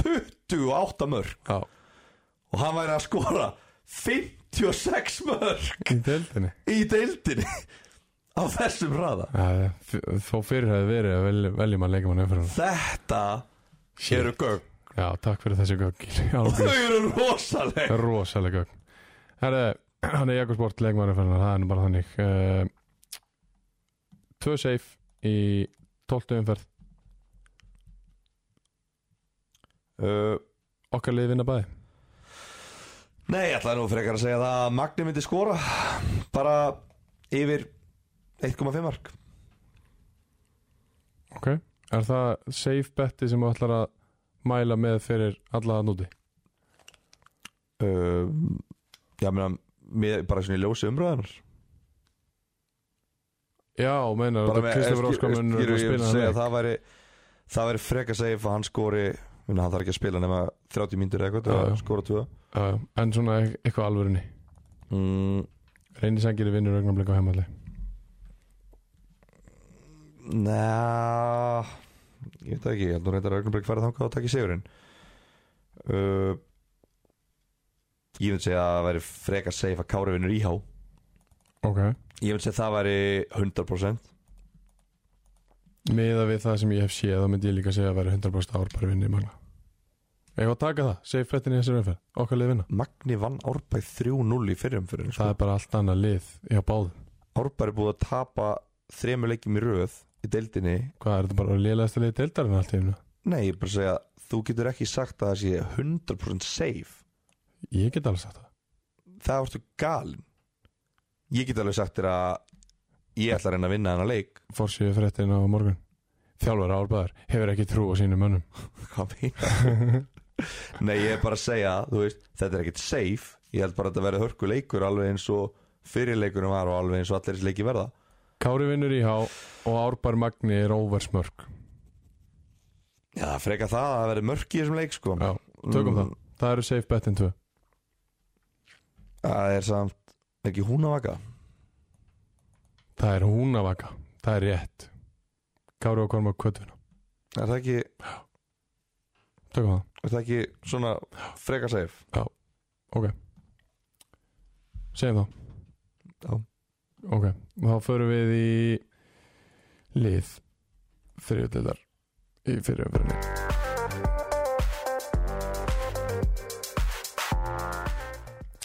Speaker 2: 28 mörg
Speaker 1: já.
Speaker 2: og hann væri að skora 56 mörg
Speaker 1: í deildinni
Speaker 2: í deildinni á þessum hraða
Speaker 1: Ja, f- Þó fyrir hefði verið að velja, velja maður leikmann umfram
Speaker 2: þetta eru gögn
Speaker 1: Já, takk fyrir þessi gögg
Speaker 2: og
Speaker 1: Alveg
Speaker 2: þau eru rosaleg
Speaker 1: rosalega gögg Herre, hann er Jakob Sport leikmann umfram Það er nú bara þannig Eh, Tvö seif í 12. umferð
Speaker 2: uh,
Speaker 1: Okkar liði vinna bæði
Speaker 2: nei, ég ætlaði nú frekar að segja það að Magni myndi skora bara yfir 1,5 mark
Speaker 1: Ok Er það safe betti sem þú ætlar að mæla með fyrir alla að núti?
Speaker 2: uh, já, meina mér- bara svona í ljósi umröðanar
Speaker 1: Já, meinar
Speaker 2: bara
Speaker 1: þetta
Speaker 2: með
Speaker 1: Kristofur Óskar munur að
Speaker 2: skýru ég
Speaker 1: spila
Speaker 2: að
Speaker 1: hann
Speaker 2: segja
Speaker 1: leik
Speaker 2: það væri það væri frek að segja ef hann skori minna, hann þarf ekki að spila nema 30 mínútur eða eitthvað til
Speaker 1: Já,
Speaker 2: að
Speaker 1: já.
Speaker 2: skora tvö
Speaker 1: Já, já. En svona e- eitthvað alvörinni
Speaker 2: mm,
Speaker 1: Reyni sangir vinnur augnablik á heimalli
Speaker 2: Næ ég veit það ekki, ég held nú reyndar að augnablik færa þangað og takki sigurinn uh, ég myndi segja að það væri frek að segja að Kári vinnur íhá
Speaker 1: Ok
Speaker 2: ég myndi segja að það væri 100%
Speaker 1: Miða við það sem ég hef séð þá myndi ég líka segja að vera 100% ár bara vinni í magna Ég var að taka það, segi frettin í þessari umferð Okkar lið vinna
Speaker 2: Magni vann Árbæk 3-0 í fyrirumfyrir
Speaker 1: Það er bara allt annað lið hjá báðum
Speaker 2: Árbæk er búið að tapa þremur leikjum í röð í deildinni
Speaker 1: Hvað er þetta bara liðlegasta lið deildarinn allt í einu?
Speaker 2: Nei, ég er bara að segja þú getur ekki sagt að það sé 100% safe
Speaker 1: Ég get alveg sagt það
Speaker 2: það ertu galin ég get alveg sagt þér að ég ætla að reyna að vinna þennan leik
Speaker 1: Forsíðu fréttin á morgun Þjálfur árbæðar hefur ekki trú á sínum mönnum
Speaker 2: Hvað meinar? nei ég er bara að segja þú veist, þetta er ekkit safe ég held bara að þetta verði hörku leikur alveg eins og fyrirleikunum var og alveg eins og allir þessi leiki verða
Speaker 1: Kári vinnur í há og árbær magni er óversmörk
Speaker 2: já það er freka það að það verði mörk í þessum leik sko
Speaker 1: Já, tökum það Það eru safe bettin 2
Speaker 2: það er samt ekki hún að vaka
Speaker 1: Það er húnavaka, það er rétt Kári og Korma kvötuna
Speaker 2: er það ekki,
Speaker 1: Tökum það,
Speaker 2: er það ekki svona freka safe
Speaker 1: segjum það
Speaker 2: Já.
Speaker 1: Ok, þá förum við í lið þriðutildar í fyrirumfyrinni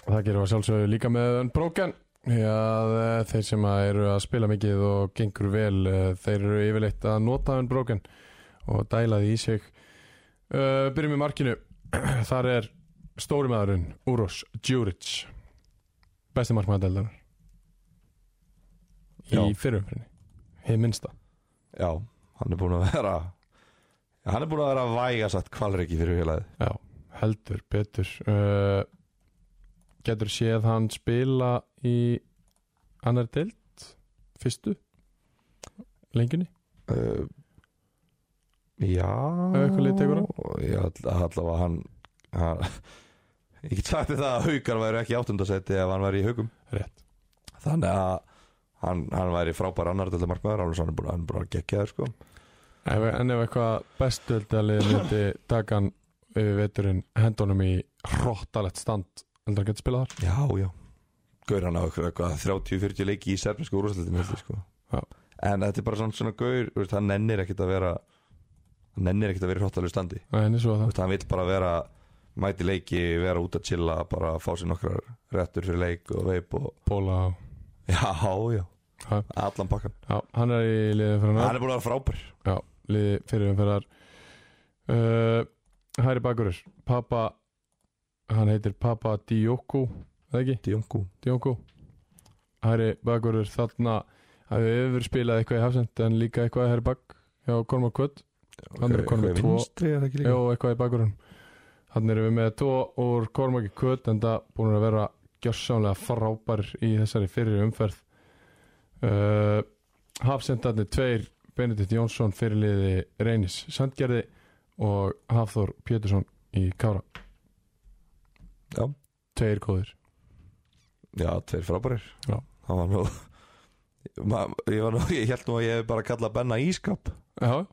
Speaker 1: Það gerum við að sjálfsögðu líka með Unbroken því að eh, þeir sem að eru að spila mikið og gengur vel eh, þeir eru yfirleitt að nota Unbroken og dæla því í sig uh, Byrjum í markinu Þar er stóri maðurinn Úros Djuric besti markmaðardeldar
Speaker 2: Já.
Speaker 1: í fyrirumfyrinni hið minnsta
Speaker 2: já, hann er búin að vera hann er búin að vera vægasagt kvalriki fyrir félagið
Speaker 1: Já, heldur betur uh, Getur séð hann spila í annar deild fyrstu lengjunni
Speaker 2: uh, Já
Speaker 1: eitthvað lið tekur hann?
Speaker 2: Ég ætla allavega hann, hann Ég get sagt þér það að haukar væri ekki áttundasetti ef hann væri í haukum
Speaker 1: Rétt
Speaker 2: Þannig að hann, hann væri frábær annar til markmaður alveg svo hann er búin, hann er búin að gegja þér sko
Speaker 1: En ef- en ef eitthvað bestuöldalið myndi taka hann yfir veturinn hendunum í hróttalegt stand heldur hann getur spilað þar
Speaker 2: Já, já Gaur hann á ykkur eitthvað 30-40 leiki í serfnisku úrvarsleitin sko.
Speaker 1: Já.
Speaker 2: En þetta er bara svona, svona gaur þú veist, hann nennir ekkit að vera hann nennir ekkit að vera í hróttalegu standi
Speaker 1: Það er svo að
Speaker 2: Þú
Speaker 1: það
Speaker 2: veist, hann vill bara vera mæti leiki, vera út að chilla bara fá sér nokkrar réttur fyrir leik og veip og
Speaker 1: bóla á
Speaker 2: já, já,
Speaker 1: Ha.
Speaker 2: allan pakkan
Speaker 1: Já, hann er í liðið fyrir hann
Speaker 2: hann er búin að vera frábær
Speaker 1: liði fyrir umferðar uh, Hæri bakurur Papa hann heitir Papa Dioku eða ekki,
Speaker 2: Diongu
Speaker 1: Dioku Hæri bakurur þarna hafði yfir spilað eitthvað í hafsend en líka eitthvað í hæri bak hjá Kormar Kvöld Hann er konum með tvo.
Speaker 2: vinstri er það ekki líka
Speaker 1: Jó, eitthvað í bakurun Þannig erum við með tvo úr Kormaki Kvöld en það búin að vera gjörsamlega frábær í þessari fyrir umferð uh, Hafsendarnir tveir Benedikt Jónsson fyrirliði Reynis Sandgerði og Hafþór Pétursson í Kára
Speaker 2: já,
Speaker 1: Tveir góðir
Speaker 2: já tveir frábærir
Speaker 1: Já.
Speaker 2: hann var nú Ma, ég, var nú, ég held nú að ég hef bara kallað Benna ískap
Speaker 1: Já,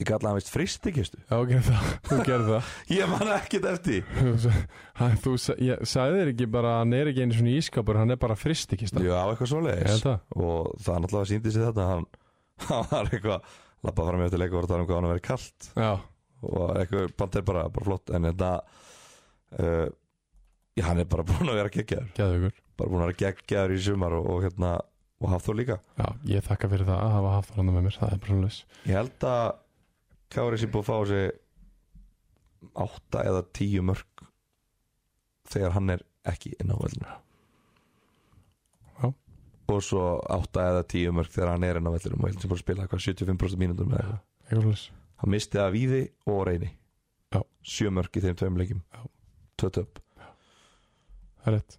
Speaker 2: ég kallaði hann vist fristikistu
Speaker 1: já, gerði það Þú gerði
Speaker 2: ég man ekkert eftir
Speaker 1: það Hann- Þú sa- ég- sagði þér ekki bara að hann er ekki einu svona ískapur hann er bara fristikista
Speaker 2: já, eitthvað
Speaker 1: Ég
Speaker 2: svoleiðis
Speaker 1: held það
Speaker 2: og það náttúrulega síndi sig þetta hann, hann var eitthvað labbað fram í eftir leik og var að tala um hvað hann verið kalt
Speaker 1: Já,
Speaker 2: og eitthvað band er bara, bara flott en þetta uh, já, hann er bara búin að vera geggjaður
Speaker 1: geðugur
Speaker 2: bara búin að vera geggjaður í sumar og, og hérna og Hafþór líka
Speaker 1: Já, ég þakka fyrir það að hafa Hafþór hann með mér Það er bara svona
Speaker 2: ég held að Kári sé búin að fá á sig átta eða tíu mörg þegar hann er ekki inn á vellinu
Speaker 1: Já.
Speaker 2: og svo átta eða tíu mörg þegar hann er inn á vellinu og heldur sem bara að spila eitthvað 75% mínútur með það
Speaker 1: eitthvað slags
Speaker 2: hann misti að víði og reyni
Speaker 1: Já.
Speaker 2: sjö mörg í þeim tveim leikjum
Speaker 1: Já.
Speaker 2: tvö töp
Speaker 1: Það er rétt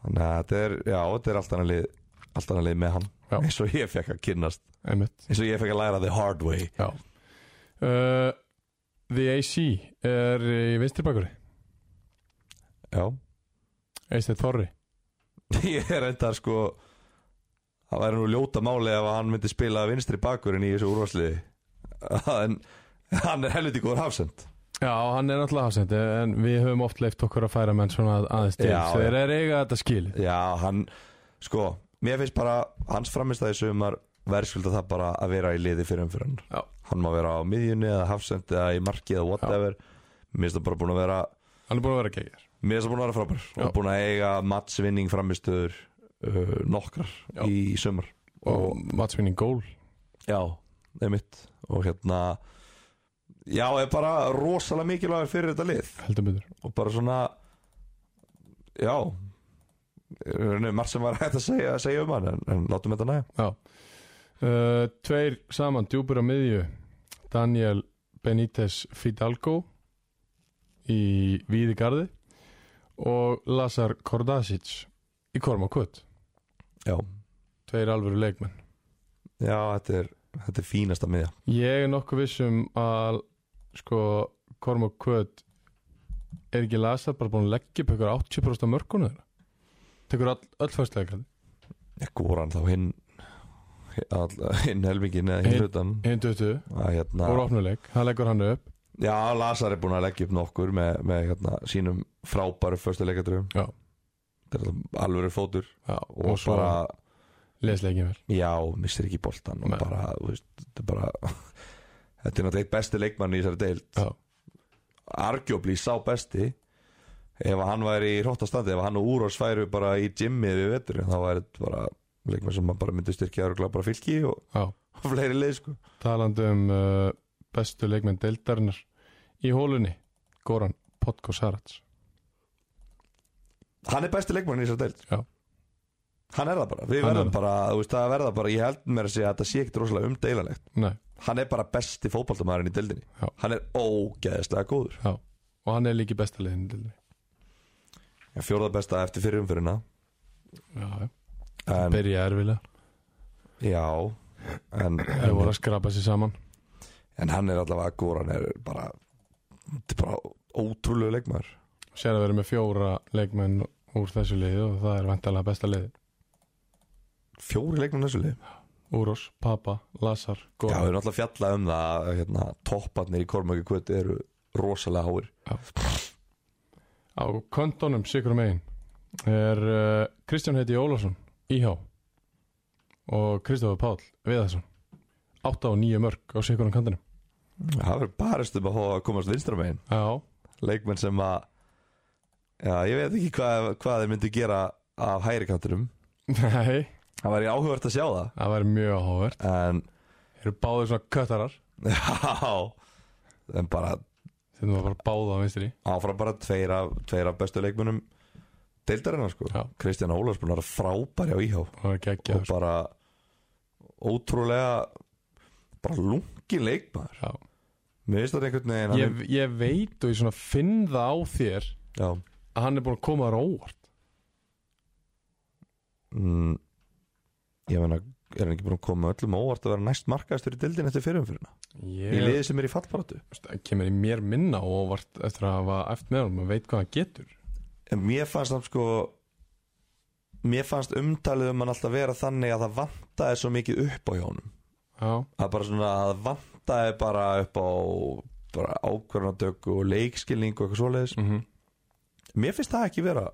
Speaker 2: þannig að þetta er, já, þetta er allt annað lið allt annað lið með hann
Speaker 1: Já.
Speaker 2: eins og ég fekk að kynnast
Speaker 1: Einmitt
Speaker 2: eins og ég fekk að læra the hard way
Speaker 1: Já uh, The AC er í vinstri bakuri
Speaker 2: já,
Speaker 1: Eistedd Þorri
Speaker 2: ég er enda sko það væri nú ljóta máli ef hann myndi spila vinstri bakurinn í þessu úrvarsliði en hann er helviti góður hafsend
Speaker 1: Já, hann er náttúrulega hafsendi En við höfum oft leift okkur að færa menn svona að- aðeins til
Speaker 2: Já,
Speaker 1: Þeir eru eiga þetta skilið
Speaker 2: já, hann, sko mér finnst bara, hans framistæði sumar verðskulda það bara að vera í liði fyrir umfyrir
Speaker 1: Já.
Speaker 2: hann hann má vera á miðjunni eða hafsend eða í marki eða whatever mér finnst það bara búin að vera
Speaker 1: Hann er búin að vera geggjær
Speaker 2: Mér finnst það búin að vera frábær
Speaker 1: Já.
Speaker 2: og búin að eiga mattsvinning framistöður uh, nokkrar
Speaker 1: Já.
Speaker 2: í sumar
Speaker 1: Og matsvinning gól
Speaker 2: já, einmitt og hérna já, er bara rosalega mikilvægur fyrir þetta lið
Speaker 1: heldur betur
Speaker 2: og bara svona já í rauninni margt sem var hægt að segja, segja um hann en, en látum þetta næja
Speaker 1: Já uh, Tveir saman, djúpur á miðju Daniel Benítez Fidalgo í Víði Garði og Lazar Kordasic í Korma Kutt
Speaker 2: já,
Speaker 1: Tveir alvöru leikmenn
Speaker 2: já þetta, er, þetta er fínasta miðja
Speaker 1: Ég er nokkuð viss um að sko Korma Kutt er ekki Lazar bara búin að leggja upp ykkur 80% af mörkunum þeirra tekur all, öll fæstlega
Speaker 2: ég góra hann þá hinn all- hinn helmingin eða hinn
Speaker 1: Hinn-
Speaker 2: hlutan
Speaker 1: hinn 20
Speaker 2: að hérna
Speaker 1: úr opnuleik, hann leggur hann upp
Speaker 2: já, Lazar er búin að leggja upp nokkur með, með hérna, sínum frábæru fyrstu leikadröfum
Speaker 1: Já.
Speaker 2: þetta er alveg fótur
Speaker 1: Já,
Speaker 2: og,
Speaker 1: og svo
Speaker 2: bara,
Speaker 1: lesleikin vel
Speaker 2: já, mistir ekki boltan og
Speaker 1: Nei.
Speaker 2: bara, þú veist, þetta er bara þetta er náttúrulega eitt besti leikmann í þessari deild
Speaker 1: Já,
Speaker 2: arguably sá besti ef að hann væri í hróttastandi ef hann og Úrós væri bara í gymmið við vetur þá væri þetta bara leikmenn sem maður bara myndi styrkja örgulega bara fylki og,
Speaker 1: já
Speaker 2: og fleiri leið sko
Speaker 1: talandi um uh, bestu leikmenn deildarinnar í hólunni Goran Potko Sarats
Speaker 2: hann er besti leikmann í þessar deild
Speaker 1: Já.
Speaker 2: hann er það bara, við
Speaker 1: Hann er
Speaker 2: verðum
Speaker 1: það.
Speaker 2: bara, þú veist, það verða bara ég held mér að segja að þetta sé ekkit rosalega umdeilanlegt
Speaker 1: Nei,
Speaker 2: hann er bara besti fótballtamæðurinn í deildinni
Speaker 1: Já.
Speaker 2: hann er ógeðslega góður
Speaker 1: já og hann er líki besta leiðin deildinni
Speaker 2: fjóða besta eftir fyrir umfyrirna
Speaker 1: já, já.
Speaker 2: en,
Speaker 1: byrja erfilega
Speaker 2: já en,
Speaker 1: þeir
Speaker 2: en,
Speaker 1: voru að skrapa sér saman
Speaker 2: en hann er allavega góður hann er bara, þetta er bara ótrúlegu leikmaður
Speaker 1: sér að vera með fjóra leikmenn úr þessu liði og það er vantalega besta leiði
Speaker 2: fjóri leikmenn í þessu lið
Speaker 1: Úros, Papa, Lazar,
Speaker 2: Já, við
Speaker 1: Goran
Speaker 2: erum alltaf fjallað um það að, hérna, topparnir í Kormöki kvöti eru rosalega háir
Speaker 1: á kontónum sikur megin er uh, Kristján Heiti Ólafsson IH og Kristofur Páll Viðarsson 8 og 9 mörg á sikurum kantinum Mm.
Speaker 2: það verður barist um að fá að komast vinstra megin
Speaker 1: já,
Speaker 2: leikmenn sem að já, ég veit ekki hvað, hvað þeir myndu gera af hægri kantinum
Speaker 1: nei
Speaker 2: það væri áhugavert að sjá það
Speaker 1: Það væri mjög áhugavert
Speaker 2: en,
Speaker 1: Þeir eru báðir svona köttarar
Speaker 2: já en bara
Speaker 1: Þeir eru bara báða á vinstri
Speaker 2: áfram bara tveir af, tveir af bestu leikmennum deildarinnar sko
Speaker 1: Já.
Speaker 2: Kristján Ólafs búin að vera frábæri á íhá
Speaker 1: Það er geggja
Speaker 2: og bara ótrúlega bara lungin leikmaður
Speaker 1: Já.
Speaker 2: Mér finnst þetta einhvern veginn hann
Speaker 1: ég, ég veit og ég svona finn það á þér
Speaker 2: er- Já
Speaker 1: að hann er búin að koma þar á óvart
Speaker 2: mm, Ég meina, er hann ekki búin að koma öllum á óvart að vera næst markaðastur í dildin eftir fyrirumfyrirna Í
Speaker 1: Ég
Speaker 2: liði sem er í fallbaratu
Speaker 1: Veistu, það kemur í mér minna á óvart eftir að hafa eftir með honum og veit hvað hann getur
Speaker 2: En mér fannst hann sko Mér fannst umtalið um hann alltaf vera þannig að það vantaði svo mikið upp á hjónum
Speaker 1: Já,
Speaker 2: Það bara svona, það vantaði bara upp á bara ákvörðanatöku og leikskilning og eitthvað svoleiðis
Speaker 1: mm -hmm.
Speaker 2: Mér finnst það ekki vera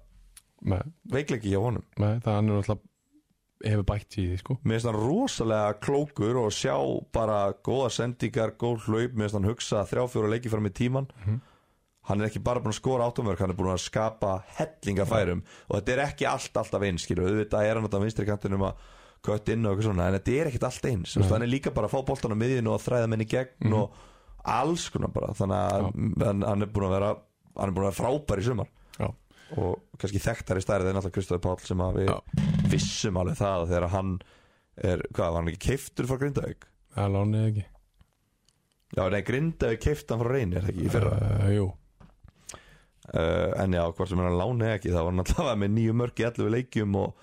Speaker 1: með,
Speaker 2: veikleiki hjá honum
Speaker 1: með, það hann er náttúrulega hefur bætt í því sko
Speaker 2: Mér finnst hann rosalega klókur og sjá bara góða sendingar, góð hlaup, mér finnst hann hugsa þrjá-fjóra leiki fram í tíman.
Speaker 1: Mhm.
Speaker 2: Hann er ekki bara búin að skora áttumörk, hann er búin að skapa hellinga færum og þetta er ekki allt, alltaf eins, skilur. Auðvitað er hann þetta vinstri kantinum að kött inn og eitthvað svona, en þetta er ekkit allt eins. Mm
Speaker 1: Nei.
Speaker 2: Hann er líka bara að fá boltan á miðjunu og þræða menn í gegn
Speaker 1: Mhm.
Speaker 2: og alls konar bara. Þannig að hann, hann er búin að vera, hann er búin að vera frábær í sumar.
Speaker 1: Já.
Speaker 2: Og kannski þekktari stærið er náttúrulega Kristofur Páll sem að við
Speaker 1: Já.
Speaker 2: vissum alveg það að þegar hann er, hvað, var hann ekki keiftur frá Grindavík?
Speaker 1: Það lánið ekki
Speaker 2: Já, nei, Grindavík keifti hann frá reyni, er það ekki, í fyrra
Speaker 1: uh, Jú,
Speaker 2: uh, En já, hvort sem hann láni ekki, það var hann alltaf með nýju mörki allu við leikjum og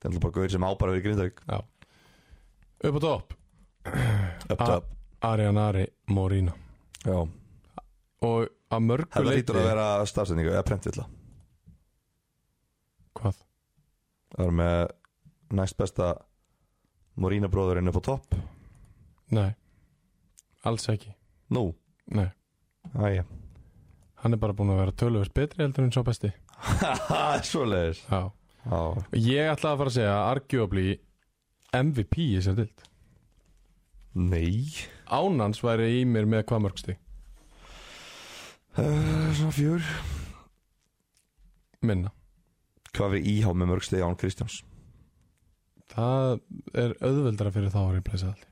Speaker 2: það er alltaf bara gauðir sem ábæra við Grindavík
Speaker 1: upp á topp
Speaker 2: Up to
Speaker 1: Ah.
Speaker 2: up
Speaker 1: Arian Ari Morína
Speaker 2: Já,
Speaker 1: og að mörgu
Speaker 2: þetta lítur að
Speaker 1: leyti-
Speaker 2: vera stafsendingu, eða prentvilla
Speaker 1: Hvað?
Speaker 2: Það er með næst besta Morína bróðurinn upp á topp
Speaker 1: Nei, alls ekki
Speaker 2: Nú,
Speaker 1: Nei,
Speaker 2: æja
Speaker 1: hann er bara búin að vera tölvöld betri heldur en sá besti
Speaker 2: Svoleiðis
Speaker 1: Já.
Speaker 2: Já,
Speaker 1: Ég ætlaði að fara að segja að arguably MVP í sér dild
Speaker 2: nei
Speaker 1: Ánans væri í mér með hvað mörgsti
Speaker 2: uh, Svona fjör
Speaker 1: minna
Speaker 2: Hvað við íhá með mörgstegi án Kristjáns?
Speaker 1: Það er auðveldara fyrir þá að replacea allt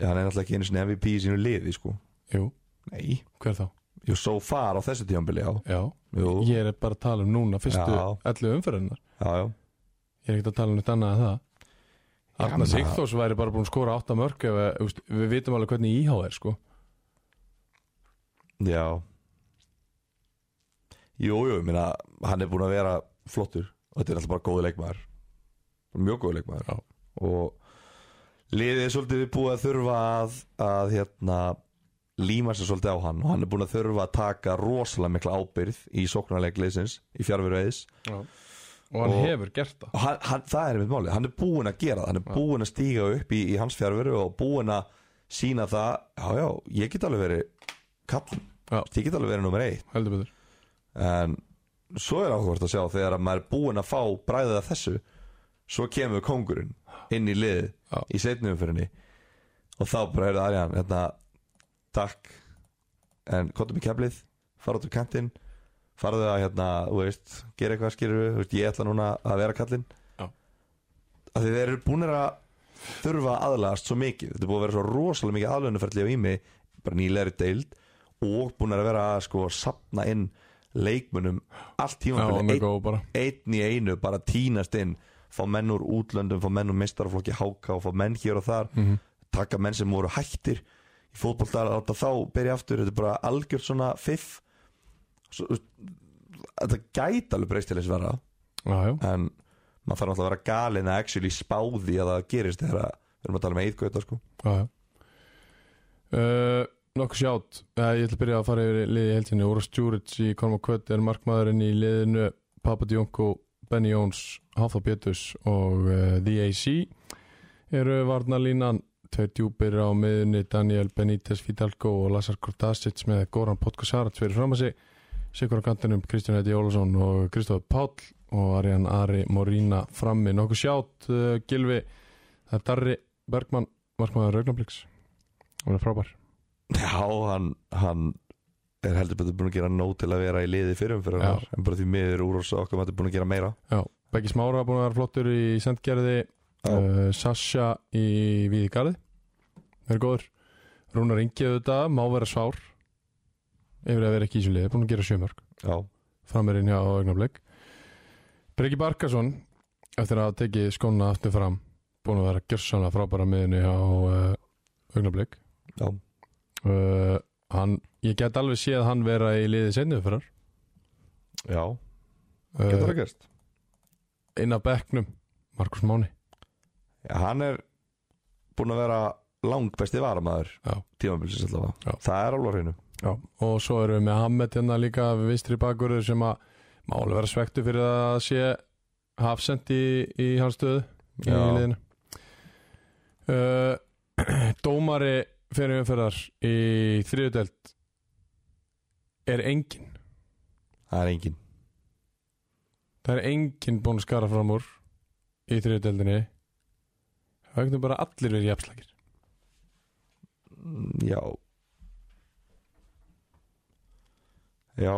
Speaker 2: Já, hann er náttúrulega ekki einu sinni MVP í sínu liði sko
Speaker 1: Jú,
Speaker 2: Nei,
Speaker 1: hver þá?
Speaker 2: jú, so far á þessu tíðanbili, já
Speaker 1: Já,
Speaker 2: Jú,
Speaker 1: ég er bara að tala um núna fyrstu
Speaker 2: Já.
Speaker 1: 11 umferðinnar
Speaker 2: já, já
Speaker 1: Ég er ekkert að tala um eitt annað en það
Speaker 2: Já,
Speaker 1: Arna
Speaker 2: maður-
Speaker 1: Sigþórs væri bara búin að skora 8 mörg ef, eh, þú veist, við vitum alveg hvernig íhá er sko.
Speaker 2: Já Jú, jú, ég meina hann er búin að vera flottur og þetta er alltaf bara góði leikmaður mjög góði leikmaður
Speaker 1: Já.
Speaker 2: og liðið er svolítið búið að þurfa að, að hérna líma sér svolítið á hann og hann er búin að þurfa að taka rosalega mikla ábyrð í sóknarleik liðsins, í fjárveru eðis
Speaker 1: og hann
Speaker 2: Og-
Speaker 1: hefur gert það
Speaker 2: og hann, hann, það er mitt máli, hann er búin að gera það hann er búin að stíga upp í, í hans fjárveru og búin að sína það já, já, ég get alveg verið kall,
Speaker 1: Já.
Speaker 2: ég get alveg verið nummer eitt
Speaker 1: heldur betur
Speaker 2: en svo er áhugavert að sjá þegar að maður er búinn að fá bræðið af þessu svo kemur kongurinn inn í lið
Speaker 1: Já.
Speaker 2: í setni umfyrinni og þá bara er það Arjan hérna, takk en kontum í keflið, fara út úr kantinn farðu að hérna, þú veist gera eitthvað skýrur við, veist, ég ætla núna að vera kallinn
Speaker 1: Já.
Speaker 2: af því þeir eru búinir að þurfa að aðlagast svo mikið, þetta er búið að vera svo rosalega mikið aðlöðnuferðli á ími, bara nýlegri deild og búinir að vera að sko sapna inn leikmunum allt
Speaker 1: Já,
Speaker 2: tímafélagi,
Speaker 1: hann er góð bara
Speaker 2: einn í einu bara tínast inn fá menn úr útlöndum, fá menn úr mistaraflokki háka og fá menn hér og þar
Speaker 1: Mhm.
Speaker 2: taka menn sem voru hættir í fótbolta að láta þá byrja aftur þetta er bara algjör svona fiff Svo, þú veist, þetta gæti alveg breyst til þess vera
Speaker 1: Já, já,
Speaker 2: en maður þarf náttúrulega að vera galin að actually spáði að það gerist þegar að við erum að tala með eitthvað sko.
Speaker 1: já, já. Uh, Nokkuð sjátt uh, Ég ætla að byrja að fara yfir liði heldinni Úra Stjúrits í Korma Kvöt er markmaðurinn í liðinu Papa Djónko, Benny Jóns Háþá Péturs og uh, The AC eru varnalínan tveir djúpir á miðunni Daniel Benítez Fidalgo og Lazar Kortasic með Goran Podkasarats fyrir fram að sig Sigur á kantinum Kristján Eddi Ólafsson og Kristofur Páll og Arjan Ari Morína frammi nokkuð sjátt uh, Gilvi, það er Darri Bergmann markmaður Raugnablikks hann er frábær
Speaker 2: Já, hann, hann er heldur betur búin að gera nóg til að vera í liði fyrir um fyrir hann en bara því miður úr og svo okkar maður er búin að gera meira
Speaker 1: Beggi Smára búin að vera flottur í sendgerði
Speaker 2: Já.
Speaker 1: uh, Sasha í Víðigarði er góður Rúnar Ingi auðvitað, má vera svár yfir að vera ekki í svo liði, búin að gera sjömörk
Speaker 2: Já,
Speaker 1: framirinn hjá augnablik Breki Barkason eftir að hafa tekið skóna aftur fram búin að vera gjörsanna frábæra miðinni hjá uh, augnablik
Speaker 2: já
Speaker 1: uh, hann, ég get alveg séð hann vera í liði seinni fyrir
Speaker 2: Já, getur
Speaker 1: uh,
Speaker 2: það gerst
Speaker 1: inn af bekknum Markus Máni
Speaker 2: Já, hann er búin að vera langbesti varamaður
Speaker 1: Já. Já.
Speaker 2: tímabilsins allavega Það er alveg á hreinu
Speaker 1: Já. og svo erum við með Hamed hérna líka við vinstri bakurður sem að má alveg vera svektu fyrir að það sé hafsend í, í hans stöðu í
Speaker 2: Já.
Speaker 1: liðinu uh, Dómari fyrir umferðar í þriðudelt er engin
Speaker 2: Það er engin
Speaker 1: það er engin búin að skara fram úr í þriðudeldinni það er ekki bara allir verið jafnslækir
Speaker 2: Mm, Já Já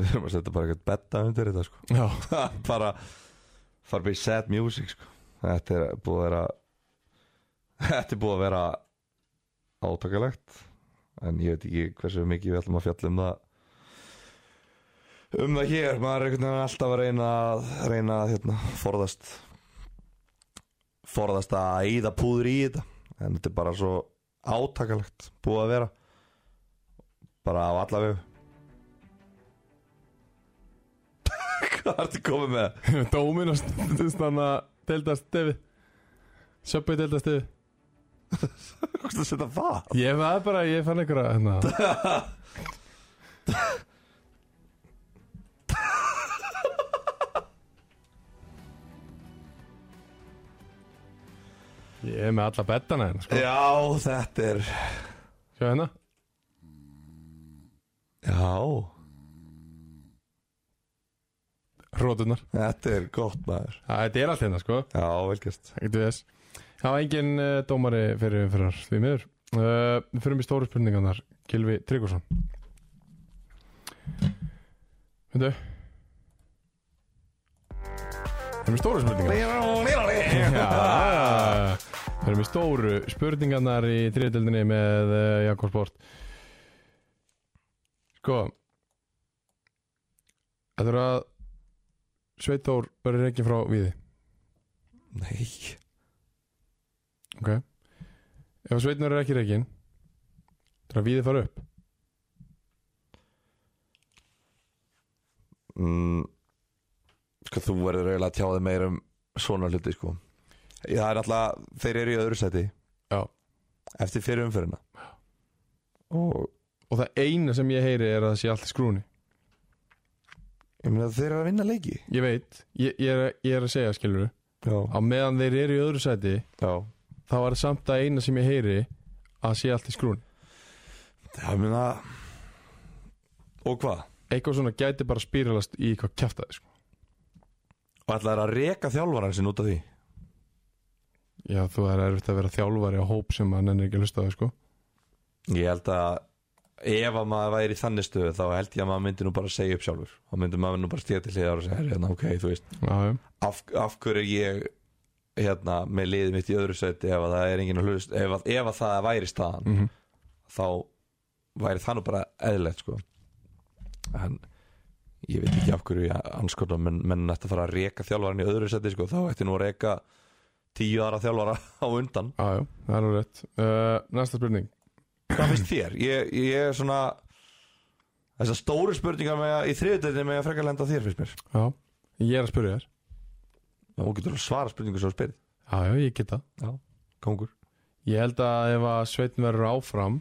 Speaker 2: Við erum að setja bara eitthvað betta undir þetta sko
Speaker 1: Já,
Speaker 2: bara fara bara í sad music sko. þetta er búið að vera þetta er búið að vera átakalegt en ég veit ekki hversu mikið við ætlum að fjalla um það um það hér, maður er einhvern veginn alltaf að reyna að reyna að hérna, forðast forðast að eyða púður í þetta en þetta er bara svo átakalegt búið að vera bara á alla vegu hvað ertu komið með?
Speaker 1: dómin og stundstanna deildast stefið Söpbið deildast stefið
Speaker 2: Hvað er að setja það?
Speaker 1: Ég var bara, ég fann einhverja hérna. Ég er með alla bettana hérna sko.
Speaker 2: Já, þetta er
Speaker 1: Sjá hérna
Speaker 2: Já,
Speaker 1: Rótunar
Speaker 2: þetta er gott maður
Speaker 1: Þetta er allt hérna sko
Speaker 2: Já, velkjast
Speaker 1: Ekkert við þess Það var engin uh, dómari fyrir umfyrir því miður uh, Við fyrir mér stóru spurningarnar Gilvi Tryggvason Veitu Fyrir mér stóru spurningarnar Já, Það förum í stóru spurningarnar í þriðdeldinni með uh, Jakob Sport Sko Þetta er að Sveitór verður ekki frá viði
Speaker 2: Nei
Speaker 1: Ok Ef Sveitnur er ekki reikin Það er að víði fara upp
Speaker 2: mm, Sko þú verður eiginlega að tjáði meir um svona hluti sko Já, það er alltaf, þeir eru í öðru seti
Speaker 1: Já.
Speaker 2: Eftir fyrir umfyrirna Og
Speaker 1: Og það eina sem ég heyri er að það sé allt í skrúni
Speaker 2: ég meina þeir eru að vinna leiki
Speaker 1: Ég veit, ég, ég, er, ég er að segja skilur
Speaker 2: Já,
Speaker 1: Á meðan þeir eru í öðru sæti
Speaker 2: já
Speaker 1: Þá er samt að eina sem ég heyri Að sé allt í skrúni
Speaker 2: Það meina Og hvað?
Speaker 1: Eitthvað svona gæti bara spýralast í eitthvað kjaftaði sko.
Speaker 2: Og ætlaði að reka þjálfaran sinn út af því
Speaker 1: Já, þú er erfitt að vera þjálfari á hóp sem að nennir ekki að hlusta á það sko.
Speaker 2: Ég held að ef að maður væri í þannig stöðu þá held ég að maður myndi nú bara segja upp sjálfur þá myndi maður nú bara stíða til hliðar og segja hérna, ok, þú veist,
Speaker 1: Já, já,
Speaker 2: af, af hverju er ég hérna, með liðið mitt í öðru sæti ef að það er enginn að hlust ef að, ef að það væri staðan
Speaker 1: Mhm.
Speaker 2: þá væri það nú bara eðlilegt sko en ég veit ekki af hverju anskota menn, menn ætti að fara að reka þjálfaran í öðru sæti sko, þá ætti nú að reka tíu aðra þjálfara á undan
Speaker 1: já, já, það er alveg rétt uh, Næsta spurning
Speaker 2: Hvað finnst þér? Ég, ég er svona Þessar stóru spurningar með að í þriðutöðinni með að frekar lenda á þér fyrst mér
Speaker 1: Já, ég er að spyrja þér
Speaker 2: og hún getur alveg svara spurningu sem þú spyrir
Speaker 1: Já, já, ég get það
Speaker 2: Kongur
Speaker 1: Ég held að ef að sveitin verður áfram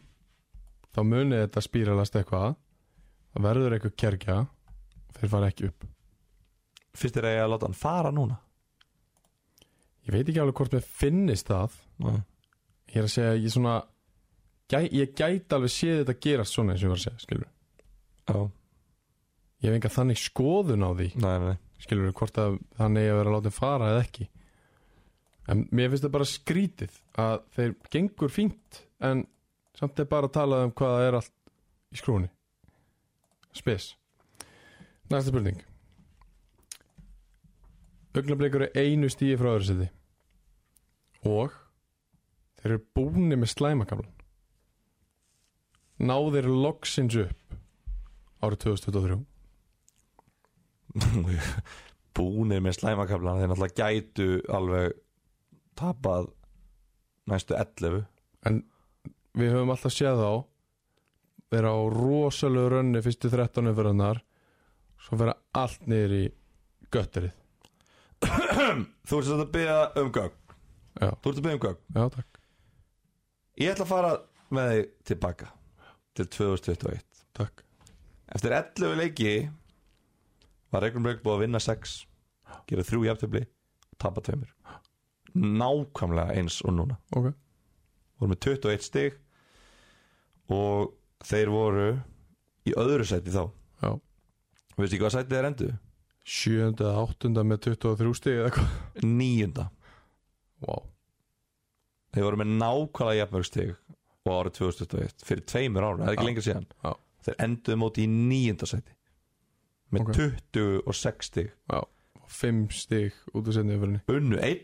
Speaker 1: þá muni þetta spíralast eitthvað það verður eitthvað kerkja þeir fara ekki upp
Speaker 2: Fyrst er að ég að láta hann fara núna
Speaker 1: Ég veit ekki alveg hvort mér finnist það
Speaker 2: Nei.
Speaker 1: ég er að segja, ég svona gæ, ég gæti alveg séð þetta gerast svona eins og ég var að segja, skilur
Speaker 2: Já
Speaker 1: ég hef enga þannig skoðun á því
Speaker 2: Nei, nei, nei
Speaker 1: skilur, hvort að þannig að vera látið fara eða ekki en mér finnst það bara skrítið að þeir gengur fínt en samt er bara að tala um hvað það er allt í skrúni spes næsta spurning augnablikur er einu stíi frá öðru seti og þeir eru búni með slæmakamlan náðir loksins upp árið 2023
Speaker 2: Búnir með slæmakaflana þeir náttúrulega gætu alveg tapað næstu 11
Speaker 1: við höfum alltaf séð á vera á rosalegu rönni fyrstu 13 umferðarnar svo vera allt niður í götterið
Speaker 2: Þú ert sem sagt að byrja um gögn
Speaker 1: já,
Speaker 2: Þú ert að byrja um gögn
Speaker 1: já takk,
Speaker 2: Ég ætla að fara með þig tilbaka til 2021
Speaker 1: takk
Speaker 2: Eftir 11 leiki var Reykjum Brygg búið að vinna 6 gera 3 jafntöfli og tapa 2 nákvæmlega eins og núna
Speaker 1: ok,
Speaker 2: voru með 21 stig og þeir voru í öðru sæti þá
Speaker 1: já
Speaker 2: veistu ekki hvað sæti þeir endu?
Speaker 1: sjönda eða áttunda með 23 stig eða eitthvað
Speaker 2: Níunda
Speaker 1: wow.
Speaker 2: þeir voru með nákvæmlega jafnmörg stig og árið 2021 fyrir tveimur ára, það er ekki
Speaker 1: Já.
Speaker 2: lengur síðan
Speaker 1: Já.
Speaker 2: þeir enduðu móti í níunda sæti með
Speaker 1: Ok.
Speaker 2: 26 stig
Speaker 1: fimm stig út af setni umferðinni
Speaker 2: unnu 1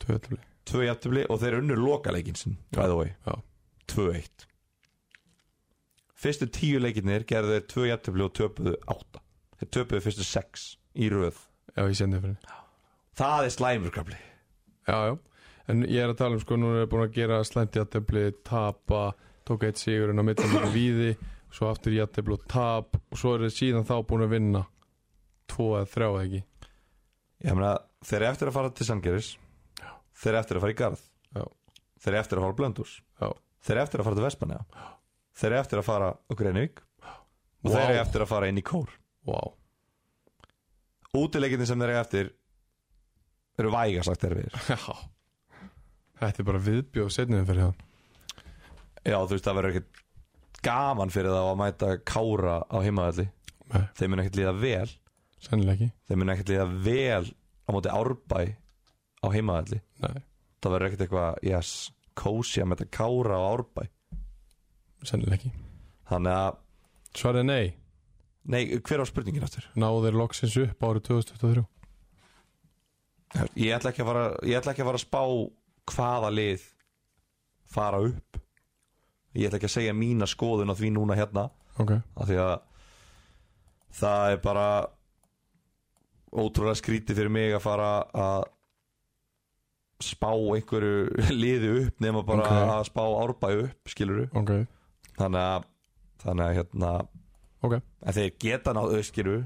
Speaker 1: tveitli,
Speaker 2: tvö jafntefli og þeir unnu lokaleikin sin by the way,
Speaker 1: Já.
Speaker 2: 2-1 fyrstu tíu leikinir gerðu þeir tvö jafntefli og töpuðu átta þeir töpuðu fyrstu sex í röð
Speaker 1: já í setni umferðinni
Speaker 2: það er slæmur kafli
Speaker 1: já, já, en ég er að tala um sko núna er búin að gera slæmt jættefli, tapa tók eitt sigurinn á mittum og víði svo aftur jættefli og tap og svo er þeir síðan þá búin að vinna tvo eða þrjá eða ekki
Speaker 2: ég meina þeir eru eftir að fara til Sangeris þeir eru eftir að fara í Garð
Speaker 1: Já.
Speaker 2: þeir eru eftir að fara á blöndurs
Speaker 1: Já.
Speaker 2: þeir eru eftir að fara til Vestmanna þeir eru eftir að fara á Greinvík og þeir eru
Speaker 1: Vá.
Speaker 2: eftir að fara inn í Kór
Speaker 1: Wow.
Speaker 2: útileikinir sem þeir eru eftir eru vægasagt erfiðir
Speaker 1: Já Þetta er bara viðbjóð setnum fyrir það
Speaker 2: Já, þú veist, það verður ekkert gaman fyrir þá að mæta kára á heimaðalli
Speaker 1: Nei.
Speaker 2: Þeim mun ekkert líða vel
Speaker 1: Sennilega ekki
Speaker 2: Þeim mun ekkert líða vel á móti árbæ á heimaðalli
Speaker 1: Nei,
Speaker 2: Það verður ekkert eitthvað, yes, kósi að mæta kára á árbæ
Speaker 1: sennilega ekki
Speaker 2: Þannig að,
Speaker 1: Svarið er nei,
Speaker 2: nei, hver var spurningin aftur?
Speaker 1: náðu þeir loksins upp árið 2023
Speaker 2: Ég ætla ekki að fara, ég ætla ekki að, fara að spá hvaða lið fara upp ég ætla ekki að segja mína skoðun á því núna hérna
Speaker 1: ok
Speaker 2: af því að það er bara ótrúlega skrítið fyrir mig að fara að spá einhverju liði upp nema bara
Speaker 1: Ok.
Speaker 2: að spá árbæ upp skiluru
Speaker 1: Ok,
Speaker 2: þannig að, þannig að hérna
Speaker 1: ok
Speaker 2: en þeir geta náð öskiru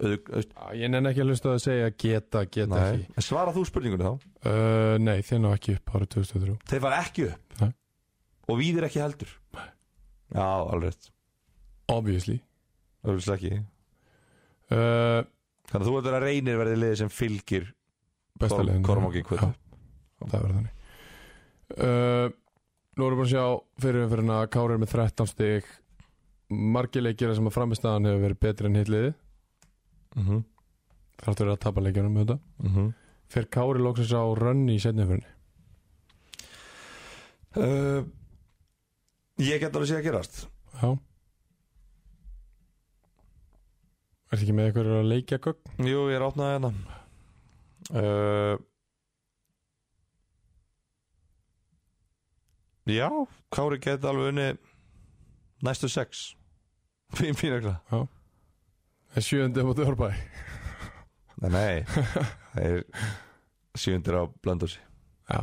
Speaker 1: Ég nenni ekki að hlusta að segja geta, geta
Speaker 2: Nei.
Speaker 1: ekki
Speaker 2: En svara þú spurningunni þá
Speaker 1: uh, Nei, þeir ná ekki upp árið 2003
Speaker 2: þeir fara ekki upp
Speaker 1: Nei.
Speaker 2: og víðir ekki heldur já, alveg rétt.
Speaker 1: Obviously
Speaker 2: Örugglega ekki.
Speaker 1: uh,
Speaker 2: þannig að þú ert að reynir verði liði sem fylgir
Speaker 1: Besta
Speaker 2: Korm-
Speaker 1: leiðin
Speaker 2: Kormáki kvöt.
Speaker 1: Já, það verður þannig uh, Nú erum við búin að sjá fyrir umfyrirna Kári er með 13 stig Margi leikir sem að framistæðan hefur verið betri en hitliði
Speaker 2: mm -hmm.
Speaker 1: Þáttur er að tapa leikjunum með þetta
Speaker 2: Mm -hmm.
Speaker 1: Fyrir Kári lóksins á rönni í setni umfyrinni
Speaker 2: Uh, ég get alveg séð að gerast
Speaker 1: Já Ertu ekki með eitthvað að leikja gögn?
Speaker 2: Jú, ég er átnaði hérna uh, Já, Kári get alveg unni næstu sex Fín fín ekki
Speaker 1: En sjöndi á móti Árbæ
Speaker 2: Nei, nei Það er sjöndir á blöndursi
Speaker 1: Já,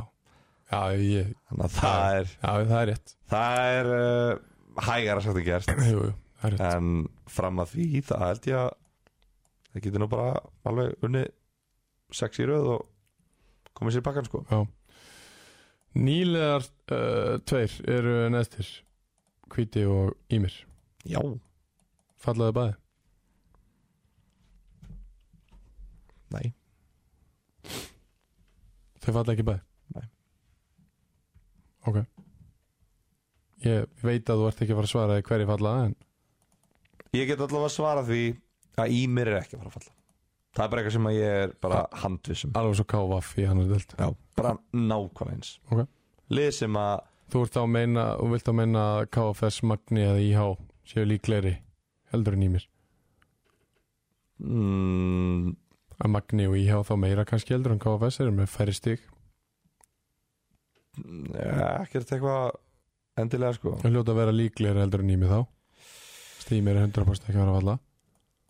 Speaker 1: já, ég,
Speaker 2: Þannig að það er
Speaker 1: já það er rétt
Speaker 2: Það er uh, hægara sagt að gerst
Speaker 1: Jú, jú, það er rétt
Speaker 2: En fram að því það held ég að Það getur nú bara alveg unni sex í röð og komið sér í pakkan sko
Speaker 1: Nýlegar uh, tveir eru næstir Hvíti og Ímir
Speaker 2: Já
Speaker 1: Fallaði bæði
Speaker 2: Nei.
Speaker 1: Þau falla ekki bæði
Speaker 2: Nei.
Speaker 1: Ok Ég veit að þú ert ekki að fara að svara því hverju falla en
Speaker 2: Ég get allavega svara því að Ímir er ekki að fara að falla Það er bara eitthvað sem að ég er bara handvissum
Speaker 1: alveg svo kávaf í hann er delt
Speaker 2: Já, bara nákvæm eins
Speaker 1: Ok.
Speaker 2: Lið sem að
Speaker 1: Þú ert þá að meina og vilt að meina að KFS Magni eða IH séu líklegri heldur en Ímir
Speaker 2: mm,
Speaker 1: að Magni og IH þá meira kannski heldur en KFS eru með færri stig
Speaker 2: ja, Ekkert eitthvað endilega sko
Speaker 1: Það hljóta að vera líklegri heldur en Ímir þá Stímir er 100% ekki að vera að falla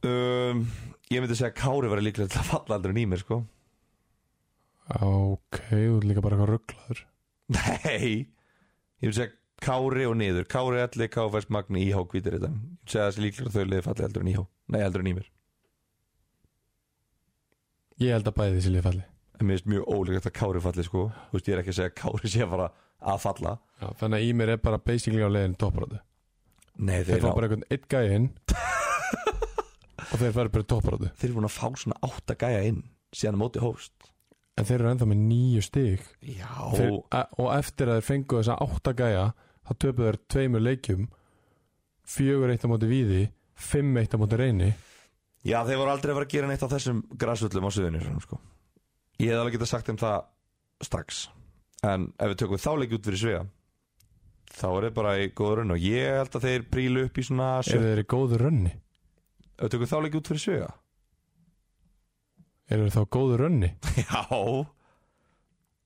Speaker 2: um, Ég myndi segja að Kári verið líklega til að falla aldrei en Ímir sko
Speaker 1: Ok, þú ert líka bara eitthvað rugglaður
Speaker 2: Nei Ég myndi segja Kári og niður Kári allir, KFS, Magni, IH, Hvítir þetta Ég myndi segja að þessi líklega þau liði falli aldrei en IH Nei, aldrei en Ímir
Speaker 1: Ég held að bæði þessi liði falli
Speaker 2: En mér finnst mjög ólíklegt að Kári falli sko Þú veist, ég er ekki að segja að Kári sé bara að falla
Speaker 1: Já, Þannig að Ímir er bara basically á leiðinu topparöðu
Speaker 2: Nei,
Speaker 1: Þeir
Speaker 2: ná-
Speaker 1: fá bara einhvern eitt gæja inn og þeir fara bara topparöðu
Speaker 2: þeir eru búin að fá svona átta gæja inn síðan á móti hóst
Speaker 1: En þeir eru ennþá með nýju stig
Speaker 2: já,
Speaker 1: þeir, a- og eftir að þeir fengu þessa átta gæja þá töpuðu þeir tveimur leikjum fjögur eitt á móti víði fimm eitt á móti reyni
Speaker 2: já þeir voru aldrei að fara að gera neitt á þessum græsvöllum á suðunni sko. ég hef alveg getað sagt þeim það strax en ef við tökum þá leik út fyrir svega þá er þeir bara í góður raun og ég held að þeir prílu upp í svona sjö...
Speaker 1: eru þeir í góðu rönni
Speaker 2: ef við tökum þá leik út fyrir svega
Speaker 1: eru þeir þá góðu rönni
Speaker 2: já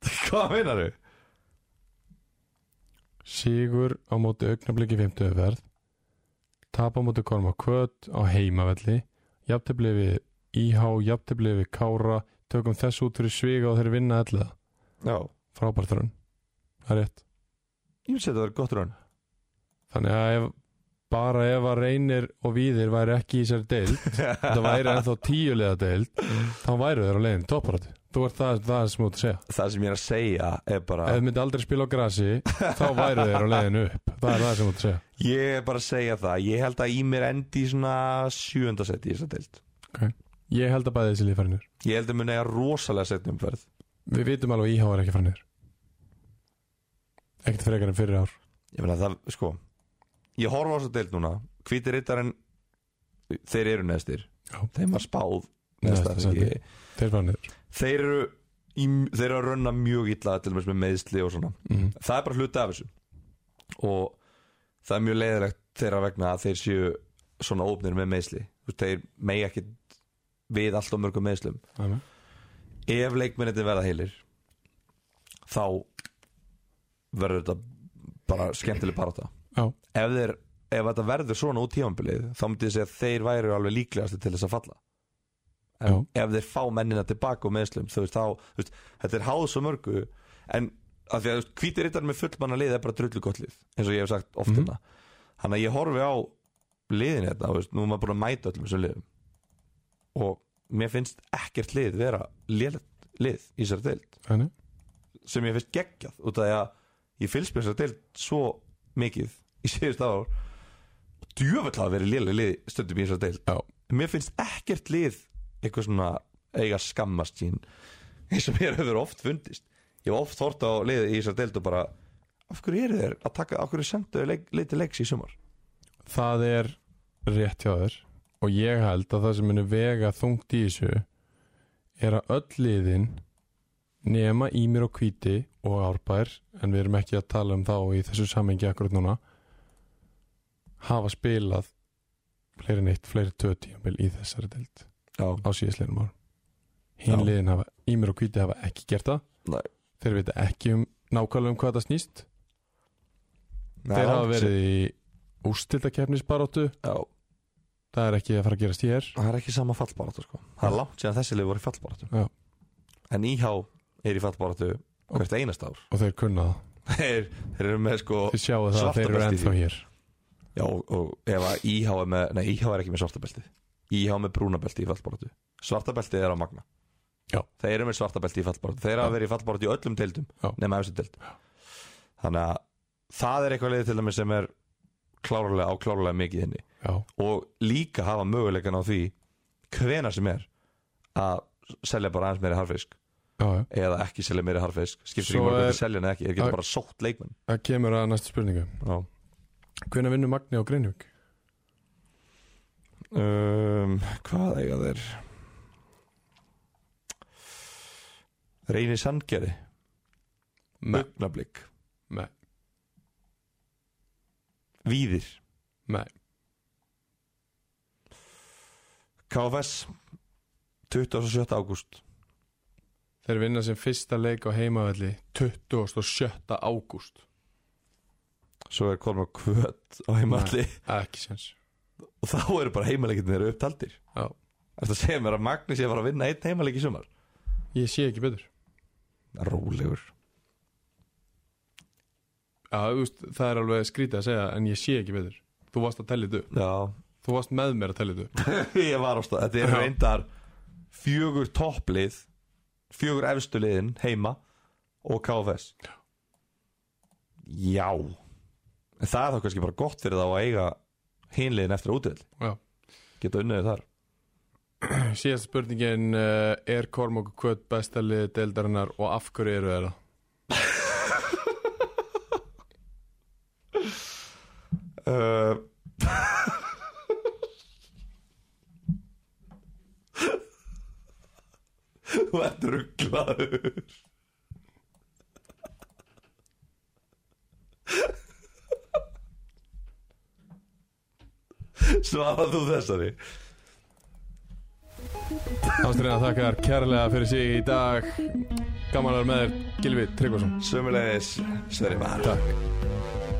Speaker 2: hvað meinar þau?
Speaker 1: sigur á móti augnabliki 50 verð tap á móti korma kvöt á heimavelli jafntefli við IH jafntefli við Kára tökum þess út fyrir sviga og þeir vinna allega
Speaker 2: já,
Speaker 1: frábært rönn það er rétt
Speaker 2: ég vil setja það er gott raun
Speaker 1: þannig að ef, bara ef að reynir og víðir væri ekki í sér deil þetta væri ennþá tíulega deild þá væru þeir á leiðin topparati þú ert það, það er sem þú ert að segja
Speaker 2: það sem ég er að segja er bara
Speaker 1: ef þið myndi aldrei spila á grasi þá væru þeir á leiðin upp það er það sem þú ert að segja
Speaker 2: Ég er bara að segja það Ég held að í mér endi í svona sjöunda seti í þessa deild
Speaker 1: ég held að bæði þessi líf farinur
Speaker 2: Ég held að mun eiga rosalega setni umferð
Speaker 1: við vitum alveg að IH er ekki farinur ekkert frekar en fyrir ár
Speaker 2: Ég meina það, sko Ég horfa á þessa deild núna Hvítir rittarinn Þeir eru neðstir
Speaker 1: Já.
Speaker 2: Þeim var spáð
Speaker 1: Neðsta
Speaker 2: neðsta,
Speaker 1: sæti.
Speaker 2: ekki?
Speaker 1: þeir farinur
Speaker 2: Þeir eru í, Þeir eru að runna mjög illa Til dæmis með meðsli og svona
Speaker 1: mm.
Speaker 2: Það er bara hluti af þessu Og það er mjög leiðilegt þeirra vegna að þeir séu Svona ópnir með meðsli Þeir megi ekki við allt og mörgum meðslum
Speaker 1: Þannig.
Speaker 2: ef leikmennir verða heilir þá verður þetta bara skemmtileg parata
Speaker 1: Já,
Speaker 2: ef, þeir, ef þetta verður svona út tímanbilið þá myndi ég segja að þeir væri alveg líklegasti til þess að falla en ef þeir fá mennina tilbaka og meðslum þú veist, þá, þú veist, þetta er háð svo mörgu en að því að þú veist, hvítir rittar með fullmanna lið er bara drullu gott lið eins og ég hef sagt oft
Speaker 1: Mhm.
Speaker 2: hérna þannig að ég horfi á liðin þetta, þú veist, nú er maður búin að mæta öllum þessum liðum og mér finnst ekkert lið vera lélegt lið í sér deild
Speaker 1: þannig
Speaker 2: sem ég finnst geggjað út af því að ég fylgst með þessar deild svo mikið í síðust ár og djöfell hafa verið lélega lið stundum í þessar deild
Speaker 1: Já.
Speaker 2: En mér finnst ekkert lið eitthvað svona eiga að skammast sín eins og mér hefur oft fundist ég hef oft hort á lið í þessar deild og bara af hverju eru þeir að taka, af hverju sendu leik, lið til leiks í sumar
Speaker 1: Það er rétt hjá þér og ég held að það sem muni vega þungt í þessu er að öll liðin nema í mér og hvíti og árbær en við erum ekki að tala um þá í þessu samengi akkurat núna hafa spilað fleiri neitt, fleiri tvö tíambil í þessari deild
Speaker 2: Já,
Speaker 1: á síðisleirum árum
Speaker 2: Já.
Speaker 1: hinn liðin hafa, í mér og hvíti hafa ekki gert það
Speaker 2: Nei.
Speaker 1: þeir vita ekki um nákvæmlega um hvað það snýst
Speaker 2: Nei,
Speaker 1: þeir hafa
Speaker 2: það-
Speaker 1: verið í úrstiltakefnisbaróttu
Speaker 2: Já,
Speaker 1: það er ekki að fara að gerast hér
Speaker 2: það er ekki sama fallbaratu sko Það er langt síðan þessi lið voru í fallbaratu
Speaker 1: Já.
Speaker 2: En IH er í fallbaratu hvert einast ár
Speaker 1: og þeir kunna það
Speaker 2: þeir, þeir eru með sko
Speaker 1: Þið sjáu það að
Speaker 2: Svarta
Speaker 1: þeir eru
Speaker 2: beltið í
Speaker 1: ennþá hér
Speaker 2: Já, og, og ef að IH er með Nei, IH er ekki með svartabelti IH er með brúnabelti í fallbaratu Svartabelti er á magna
Speaker 1: Já.
Speaker 2: Þeir eru með svartabelti í fallbaratu Þeir
Speaker 1: Já.
Speaker 2: hafa verið í fallbaratu í öllum deildum
Speaker 1: Já.
Speaker 2: Nema efstu deild Þannig að það er eitthvað leið til dæmis sem er klárlega á klárlega mikið henni
Speaker 1: Já,
Speaker 2: og líka hafa möguleikan á því hvena sem er að selja bara aðeins meiri harfisk
Speaker 1: já, já
Speaker 2: eða ekki selja meiri harfisk skiptir
Speaker 1: Svo
Speaker 2: ekki mörgum
Speaker 1: er-
Speaker 2: til selja en ekki, þeir
Speaker 1: Já.
Speaker 2: getur bara sótt leikmenn
Speaker 1: Það kemur að næstu spurningu
Speaker 2: Já.
Speaker 1: Hvenær vinnur Magni á Greinvík?
Speaker 2: um, Hvað eiga þeir? Reyni Sandgerði
Speaker 1: Nei.
Speaker 2: Augnablík
Speaker 1: Nei.
Speaker 2: Víðir
Speaker 1: Nei.
Speaker 2: KFS 27. ágúst
Speaker 1: Þeir vinna sem fyrsta leik á heimavelli 27. ágúst
Speaker 2: Svo er Kolmar Kvöt á heimalli
Speaker 1: Ekki sens
Speaker 2: Og þá eru bara heimaleikirnir eru upptaldir
Speaker 1: Já.
Speaker 2: Þetta segir mér að Magnús ég var að vinna einn heimaleik í sumar
Speaker 1: Ég sé ekki betur
Speaker 2: Rólegur
Speaker 1: Já, þú veist, það er alveg skrítið að segja en ég sé ekki betur Þú varst að tellja þetta upp.
Speaker 2: Já,
Speaker 1: Þú varst með mér að tellja þetta upp.
Speaker 2: ég var á stað Þetta er
Speaker 1: Já.
Speaker 2: reyndar fjögur topplið Fjögur efstu liðin heima Og KFS Já En það er þá kannski bara gott fyrir þá að eiga Hinliðin eftir útvöld
Speaker 1: Já.
Speaker 2: Geta unnið þar
Speaker 1: Síðasta spurningin uh, Er Kormok og Kvöt besta liði deildarinnar og af hverju eru þeirra?
Speaker 2: uh, Þú ert rugglaður Svarað þú þessari
Speaker 1: Ástriðan þakkar kærlega fyrir sig í dag Gaman að vera með þér Gilvi Tryggvason
Speaker 2: Sömulegis Sverri Maður
Speaker 1: Takk